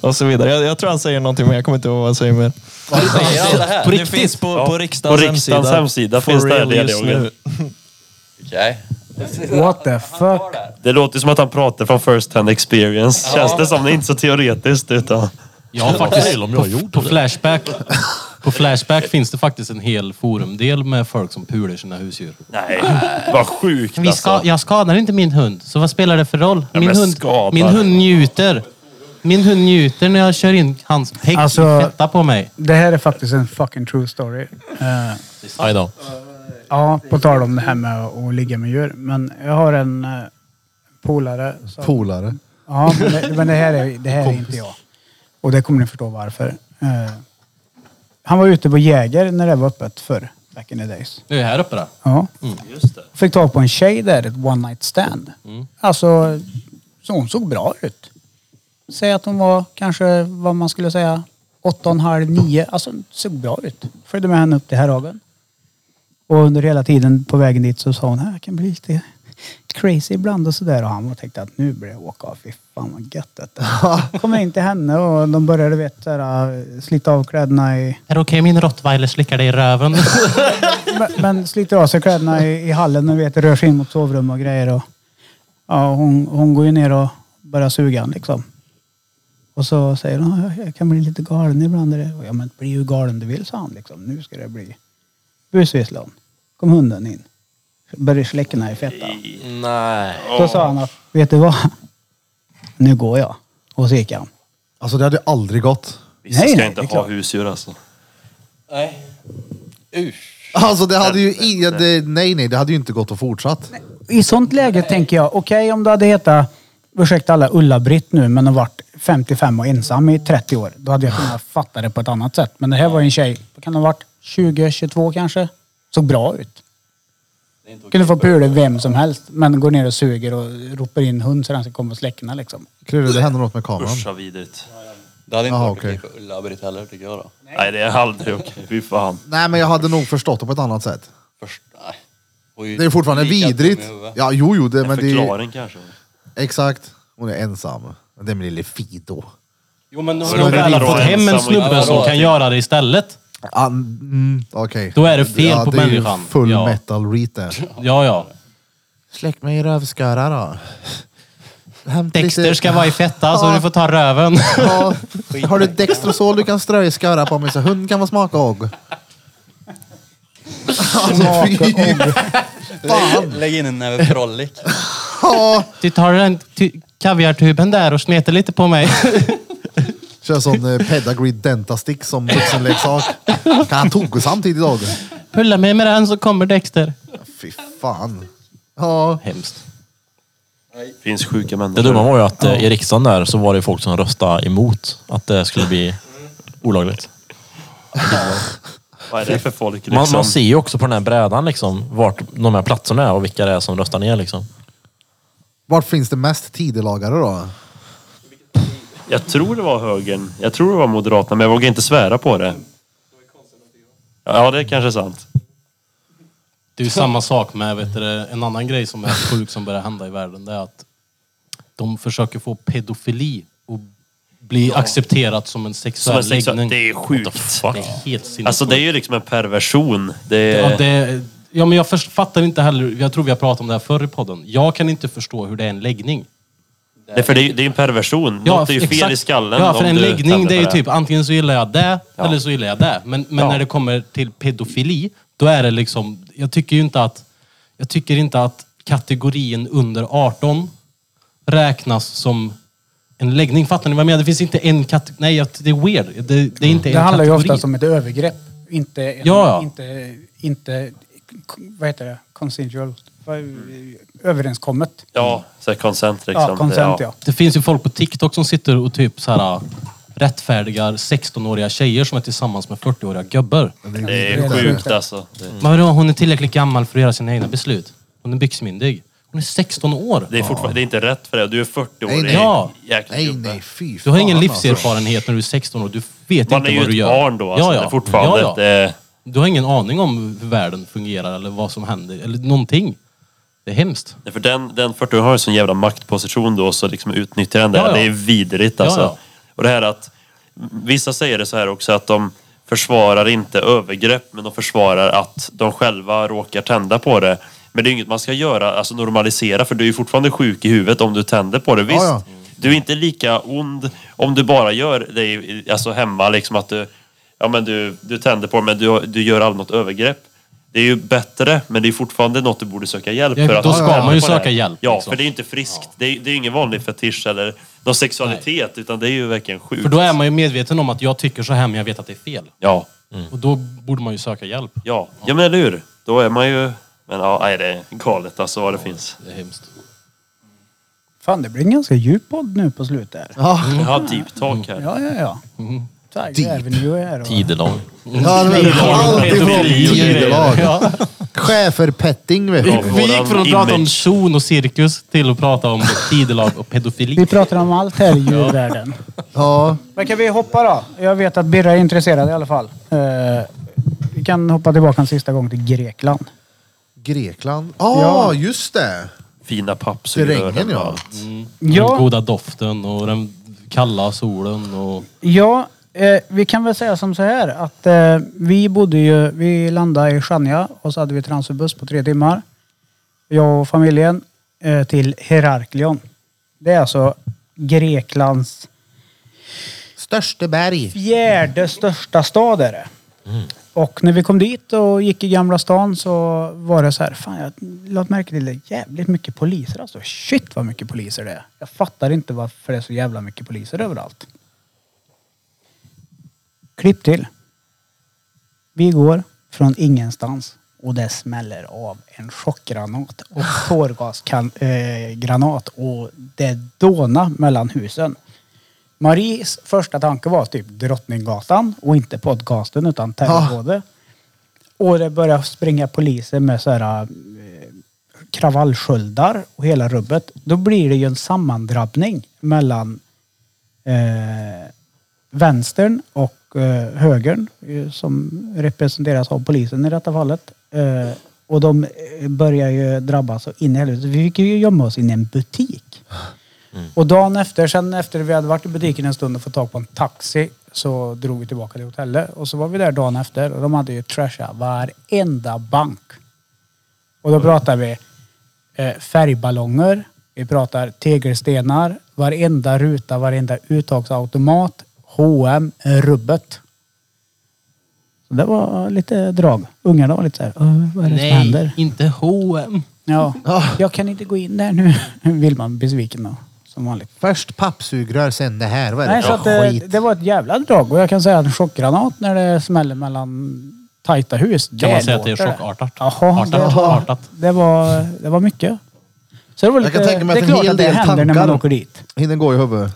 Och så vidare. Jag, jag tror han säger någonting men jag kommer inte ihåg vad han säger mer. Säger alla det här? På riktigt? Det finns på, på riksdagens, På riksdagens hemsida For finns det här real just dialogen. nu. Okej. What the fuck? Det låter som att han pratar från first hand experience. Känns det som. Det är inte så teoretiskt utan... Jag har faktiskt, på, på Flashback, <laughs> på Flashback finns det faktiskt en hel forumdel med folk som pular sina husdjur. Nej, vad sjukt Vi ska, alltså. jag skadar inte min hund, så vad spelar det för roll? Ja, Min, men hund, skadar. min hund njuter. Min hund njuter när jag kör in hans pegg Alltså- i fetta på mig. Det här är faktiskt en fucking true story. Eh, Aj då. ja, på tal om det här med att ligga med djur. Men jag har en eh, polare. som- Polare. Ja, men, det, men det här, är, det här är inte jag. Och det kommer ni förstå varför. Eh, han var ute på Jäger när det var öppet förr. Back in the days. Nu är jag här uppe då. Ja. Just det. Fick tag på en tjej där, ett one night stand. Alltså, så hon såg bra ut. Säg att hon var kanske, vad man skulle säga, åtta och en halv, nio. Alltså, såg bra ut. Följde med henne upp till Härhagen. Och under hela tiden på vägen dit så sa hon, här jag kan bli lite crazy ibland och sådär. Och han var tänkte att nu blir det åka av. Fy fan vad gött detta. Kommer in till henne och de började vet, så här, slita av kläderna i Är det okej om min rottweiler slickar dig i röven? <laughs> men, men sliter av sig kläderna i, i hallen och vet, rör sig in mot sovrum och grejer. Och, ja, hon, hon går ju ner och börjar suga han liksom. Och så säger hon, "Ja, jag kan bli lite galen ibland. är det." Och, Ja men bli hur galen du vill, sa han liksom. Nu ska det bli. Busvisslan. Kom hunden in. Började släckorna i fettan. Nej. Då sa han att, vet du vad? Nu går jag. Och så gick han. Alltså det hade aldrig gått. Vissa Nej, ska nej, inte det är ha klart. husdjur alltså. Nej. Usch. Alltså det hade ju... I, ja, det, nej, nej, det hade ju inte gått att fortsatt. I sånt läge tänker jag, okej om du hade hetat, ursäkta alla Ulla-Britt nu, men har varit 55 och ensam i 30 år. Då hade jag kunnat fatta det på ett annat sätt. Men det här var ju en tjej, vad kan det ha varit 20, 22 kanske? Såg bra ut. Kunde få pula vem som helst, men går ner och suger och ropar in hund så den ska komma och släcka liksom. Krille, det hände något med kameran. Usch vad vidrigt. Det hade inte Jaha, varit okej okej. för Ulla-Britt heller tycker jag då. Nej, det är aldrig okej. Fy fan. Nej, men jag hade nog förstått det på ett annat sätt. första... Det är fortfarande vidrigt. Ja, jo, jo. Det, men det är ju- Exakt. Hon är ensam. Den lille Fido. Jo men nu Så har de är det väl då fått hem ensam en och snubbe inte som bra. kan göra det istället. Ah, mm, Okej. Då är det fel ja, på det är ju människan. Full Ja. metal reet där. Ja, ja. Släck mig i rövsköra då. Hämt Dexter lite- ska vara i fetta så Ja. du får ta röven. <laughs> Ja. Har du Dextrosol du kan strö i sköra på mig så hunden kan få <laughs> smaka och. <laughs> Alltså fy fan. <laughs> Lägg in en näve frolic. Du tar den ty- kaviartuben där och smeter lite på mig. <laughs> Kör sån eh, Pedigree Dentastick som vuxenleksak. Kan han toga samtidigt idag? Pulla mig med den så kommer Dexter. Fy fan. Ja. Hemskt. Finns sjuka Det människor. dumma var ju att eh, i riksdagen där så var det ju folk som röstade emot att det skulle bli olagligt. Vad är det för folk liksom? Man, man ser ju också på den här brädan liksom vart de här platserna är och vilka det är som röstar ner liksom. Vart finns det mest tidelagare då? Jag tror det var högern. Jag tror det var Moderaterna, men jag vågar inte svära på det. Ja, det kanske är sant. Det är ju samma sak med vet du, det, en annan grej som är sjuk som börjar hända i världen. Det är att de försöker få pedofili och bli accepterat som en Som en sexuell sexuell- läggning. Det är sjukt. Det är helt sinnessjukt. Alltså det är ju liksom en perversion. Det Ja, är... det, ja, men jag först, fattar inte heller, jag tror vi har pratat om det här förr i podden. Jag kan inte förstå hur det är en läggning. Nej, för det är ju det är ju en perversion. Något är ju fel exakt. i skallen Ja, för om en du läggning tänder det är ju på typ antingen så gillar jag det eller så gillar jag det. Men, men när det kommer till pedofili, då är det liksom, jag tycker ju inte att, jag tycker inte att kategorin under 18 räknas som en läggning. Fattar ni vad jag menar? Det finns inte en kategori, nej jag- det är weird. Det, det är inte en kategori. Mm. Det handlar ju oftast om ett övergrepp. Inte, en, Ja, ja. inte, inte k- vad heter det? Consensual. Vad- Överenskommet. Ja, så här consent liksom. Ja, consent, ja. Det finns ju folk på TikTok som sitter och typ så här rättfärdigar 16-åriga tjejer som är tillsammans med 40-åriga gubbar. Det är sjukt alltså. Det- Mm. Men vadå, hon är tillräckligt gammal för att göra sina egna beslut. Hon är byxmyndig. Hon är 16 år. Det är fortfarande det är inte rätt för det. Du är 40 år. Nej, det nej. är Ja. jäkligt Nej, gubbe. nej, fy Du har fan, ingen alltså. livserfarenhet när du är 16 år. Du vet Man inte är ju vad du ett gör. barn då, alltså. Det är fortfarande Ja, ja. ett, eh, Du har ingen aning om hur världen fungerar eller vad som händer. Eller någonting. Det är hemskt. Nej, För den, den 40 har ju sån jävla maktposition då, så liksom utnyttjar den det. Ja, ja. Det är vidrigt Ja, alltså. ja. Och det här att... Vissa säger det så här också, att de försvarar inte övergrepp, men de försvarar att de själva råkar tända på det. Men det är ju inget man ska göra, alltså normalisera, för du är ju fortfarande sjuk i huvudet om du tänder på det. Visst, Ja, du är inte lika ond om du bara gör det i- alltså hemma, liksom att du... Ja, men du, du tänder på det, men du, du gör aldrig något övergrepp. Det är ju bättre, men det är fortfarande något du borde söka hjälp Ja, för. att då du ska tänder man ju på det. söka hjälp, Ja, liksom. för det är ju inte friskt. Det, är, det är ju ingen vanlig fetisch eller någon sexualitet, utan det är ju verkligen sjukt. För då är man ju medveten om att jag tycker så här men jag vet att det är fel. Ja. Och då borde man ju söka hjälp. Ja, ja men eller hur? Då är man ju... Men ja, nej, det är galet alltså vad det finns. Det är hemskt. Fan, det blir en ganska djup podd nu på slutet. här. Mm. Jag har deep talk här. Ja, Mm. ja, ja. Tiger Avenue är här. och- Tidelag. Ja, det är alltid från Pedofili och grejer. tidelag. Ja. Schäferpetting vet du. Vi gick från att prata om zon och cirkus till att prata om tidelag och Vi pedofili. pratar om allt här i djurvärlden. Ja. Men kan vi hoppa då? Jag vet att Birra är intresserad i alla fall. Eh, vi kan hoppa tillbaka en sista gång till Grekland. Grekland. Ah, Ja. ja, just det. Fina pappsugrör. Terrängen ja. Den Ja, goda doften och den kalla solen och... ja eh, vi kan väl säga som så här att eh, vi bodde ju, vi landade i Chania och så hade vi transferbuss på tre timmar. Jag och familjen eh, till Heraklion. Det är alltså Greklands Störste berg. fjärde största stad är det. Och när vi kom dit och gick i Gamla stan så var det så här, fan jag lade märke till det är jävligt mycket poliser alltså. Shit vad mycket poliser det är. Jag fattar inte varför det är så jävla mycket poliser överallt. Klipp till. Vi går från ingenstans och det smäller av en chockgranat och tårgasgranat eh, granat och det dånar mellan husen. Maries första tanke var typ Drottninggatan och inte podcasten utan terrorrådet. Och det började springa poliser med så här eh, kravallsköldar och hela rubbet. Då blir det ju en sammandrabbning mellan eh, vänstern och eh, högern eh, som representeras av polisen i detta fallet. Eh, Och de eh, börjar ju drabbas så in i helvete. Vi fick ju gömma oss in i en butik. Och dagen efter, sen efter vi hade varit i butiken en stund och fått tag på en taxi, så drog vi tillbaka till hotellet. Och så var vi där dagen efter och de hade ju trashat varenda bank. Och då pratar vi eh, färgballonger, vi pratar tegelstenar, varenda ruta, varenda uttagsautomat, H&M, rubbet. Så det var lite drag. Ungarna var lite så här, "Åh, vad är det som händer? Ah. Nej, inte H&M. Ja, jag kan inte gå in där nu. <laughs> Vill man besviken då, som vanligt. Först pappsugrör, sen det här. Vad är det Nej, så för att det, skit? det var ett jävla drag och jag kan säga att en chockgranat när det smäller mellan tajta hus. Kan man säga att låter det är chockartat? Jaha, det Artat, var, artat. det, var, det var mycket. Så det var lite, jag kan tänka mig det är att en klart hel att det del händer när man tankar åker dit. hinner gå i huvudet.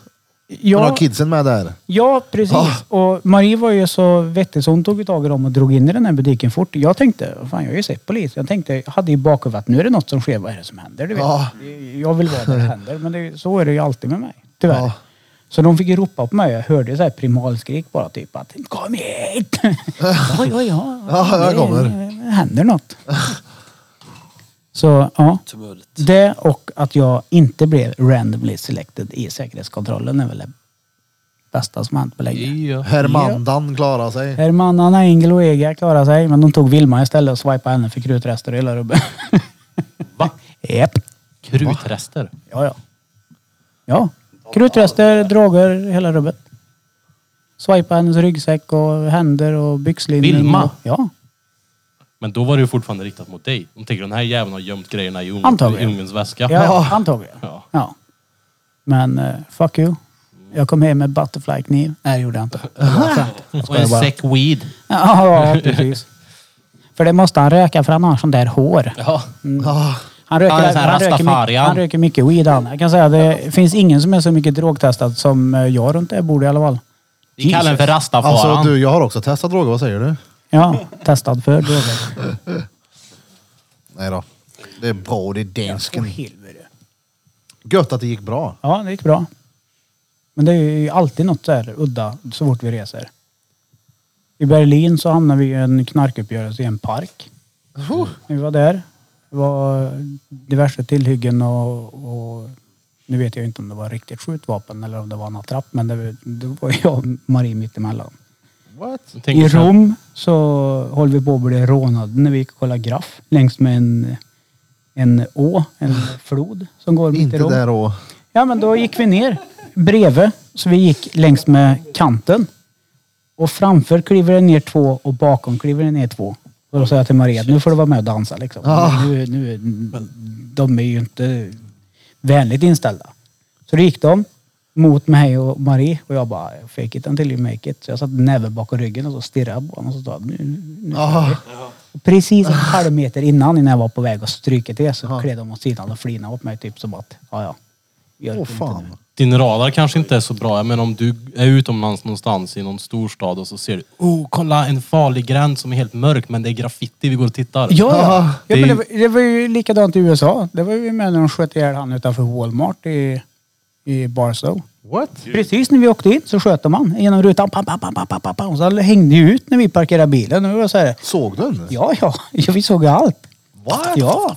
Ja. Man har kidsen med där. Ja, precis. Ah. Och Marie var ju så vettig så hon tog ju tag i dem och drog in i den här butiken fort. Jag tänkte, fan jag har ju sett polis. Jag tänkte, jag hade i bakhuvudet att nu är det något som sker. Vad är det som händer? Du vet. Ja. Jag vill vara där det händer. Men det, är- så är det ju alltid med mig. Tyvärr. Ah. Så de fick ju ropa på mig. Jag hörde ju så här primalskrik bara typ att <laughs> kom hit! ja, ja, ja. Ja, jag kommer. Det händer något. Så ja. Det och att jag inte blev randomly selected i säkerhetskontrollen är väl det bästa som hänt på länge. Hermandan klarar sig. Herman, Anna Engel och Ega klarade sig, men de tog Vilma istället och swipade henne för krutrester och hela rubben. Va? <laughs> Japp. Krutrester? Ja, ja. Ja. Krutrester, droger, hela rubbet. Swipade hennes ryggsäck och händer och byxlinning. Vilma? Och, ja. Men då var det ju fortfarande riktat mot dig. De tänker den här jäveln har gömt grejerna i ung- i Antagligen. ungens väska. Ja, antagligen. Ja. Ja. Men eh, fuck you. Jag kom hem med butterfly-kniv. Nej, det gjorde <laughs> jag inte. Det var skämt. Jag Och en skojar bara. säck weed. Ja, <laughs> precis. För det måste han röka för han har sån där hår. Mm. Han, röker, Ja, en sån här han, röker mycket, rastafarian. han röker mycket weed han. Jag kan säga det finns ingen som är så mycket drogtestad som eh, jag runt det här bordet i alla fall. Vi kallar den för rastafaran. Alltså du, jag har också testat droger. Vad säger du? Ja, testad för droger. Nej då. Det är bra, det är dansken. helvete. Gött att det gick bra. Ja, det gick bra. Men det är ju alltid något så här udda så fort vi reser. I Berlin så hamnade vi i en knarkuppgörelse i en park. Vi var där. Det var diverse tillhyggen och, och nu vet jag inte om det var riktigt skjutvapen eller om det var en attrapp men det, det var jag och Marie mittemellan. What? I Rom så håller vi på att bli rånade när vi gick och kollade graff längs med en, en å, en flod som går mitt Ah. Inte i Rom. där och... Ja men då gick vi ner bredvid. Så vi gick längs med kanten. Och framför kliver det ner två och bakom kliver det ner två. Och då sa jag till Maria att nu får du vara med och dansa liksom. Ah. Nu, nu, de är ju inte vänligt inställda. Så då gick de mot mig och Marie och jag bara fake it until you make it. Så jag satte näven bakom ryggen och så stirrade på honom och så sa jag, nu, nu, nu kör vi." Och Precis en halv meter innan, innan jag var på väg att stryka till, så klev de åt sidan och flinade åt mig typ som att, ja ja. Åh fan. Din radar kanske inte är så bra. Men om du är utomlands någonstans i någon storstad och så ser du Oh, kolla en farlig gränd som är helt mörk men det är graffiti. Vi går och tittar. Ja, ja. Det ja är men det, ju- var, det var ju likadant i USA. Det var ju med när de sköt ihjäl han utanför Walmart i, i Barstow. What? Precis när vi åkte in så sköt de han genom rutan. Pam, pam, pam, pam, pam, pam, pam. Och så hängde ju ut när vi parkerade bilen. Och vi var så här, såg du den? Ja, ja. <laughs> ja vi såg ju allt. What? Ja.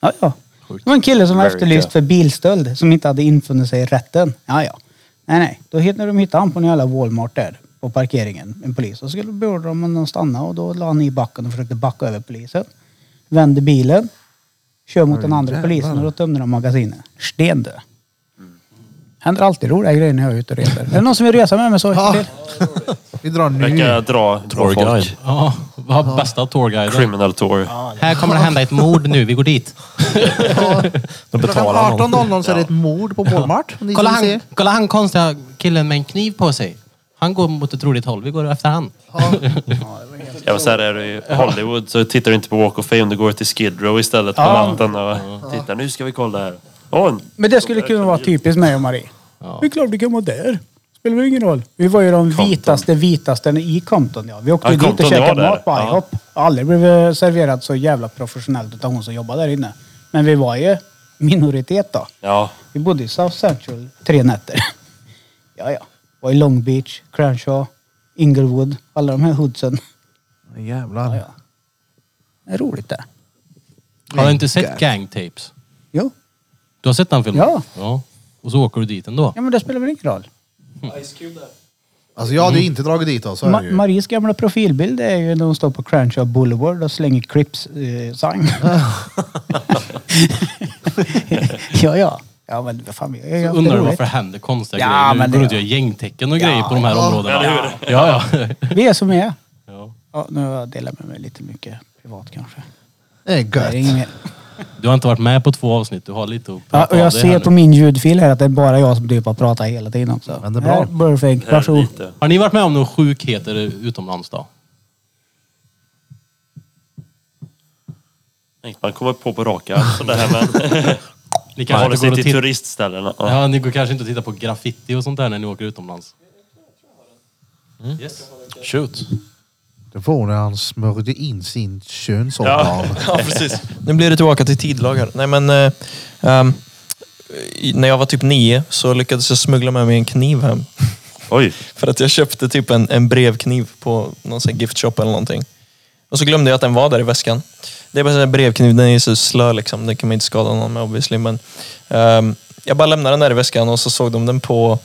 Ja, ja. Det var en kille som var America. efterlyst för bilstöld som inte hade infunnit sig i rätten. Ja, ja. Nej, nej. Då hittade de hittade han på en jävla Walmart där på parkeringen, en polis. Och så skulle beordra dem att stanna och då la han i backen och försökte backa över polisen. Vände bilen, kör mot den andra jävlar. polisen och då tömde de magasinet. Sten du. Händer alltid roliga grejer när jag är ute och reser. Är det någon som vill resa med mig så ja. Vi drar nu. <laughs> Verkar dra, dra folk. Ja, vad bästa tourguiden. Criminal tour. Här kommer det hända ett mord nu. Vi går dit. De betalar någon. 18.00 så är det ett mord på Walmart. om ni Kolla vill han, se. kolla han konstiga killen med en kniv på sig. Han går mot ett roligt håll. Vi går efter han. Jag vill säga det, är du i Hollywood så tittar du inte på Walk of Fame, du går till Skid Row istället på Ja. natten och tittar. Nu ska vi kolla här. Åh, en- Men det skulle kunna vara typiskt mig och Marie. Det är klart du kan vara där. Spelar väl ingen roll. Vi var ju de vitaste vitaste i Compton ja. Vi åkte Ja, ju dit Compton, och det käkade var mat på där. Ja. IHOP. Aldrig blev vi serverad så jävla professionellt utav hon som jobbade där inne. Men vi var ju minoritet då. ja. Vi bodde i South Central tre nätter. <laughs> ja, ja. Var i Long Beach, Crenshaw, Inglewood, alla de här hoodsen. Jävlar. Det är roligt det. Har du inte sett Gang Tapes? Jo. Du har sett den filmen? Ja. ja. Och så åker du dit ändå? Ja men det spelar väl ingen roll. Ice Cube där. Alltså jag hade ju inte dragit dit oss. så är Ma det ju. Maries gamla profilbild är ju när hon står på Crenshaw Boulevard och slänger eh, Crips-sång. <laughs> <laughs> ja, ja. Ja, men vad fan. Jag, Så jag, undrar du varför det händer konstiga Ja, grejer? men Nu det- går du inte och gör gängtecken och Ja. grejer på de här Ja. områdena. Eller hur? Ja, ja. <laughs> Vi är som vi är. Ja. Ja, nu har jag delat med mig lite mycket privat kanske. Det är Det är inget mer. Du har inte varit med på två avsnitt. Du har lite att Ja, prata och jag av dig här ser på nu. min ljudfil här att det är bara jag som typ har pratat hela tiden också. Men det är bra. Burfing, varsågod. Eh, Har ni varit med om några sjukheter utomlands då? Tänk, Man kommer på på rak arm sådär <laughs> men... Ni man kanske håller inte går sig och till titt- turistställena. Ja. Ja, ni går kanske inte och tittar på graffiti och sånt där när ni åker utomlands? Yes. Shoot. Det var när han smörjde in sin Ja, könsorgan. ja, precis. <laughs> Nu blir det tillbaka till tidlagar. Nej, men, eh, ehm, i- när jag var typ nio så lyckades jag smuggla med mig en kniv hem. <laughs> Oj. För att jag köpte typ en, en brevkniv på någon sån här giftshop eller någonting. Och så glömde jag att den var där i väskan. Det är bara en sån här brevkniv, den är ju så slö liksom. Den kan man inte skada någon med obviously. Men, ehm, jag bara lämnade den där i väskan och så såg de den på,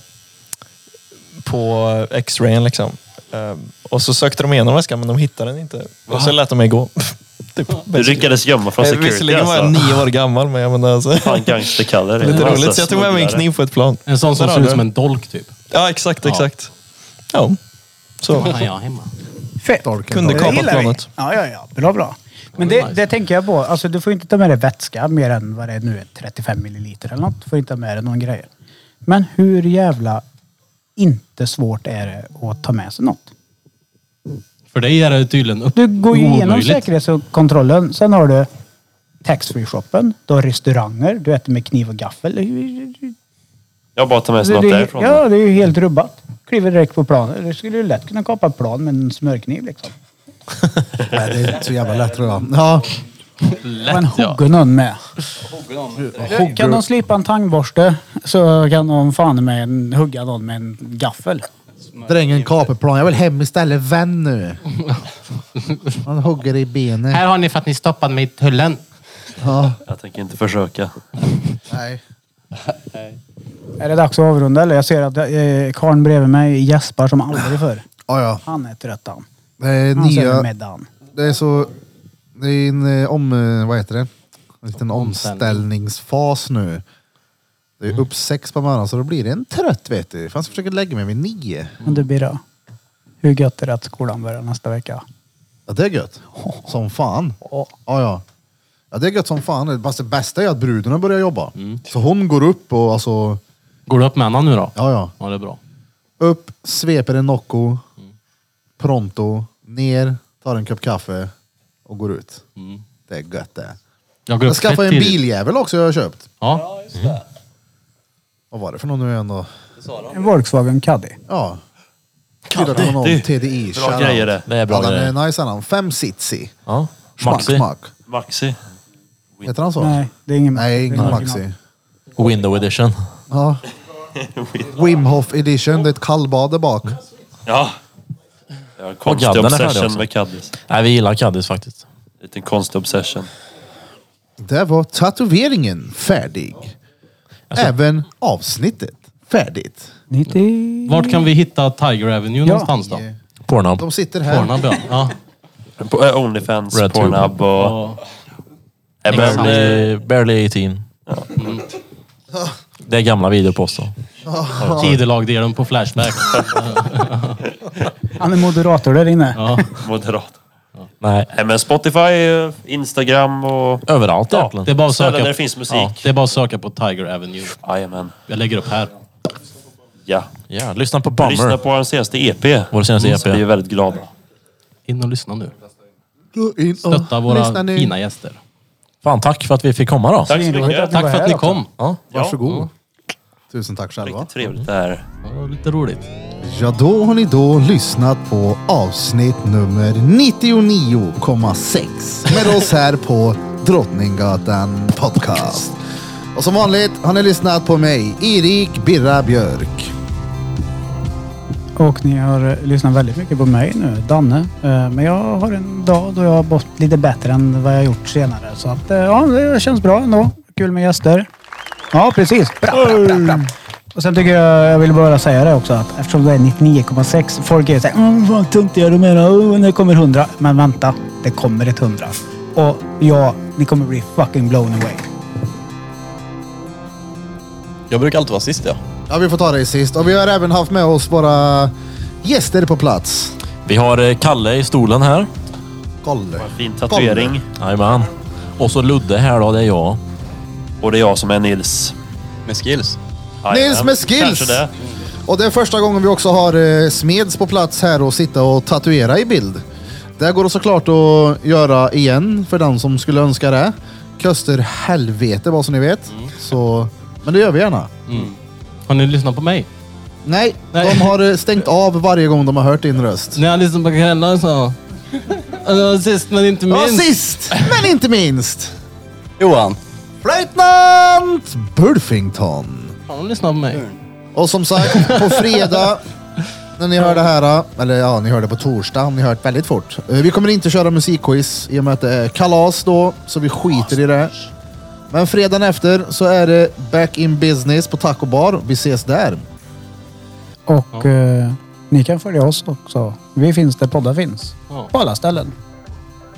på eh, X-rayen liksom. Ehm, och så sökte de igenom väskan men de hittade den inte. Och så lät de mig gå. <laughs> Typ, Du lyckades gömma från Eh, security Visserligen var jag alltså. nio år gammal men jag menar alltså. Fan, gangsterkalle. det <laughs> är. Lite Alltså, roligt, så jag tog med mig en smugglare. kniv på ett plan. En sån som Där ser har ut som du. en dolk typ. Ja, exakt, Ja. exakt. Ja. Så. Fan, jag är hemma. Fett. Kunde Det kapa gillar vi. planet. Ja, ja, ja. Bra, bra. Men det, det tänker jag på. Alltså, du får inte ta med dig vätska mer än vad det är nu, är, 35 milliliter eller något. Du får inte ta med dig någon grej. Men hur jävla inte svårt är det att ta med sig något? För dig är det tydligen upp... Du går ju igenom omöjligt. säkerhetskontrollen. Sen har du taxfree-shoppen, du har restauranger, du äter med kniv och gaffel. Det är ju- Jag bara tar med det mig något är, därifrån. ja, det är ju helt rubbat. Kliver direkt på planet. Det skulle ju lätt kunna kapa ett plan med en smörkniv liksom. Nej, det är inte så jävla lätt tror jag. Ja. Lätt Men hugger någon med. Kan de slipa en tangborste så kan de fan med en, hugga någon med en gaffel. Drängen kapeplan. Jag vill hem istället. Vän nu. Han hugger i benet. Här har ni för att ni stoppade mig i tullen. Ja. Jag tänker inte försöka. Nej. Är det dags att avrunda eller? Jag ser att eh, karln bredvid mig gäspar som aldrig förr. Ja, ja. Han är trött han. Det är Han ser nya... middagen. Det är så... Det är en eh, om... eh, Vad heter det? En liten omställningsfas nu. Det Mm. är upp sex på morgonen så då blir det en trött vet du. Fan, jag försöker lägga mig vid nio. Men du Birra, hur gött är det att skolan börjar nästa vecka? Ja, det är <laughs> gött. Som fan. Ja, ja. Ja, det är gött som fan. Fast det bästa är att bruden har börjat jobba. Mm. Så hon går upp och alltså... Går du upp med henne nu då? Ja, ja. Ja, det är bra. Upp, sveper en Nocco, Mm. pronto, ner, tar en kopp kaffe och går ut. Mm. Det är gött det. Jag går Jag upp skaffade fett en tidigt. biljävel också jag har köpt. Mm. Ja. Vad var det för någon nu igen då? En Volkswagen Caddy. Ja. 4.0 TDI. Bra shoutout. grejer det. Det är bra ja, grejer. Den är nice han. Fem sitsi. Ja. Schmack, Maxi. schmack. Maxi. Heter han så? Nej, det är ingen Nej, det är ingen Maxi. Window edition. Ja. Wim Hof edition. Det är ett kallbad där bak. Ja. Jag har en Och konstig gadden är färdig obsession också. med Caddis. Nej, vi gillar Caddis faktiskt. Liten konstig obsession. Där var tatueringen färdig. Alltså- Även avsnittet färdigt. 90... Vart kan vi hitta Tiger Avenue någonstans då? Pornhub. De sitter här. Pornhub ja. <laughs> ja. På eh, Onlyfans, Red Pornhub och... Eh, Ja. Ebbe. Barely, barely 18. <laughs> Det är gamla videoposter. Tidelagdelen på Flashback. Han är moderator där inne. Ja. Moderat. Nej, Nej men Spotify, eh, Instagram och... överallt Ja, egentligen. Det är bara att Ställen söka... där det finns musik. Ja, det är bara att söka på Tiger Avenue. Jajamän. Jag lägger upp här. Ja. Ja, lyssna på Lyssna Bummer. på vår senaste EP. Vår senaste E Så vi är EP. väldigt glada. In och lyssna nu. Gå in och Stötta lyssna våra nu. fina gäster. Fan, tack för att vi fick komma då. Tack så Svinroligt mycket. var Tack för att här ni också. kom. Ja. Varsågod. Tusen tack själva. Riktigt trevligt det här. Ja, det var lite roligt. Ja, då har ni då lyssnat på avsnitt nummer 99,6 med oss här på Drottninggatan Podcast. Och som vanligt har ni lyssnat på mig, Erik Birra Björk. Och ni har eh, lyssnat väldigt mycket på mig nu, Danne. Eh, Men jag har en dag då jag har mått lite bättre än vad jag gjort senare. Så att, eh, ja, det känns bra ändå. Kul med gäster. Ja, precis. Bra, bra, bra, bra. Och sen tycker jag, jag vill bara säga det också, att eftersom det är 99,6. Folk är såhär, mm, vad töntiga de är. Oh, när kommer 100. Men vänta, det kommer ett 100. Och ja, ni kommer bli fucking blown away. Jag brukar alltid vara sist ja. Ja, vi får ta det sist. Och vi har även haft med oss våra gäster på plats. Vi har eh, Kalle i stolen här. Kalle. Fin tatuering. Jajamän. Och så Ludde här då, det är jag. Och det är jag som är Nils. Med skills. Nils med skills! Kanske det. Och det är första gången vi också har eh, Smeds på plats här och sitta och tatuera i bild. Det här går det såklart att göra igen för den som skulle önska det. Köster helvete vad som ni vet. Så, men det gör vi gärna. Har ni lyssnat på mig? Nej, de har eh, stängt av varje gång de har hört din röst. När jag lyssnade på Kalle så... Alltså, sist men inte Ja, minst. sist men inte minst. Johan. Flöjtnant Bulfington. Har de lyssnat på mig? Och som sagt, på fredag när ni hör det här, eller ja, ni hör det på torsdag om ni hört väldigt fort. Eh, Vi kommer inte köra musikquiz i och med att det är kalas då, så vi skiter i det. Men fredagen efter så är det back in business på Taco Bar. Vi ses där. Och eh, ni kan följa oss också. Vi finns där poddar finns. Ja. På alla ställen.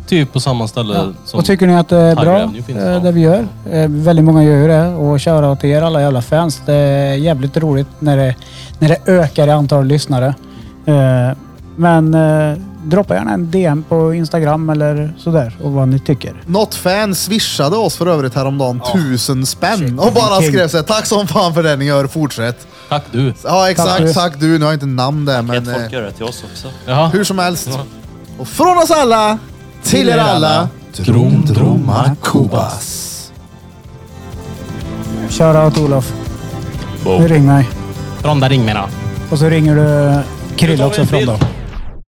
Typ på samma ställe som... och tycker ni att det är Tiger bra, Avenue finns, eh, ja. det vi gör? Eh, väldigt många gör ju det. Och shoutout till er alla jävla fans. Det är jävligt roligt när det, när det ökar i antal lyssnare. Eh, men eh, droppa gärna en DM på Instagram eller sådär och vad ni tycker. Något fan swishade oss för övrigt häromdagen tusen spänn och bara vilken- skrev så här, tack som fan för det ni gör, fortsätt. Tack du. Ja exakt, Tack du. tack, du. Nu har jag inte namn där men... Folk Eh, gör det till oss också. Hur som helst. Och från oss alla, till er alla. Drom, droma, kubas. Shoutout Olof. Nu ring mig. Ronda ring mig då. Och så ringer du Krille också från då.